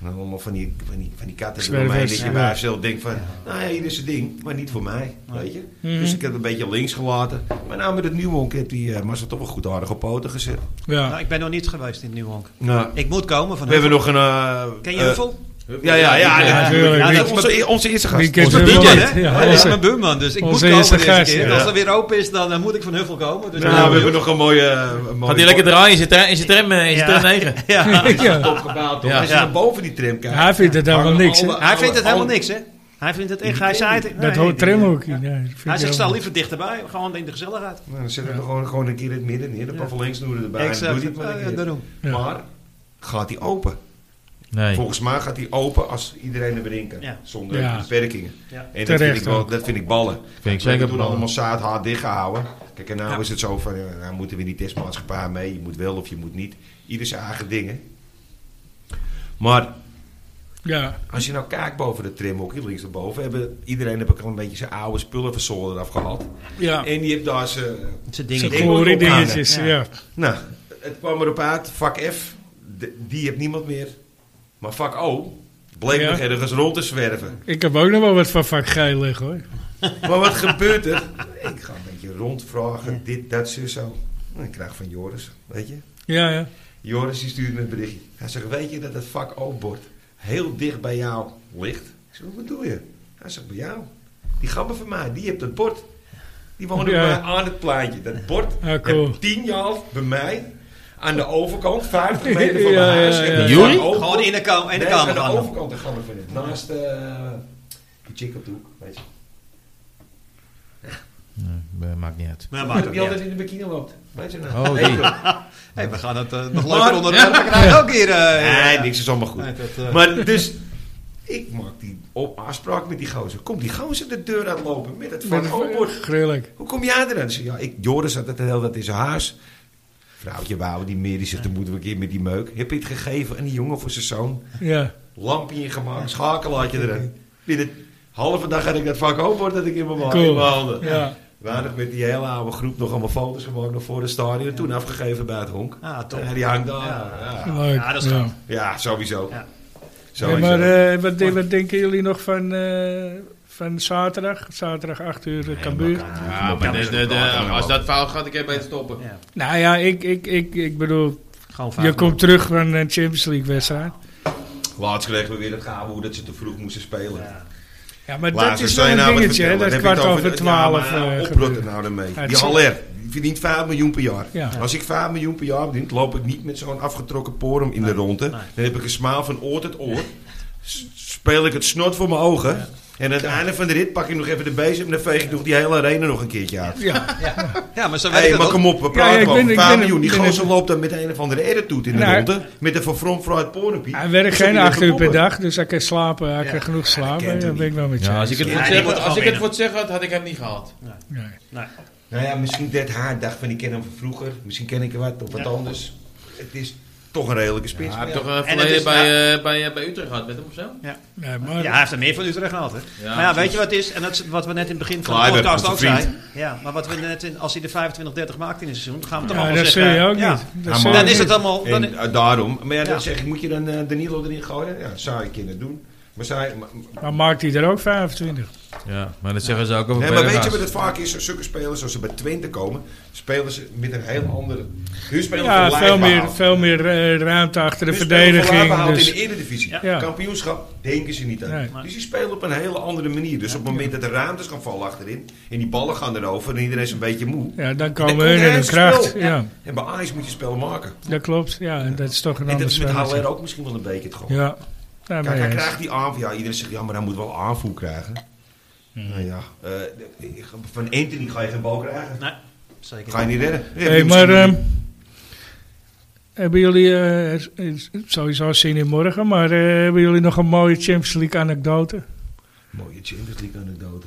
Speaker 3: En dan allemaal van die, van die, van die katten
Speaker 1: Zwervers,
Speaker 3: eromheen. Dat je
Speaker 1: ja.
Speaker 3: bij jezelf denkt van... Nou ja, hier is het ding. Maar niet voor mij, weet je.
Speaker 1: Mhm.
Speaker 3: Dus ik heb het een beetje links gelaten. Maar nou met het nieuwe honk heb die eh Marcel toch wel goed aardig op poten gezet.
Speaker 2: Nou,
Speaker 1: Ja.
Speaker 2: ik ben nog niet geweest in Nieuwhonk.
Speaker 3: Nou,
Speaker 2: Ik moet komen van
Speaker 3: we hebben
Speaker 2: Heuvel.
Speaker 3: nog een... eh,
Speaker 2: Ken je
Speaker 3: eh,
Speaker 2: Heuvel?
Speaker 3: ja, ja, ja.
Speaker 1: Ja,
Speaker 3: ja,
Speaker 1: natuurlijk.
Speaker 3: ja,
Speaker 2: Wie-
Speaker 3: dat is onze, onze eerste
Speaker 1: Wie
Speaker 3: gast.
Speaker 1: kent
Speaker 2: Onze
Speaker 1: Onze
Speaker 2: buurman,
Speaker 1: buurman,
Speaker 2: hè?
Speaker 1: ja,
Speaker 2: Hij is
Speaker 1: onze-
Speaker 2: mijn buurman, dus ik
Speaker 1: onze
Speaker 2: moet komen
Speaker 1: eerste
Speaker 2: deze
Speaker 1: gast,
Speaker 2: keer.
Speaker 1: ja.
Speaker 2: Als er weer open is, dan eh, moet ik van Heuvel komen. Dus
Speaker 3: Nou,
Speaker 2: ja,
Speaker 3: we hebben nog een mooie... een mooie
Speaker 4: Gaat hij lekker draaien in zijn tram, in zijn tram, eh, in zijn
Speaker 2: Ja.
Speaker 4: tram 9.
Speaker 2: Ja.
Speaker 1: Ja.
Speaker 3: opgebouwd. hoor.
Speaker 4: Ja.
Speaker 3: Als je
Speaker 2: Ja.
Speaker 3: naar boven die tram kijkt...
Speaker 1: Hij vindt het helemaal
Speaker 3: hangen
Speaker 1: niks, hè?
Speaker 3: alle-
Speaker 2: Hij vindt het
Speaker 3: alle-
Speaker 2: helemaal niks, hè? Hij vindt het echt. Hij zei het. nee,
Speaker 1: Dat hoort
Speaker 2: die-
Speaker 1: Trim ook in. ja,
Speaker 2: Ja.
Speaker 1: dat vind
Speaker 2: Hij
Speaker 1: ik
Speaker 2: zegt, sta
Speaker 1: wel-
Speaker 2: liever dichterbij. Gewoon in de gezelligheid.
Speaker 3: Nou, dan zetten we gewoon, gewoon een keer in het midden neer. Een
Speaker 2: Ja.
Speaker 3: paar verlengsnoeren erbij.
Speaker 2: Exact.
Speaker 3: Doe dit maar een
Speaker 2: eh, Ja,
Speaker 3: keer.
Speaker 2: ja, daarom.
Speaker 1: Ja.
Speaker 3: Maar gaat hij open?
Speaker 4: Nee.
Speaker 3: Volgens mij gaat hij open als iedereen er weer kan.
Speaker 2: Ja.
Speaker 3: Zonder
Speaker 1: Ja.
Speaker 3: beperkingen.
Speaker 2: Ja.
Speaker 3: En dat
Speaker 1: Terecht
Speaker 3: vind, ik wel,
Speaker 1: ook.
Speaker 3: dat vind ik ballen.
Speaker 4: Vind ik zeker
Speaker 3: we doen
Speaker 4: ballen.
Speaker 3: allemaal zaad hard dichtgehouden. Kijk, en nou
Speaker 2: Ja.
Speaker 3: is het zo van, eh, nou moeten we in die testmaatschappij mee. Je moet wel of je moet niet. Ieder zijn eigen dingen. Maar
Speaker 1: Ja,
Speaker 3: als je nou kijkt boven de trimhokje, links erboven, hebben, iedereen heb ik al een beetje zijn oude spullen van zolder eraf gehaald.
Speaker 1: ja.
Speaker 3: En die heeft daar zijn
Speaker 2: Zijn
Speaker 1: Zo'n
Speaker 3: Ik
Speaker 1: glorie
Speaker 3: moet opgaan,
Speaker 1: dingetjes,
Speaker 2: hè.
Speaker 1: ja.
Speaker 2: Ja.
Speaker 3: Nou, het kwam erop uit. Vak F, d- die heeft niemand meer. Maar vak O bleek
Speaker 1: Ja.
Speaker 3: nog ergens rond te zwerven.
Speaker 1: Ik heb ook nog wel wat van vak G liggen hoor.
Speaker 3: Maar wat gebeurt er? Ik ga een beetje rondvragen, dit, dat, zo, zo. En ik krijg van Joris, weet je.
Speaker 1: Ja, ja.
Speaker 3: Joris die stuurt me een berichtje. Hij zegt, weet je dat het vak O-bord heel dicht bij jou ligt? Ik zeg, wat doe je? Hij zegt, bij jou. Die gabber van mij, die heeft dat bord. Die woont
Speaker 1: Ja.
Speaker 3: bij mij aan het plaatje. Dat bord
Speaker 1: Ah, cool.
Speaker 3: heeft tien jaar bij mij aan de overkant, 50 meter van mijn
Speaker 1: Ja, ja,
Speaker 3: huis.
Speaker 1: ja,
Speaker 3: En
Speaker 1: ja.
Speaker 3: dat
Speaker 4: Joeri?
Speaker 3: vak O-bord-
Speaker 2: Gewoon in de, ka- in de
Speaker 3: Nee,
Speaker 2: kamer
Speaker 3: aan de
Speaker 2: gaan.
Speaker 3: overkant de gabber van het. Naast eh, die chick op de hoek, weet je.
Speaker 4: Nee, maakt niet uit.
Speaker 2: Maar ja, maakt het
Speaker 3: die
Speaker 2: niet
Speaker 3: altijd
Speaker 2: uit.
Speaker 3: in de bikini loopt. Weet je nou?
Speaker 4: Oh, die.
Speaker 2: Hey, we gaan het eh, nog
Speaker 3: Maar-
Speaker 2: leuker onderwerpen. We krijgen ook hier... eh,
Speaker 3: Nee,
Speaker 2: ja.
Speaker 3: niks is allemaal goed.
Speaker 2: Nee, dat, eh,
Speaker 3: Maar dus, ik maak die op afspraak met die gozer. Komt die gozer de deur uitlopen met het
Speaker 1: Maar
Speaker 3: van
Speaker 1: dat-
Speaker 3: Openbord.
Speaker 1: Gruwelijk.
Speaker 3: Hoe kom jij eraan? Ik zeg, Ja, ik, Joris had het heel dat in zijn huis. Vrouwtje wou die meer, die zegt, dan moeten we een keer met die meuk. Heb je het gegeven aan die jongen voor zijn zoon?
Speaker 1: Ja.
Speaker 3: Lampje ingemaakt, schakelaartje erin. Binnen halve dag had ik dat vak openbord dat ik in mijn
Speaker 1: Cool.
Speaker 3: in mijn handen.
Speaker 1: Ja.
Speaker 3: Weinig met die hele oude groep nog allemaal foto's gemaakt nog voor de stadion. Toen afgegeven bij het honk.
Speaker 2: Ah, top.
Speaker 3: Ja, die hangt daar.
Speaker 2: Ja.
Speaker 3: Ja.
Speaker 1: Leuk.
Speaker 2: Ja, dat is gaaf.
Speaker 3: Ja, sowieso.
Speaker 2: Ja.
Speaker 3: Sowieso.
Speaker 1: Hey, maar eh, wat, de- wat denken jullie nog van, eh, van zaterdag? Zaterdag 8 uur eh, Cambuur.
Speaker 4: Ja, maar de- de- de- als dat fout gaat, ik heb beter stoppen.
Speaker 2: Ja,
Speaker 1: nou ja, ik, ik, ik, ik bedoel,
Speaker 2: gewoon vaak.
Speaker 1: je komt terug van een Champions League wedstrijd.
Speaker 3: Laatst kregen we weer het gehaal hoe dat ze te vroeg moesten spelen.
Speaker 2: Ja.
Speaker 1: Ja, maar
Speaker 3: Laatst,
Speaker 1: dat is
Speaker 3: zal
Speaker 1: wel
Speaker 3: je
Speaker 1: een
Speaker 3: nou wat
Speaker 1: dingetje, hè?
Speaker 3: vertellen?
Speaker 1: Dat
Speaker 3: Dan heb
Speaker 1: kwart
Speaker 3: je het
Speaker 1: over
Speaker 3: over de- ja,
Speaker 1: 12
Speaker 3: maar
Speaker 1: eh,
Speaker 3: oprot
Speaker 1: gebeurt.
Speaker 3: er nou
Speaker 1: Ja,
Speaker 3: ermee. Die
Speaker 1: het is-
Speaker 3: Haller, die verdient 5 miljoen per jaar.
Speaker 1: Ja.
Speaker 3: Als ik 5 miljoen per jaar verdien, loop ik niet met zo'n afgetrokken porum in de ronde. Dan heb ik een smaal van oor tot oor. S- Speel ik het snot voor mijn ogen. En aan het einde van de rit pak ik nog even de bezem en dan veeg ik nog die hele arena nog een keertje uit.
Speaker 1: Ja.
Speaker 2: Ja, maar zo
Speaker 3: Hé,
Speaker 2: weet ik
Speaker 3: maar
Speaker 2: dat ook.
Speaker 3: kom op, we
Speaker 1: Ja, ja,
Speaker 3: praten
Speaker 1: ik
Speaker 3: over
Speaker 1: ben- ik
Speaker 3: 5
Speaker 1: ben-
Speaker 3: miljoen. Die
Speaker 1: ben-
Speaker 3: gozer loopt dan met een of andere erretoet in de
Speaker 1: Nou,
Speaker 3: ronde. Met een van From Fried Pornopie.
Speaker 1: Hij werkt
Speaker 3: Zit
Speaker 1: geen
Speaker 3: hij weer
Speaker 1: 8 uur per
Speaker 3: te
Speaker 1: dag, dus hij kan slapen. Hij
Speaker 2: Ja.
Speaker 1: kan genoeg slapen.
Speaker 3: kent
Speaker 1: Ja,
Speaker 3: hem
Speaker 1: dat ben ik wel met je.
Speaker 4: Ja, als ik
Speaker 1: eens.
Speaker 4: het
Speaker 2: Ja,
Speaker 4: voor
Speaker 2: die
Speaker 4: het zeggen,
Speaker 2: moet er
Speaker 4: had- als ik
Speaker 2: gewoon
Speaker 4: het voor het zeggen had, had ik hem niet gehaald.
Speaker 1: Nee.
Speaker 2: Nee.
Speaker 3: Nou ja, misschien dat haar dacht van ik ken hem van vroeger. Misschien ken ik hem wat of wat
Speaker 2: Ja.
Speaker 3: anders. Het is toch een redelijke spits.
Speaker 4: Hij heeft
Speaker 3: Ja.
Speaker 4: toch eh,
Speaker 2: En het is-
Speaker 4: verleden bij, eh, bij, eh, bij Utrecht gehad met hem of zo?
Speaker 1: Nee, maar,
Speaker 2: Ja, hij heeft er meer van Utrecht gehad. Hè?
Speaker 4: Ja,
Speaker 2: maar ja, weet
Speaker 4: precies.
Speaker 2: je wat het is? En dat is wat we net in het begin van de
Speaker 3: Kluivert,
Speaker 2: podcast ook
Speaker 3: onze
Speaker 2: zeiden. Ja, maar wat we net in, als hij de 25, 30 maakt in een seizoen, dan gaan we toch
Speaker 1: Ja,
Speaker 2: allemaal
Speaker 1: dat
Speaker 2: zeggen.
Speaker 1: zie je ook
Speaker 2: ja.
Speaker 1: niet. Dat
Speaker 3: Ja,
Speaker 1: zie
Speaker 3: maar-
Speaker 1: je
Speaker 2: Dan is
Speaker 1: niet.
Speaker 2: het allemaal... Dan,
Speaker 3: En eh, daarom, maar ja,
Speaker 2: Ja.
Speaker 3: dat zeg ik, moet je dan eh, Danilo erin gooien? Ja, zou je kunnen doen. Maar, zij, maar, maar-
Speaker 1: Maar maakt hij er ook 25?
Speaker 4: Ja, maar dat zeggen ze ook over
Speaker 3: nee, maar weet je wat het vaak is? Zulke spelers, als ze bij Twente komen, spelen ze met een heel andere... Nu spelen
Speaker 1: Ja,
Speaker 3: ze
Speaker 1: veel meer,
Speaker 3: lijfbehoud.
Speaker 1: veel meer eh, ruimte achter de
Speaker 3: Nu spelen we voor
Speaker 1: verdediging.
Speaker 3: lijfbehoud in
Speaker 1: Dus,
Speaker 3: de Eredivisie.
Speaker 1: Ja.
Speaker 3: Kampioenschap denken ze niet aan.
Speaker 1: Nee.
Speaker 3: Dus die spelen op een hele andere manier. Dus op het moment dat er ruimtes gaan vallen achterin... en die ballen gaan erover en iedereen is een beetje moe...
Speaker 1: ja, dan
Speaker 3: Dan
Speaker 1: komen
Speaker 3: komt
Speaker 1: hun in
Speaker 3: hij
Speaker 1: hun
Speaker 3: uit zijn
Speaker 1: kracht.
Speaker 3: spel.
Speaker 1: Ja,
Speaker 3: En bij Ajax moet je spel maken.
Speaker 1: dat klopt. Ja, en dat is toch een
Speaker 3: en dat
Speaker 1: ander
Speaker 3: is met
Speaker 1: spelletje.
Speaker 3: Haller ook misschien wel een beetje het gewoon.
Speaker 1: Ja, daar
Speaker 3: Kijk,
Speaker 1: mee
Speaker 3: hij
Speaker 1: eens.
Speaker 3: krijgt die aanvoer. Ja, iedereen zegt, ja, maar hij moet wel aanvoer krijgen. Nou ja, eh, ik- van Anthony ga je geen bal krijgen.
Speaker 2: nee, zeker
Speaker 3: Ga je
Speaker 2: niet.
Speaker 3: niet redden. Ja,
Speaker 1: Hey,
Speaker 3: misschien
Speaker 1: maar
Speaker 3: moet je-
Speaker 1: ehm, hebben jullie, eh, s- sowieso zin in morgen, maar eh, hebben jullie nog een mooie Champions League anekdote?
Speaker 3: Mooie Champions League anekdote.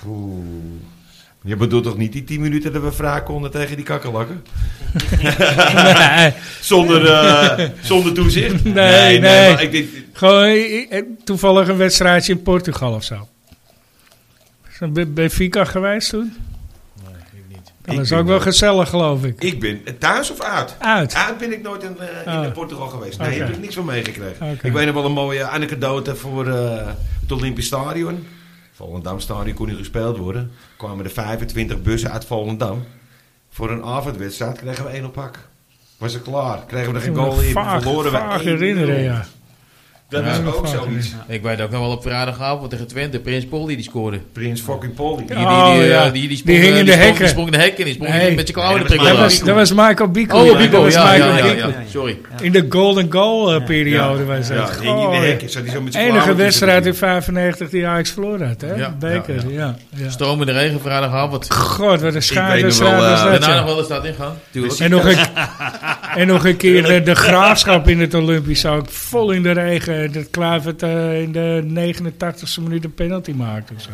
Speaker 3: Poeh. Je bedoelt toch niet die 10 minuten dat we vragen konden tegen die kakkerlakken?
Speaker 1: nee,
Speaker 3: Zonder, eh, zonder toezicht?
Speaker 1: Nee, nee.
Speaker 3: maar ik denk,
Speaker 1: gewoon eh, eh, toevallig een wedstrijdje in Portugal of zo. Is dat bij- bij Benfica geweest toen?
Speaker 4: Nee, ik niet.
Speaker 1: Dat
Speaker 3: Ik
Speaker 1: is
Speaker 3: ben
Speaker 1: ook wel
Speaker 3: wel-
Speaker 1: gezellig, geloof ik.
Speaker 3: ik ben thuis of uit?
Speaker 1: Uit.
Speaker 3: Uit ben ik nooit in, eh, in
Speaker 1: Ah.
Speaker 3: Portugal geweest. Nee,
Speaker 1: Oké.
Speaker 3: heb ik niks van meegekregen.
Speaker 1: Oké.
Speaker 3: Ik weet nog wel een mooie anekdote voor eh, het Olympisch Stadion. Volendam Stadion kon niet gespeeld worden. Kwamen er 25 bussen uit Volendam. Voor een avondwedstrijd kregen we één eh, op hak. Was het klaar. Kregen we er geen goal in.
Speaker 1: Vaag-
Speaker 3: verloren we
Speaker 1: vaag
Speaker 3: 1-0.
Speaker 1: herinneren, ja.
Speaker 3: Dat
Speaker 4: Ja.
Speaker 3: is ook
Speaker 1: Ja.
Speaker 3: zoiets.
Speaker 4: Ik weet ook nog wel op vrijdagavond tegen Twente, Prins Polly die scoorde.
Speaker 3: Prins fucking Polly.
Speaker 4: Die, die,
Speaker 1: Oh,
Speaker 4: die, eh,
Speaker 1: ja.
Speaker 4: die,
Speaker 1: Die
Speaker 4: sprong,
Speaker 1: hing
Speaker 4: eh,
Speaker 1: in de
Speaker 4: sprong-
Speaker 1: hekken.
Speaker 4: die sprong in de hekken. Die sprong
Speaker 1: Nee.
Speaker 4: met je klauwen
Speaker 2: Nee,
Speaker 4: de
Speaker 2: dat was
Speaker 1: Dat
Speaker 4: prikkel.
Speaker 1: was,
Speaker 4: af.
Speaker 1: dat was Michael Bico.
Speaker 4: Oh,
Speaker 1: Ja,
Speaker 4: Bico,
Speaker 1: dat was
Speaker 4: ja,
Speaker 1: Michael
Speaker 4: ja, ja,
Speaker 1: Bico.
Speaker 4: ja, Sorry.
Speaker 1: In de Golden Goal eh, periode
Speaker 3: Ja.
Speaker 1: was
Speaker 3: Ja,
Speaker 1: het.
Speaker 3: die hing in de
Speaker 1: Goh,
Speaker 3: hekken. Zat hij zo met zijn
Speaker 1: Enige
Speaker 3: klauwen
Speaker 1: wedstrijd in
Speaker 3: tussen
Speaker 1: 95 die Ajax verloren had, hè?
Speaker 4: Ja,
Speaker 1: Beker, ja.
Speaker 4: ja,
Speaker 1: ja.
Speaker 4: Stroom in de regen vrijdagavond.
Speaker 1: God, wat een
Speaker 3: weet nog
Speaker 1: schaardwedstrijd
Speaker 3: wel,
Speaker 1: was
Speaker 3: eh,
Speaker 1: dat,
Speaker 4: Daarna
Speaker 1: ja.
Speaker 4: nog wel de stad ingaan. Tuurlijk.
Speaker 1: En nog, een, en nog een keer eh, de, de graafschap in het Olympisch ook. Vol in de regen. Dat Klavert eh, in de 89ste minuut een penalty maakte. of Zo.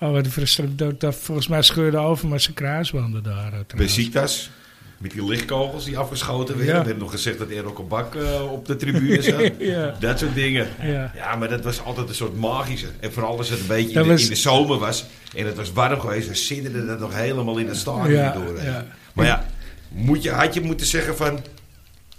Speaker 1: Oh, wat een frustratie. Dat, dat volgens mij scheurde over maar zijn kruisbanden daar. eh,
Speaker 3: Bij
Speaker 1: trouwens.
Speaker 3: Siktas. Met die lichtkogels die afgeschoten werden.
Speaker 1: Ja.
Speaker 3: We hebben nog gezegd dat Errol Kabak eh, op de tribune zat.
Speaker 1: Ja.
Speaker 3: Dat soort dingen.
Speaker 1: Ja.
Speaker 3: Ja, maar dat was altijd een soort magische. En vooral als het een beetje in
Speaker 1: Dat
Speaker 3: de,
Speaker 1: was-
Speaker 3: in de zomer was. En het was warm geweest. Dan sidderde dat nog helemaal in het stadion
Speaker 1: Ja,
Speaker 3: door. hè.
Speaker 1: ja.
Speaker 3: Maar ja, moet je, had je moeten zeggen van...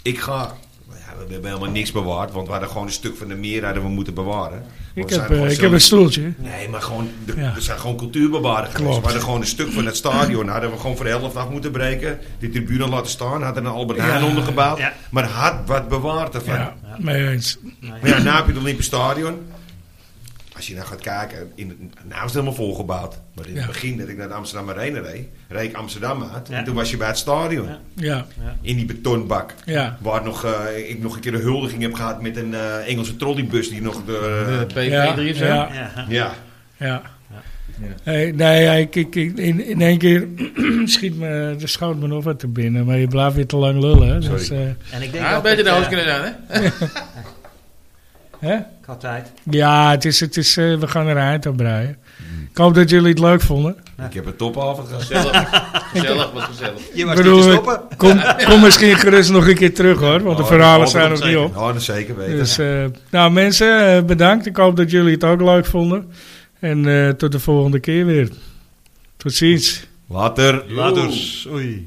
Speaker 3: Ik ga... Maar Ja, we hebben helemaal niks bewaard. Want we hadden gewoon een stuk van de meer hadden we moeten bewaren. Want we
Speaker 1: Ik
Speaker 3: zijn
Speaker 1: heb, eh,
Speaker 3: gewoon
Speaker 1: ik
Speaker 3: zo-
Speaker 1: heb een stoeltje.
Speaker 3: Nee, maar gewoon, de,
Speaker 1: Ja.
Speaker 3: we zijn gewoon cultuurbewaarder geweest.
Speaker 1: Klopt.
Speaker 3: We hadden gewoon een stuk van het stadion. Hadden we gewoon voor de helft af moeten breken. Die tribune laten staan. Hadden een Albert Heijn ondergebouwd.
Speaker 2: Ja.
Speaker 3: Maar had wat bewaard ervan.
Speaker 1: Ja, mee eens.
Speaker 3: Maar ja, nou heb je het Olympisch Stadion. Als je nou gaat kijken, in, nou is het helemaal volgebouwd. Maar in
Speaker 1: Ja.
Speaker 3: het begin dat ik naar de Amsterdam Arena reed, reed ik Amsterdam uit.
Speaker 2: Ja.
Speaker 3: En toen was je bij het stadion.
Speaker 2: Ja.
Speaker 1: Ja,
Speaker 3: In die betonbak.
Speaker 1: ja.
Speaker 3: Waar nog, eh, ik nog een keer een huldiging heb gehad met een eh, Engelse trolleybus die nog... eh, De,
Speaker 4: De
Speaker 1: Ja,
Speaker 4: PV3 of zo.
Speaker 1: ja.
Speaker 2: Ja.
Speaker 3: ja,
Speaker 1: Ja. Hey, nee, ja, ik, ik, ik- in, in één keer schiet me, er schoot me nog wat te binnen, maar je blijft weer te lang lullen. hè. Dus, eh,
Speaker 2: En ik denk
Speaker 4: Ja,
Speaker 2: ook
Speaker 4: beter de
Speaker 2: dat,
Speaker 4: hoofd
Speaker 2: eh,
Speaker 4: kunnen doen, hè?
Speaker 1: hè?
Speaker 2: Ik had tijd.
Speaker 1: Ja, het is, het is, eh, we gaan er een eind aan breien. Ik hoop dat jullie het leuk vonden.
Speaker 3: ik heb een topavond gehad.
Speaker 4: Gezellig. Gezellig, was gezellig.
Speaker 2: Je was
Speaker 1: Ik
Speaker 2: niet te
Speaker 1: bedoel,
Speaker 2: stoppen.
Speaker 1: Kom, kom misschien gerust nog een keer terug hoor, want de
Speaker 3: Oh,
Speaker 1: verhalen
Speaker 3: dat
Speaker 1: zijn
Speaker 2: komt
Speaker 1: nog niet
Speaker 2: zeker.
Speaker 1: op.
Speaker 3: Oh, dat zeker weten.
Speaker 1: Dus, eh, nou mensen, eh, bedankt. Ik hoop dat jullie het ook leuk vonden. En eh, tot de volgende keer weer. Tot ziens.
Speaker 3: Later.
Speaker 2: Laters. Oei.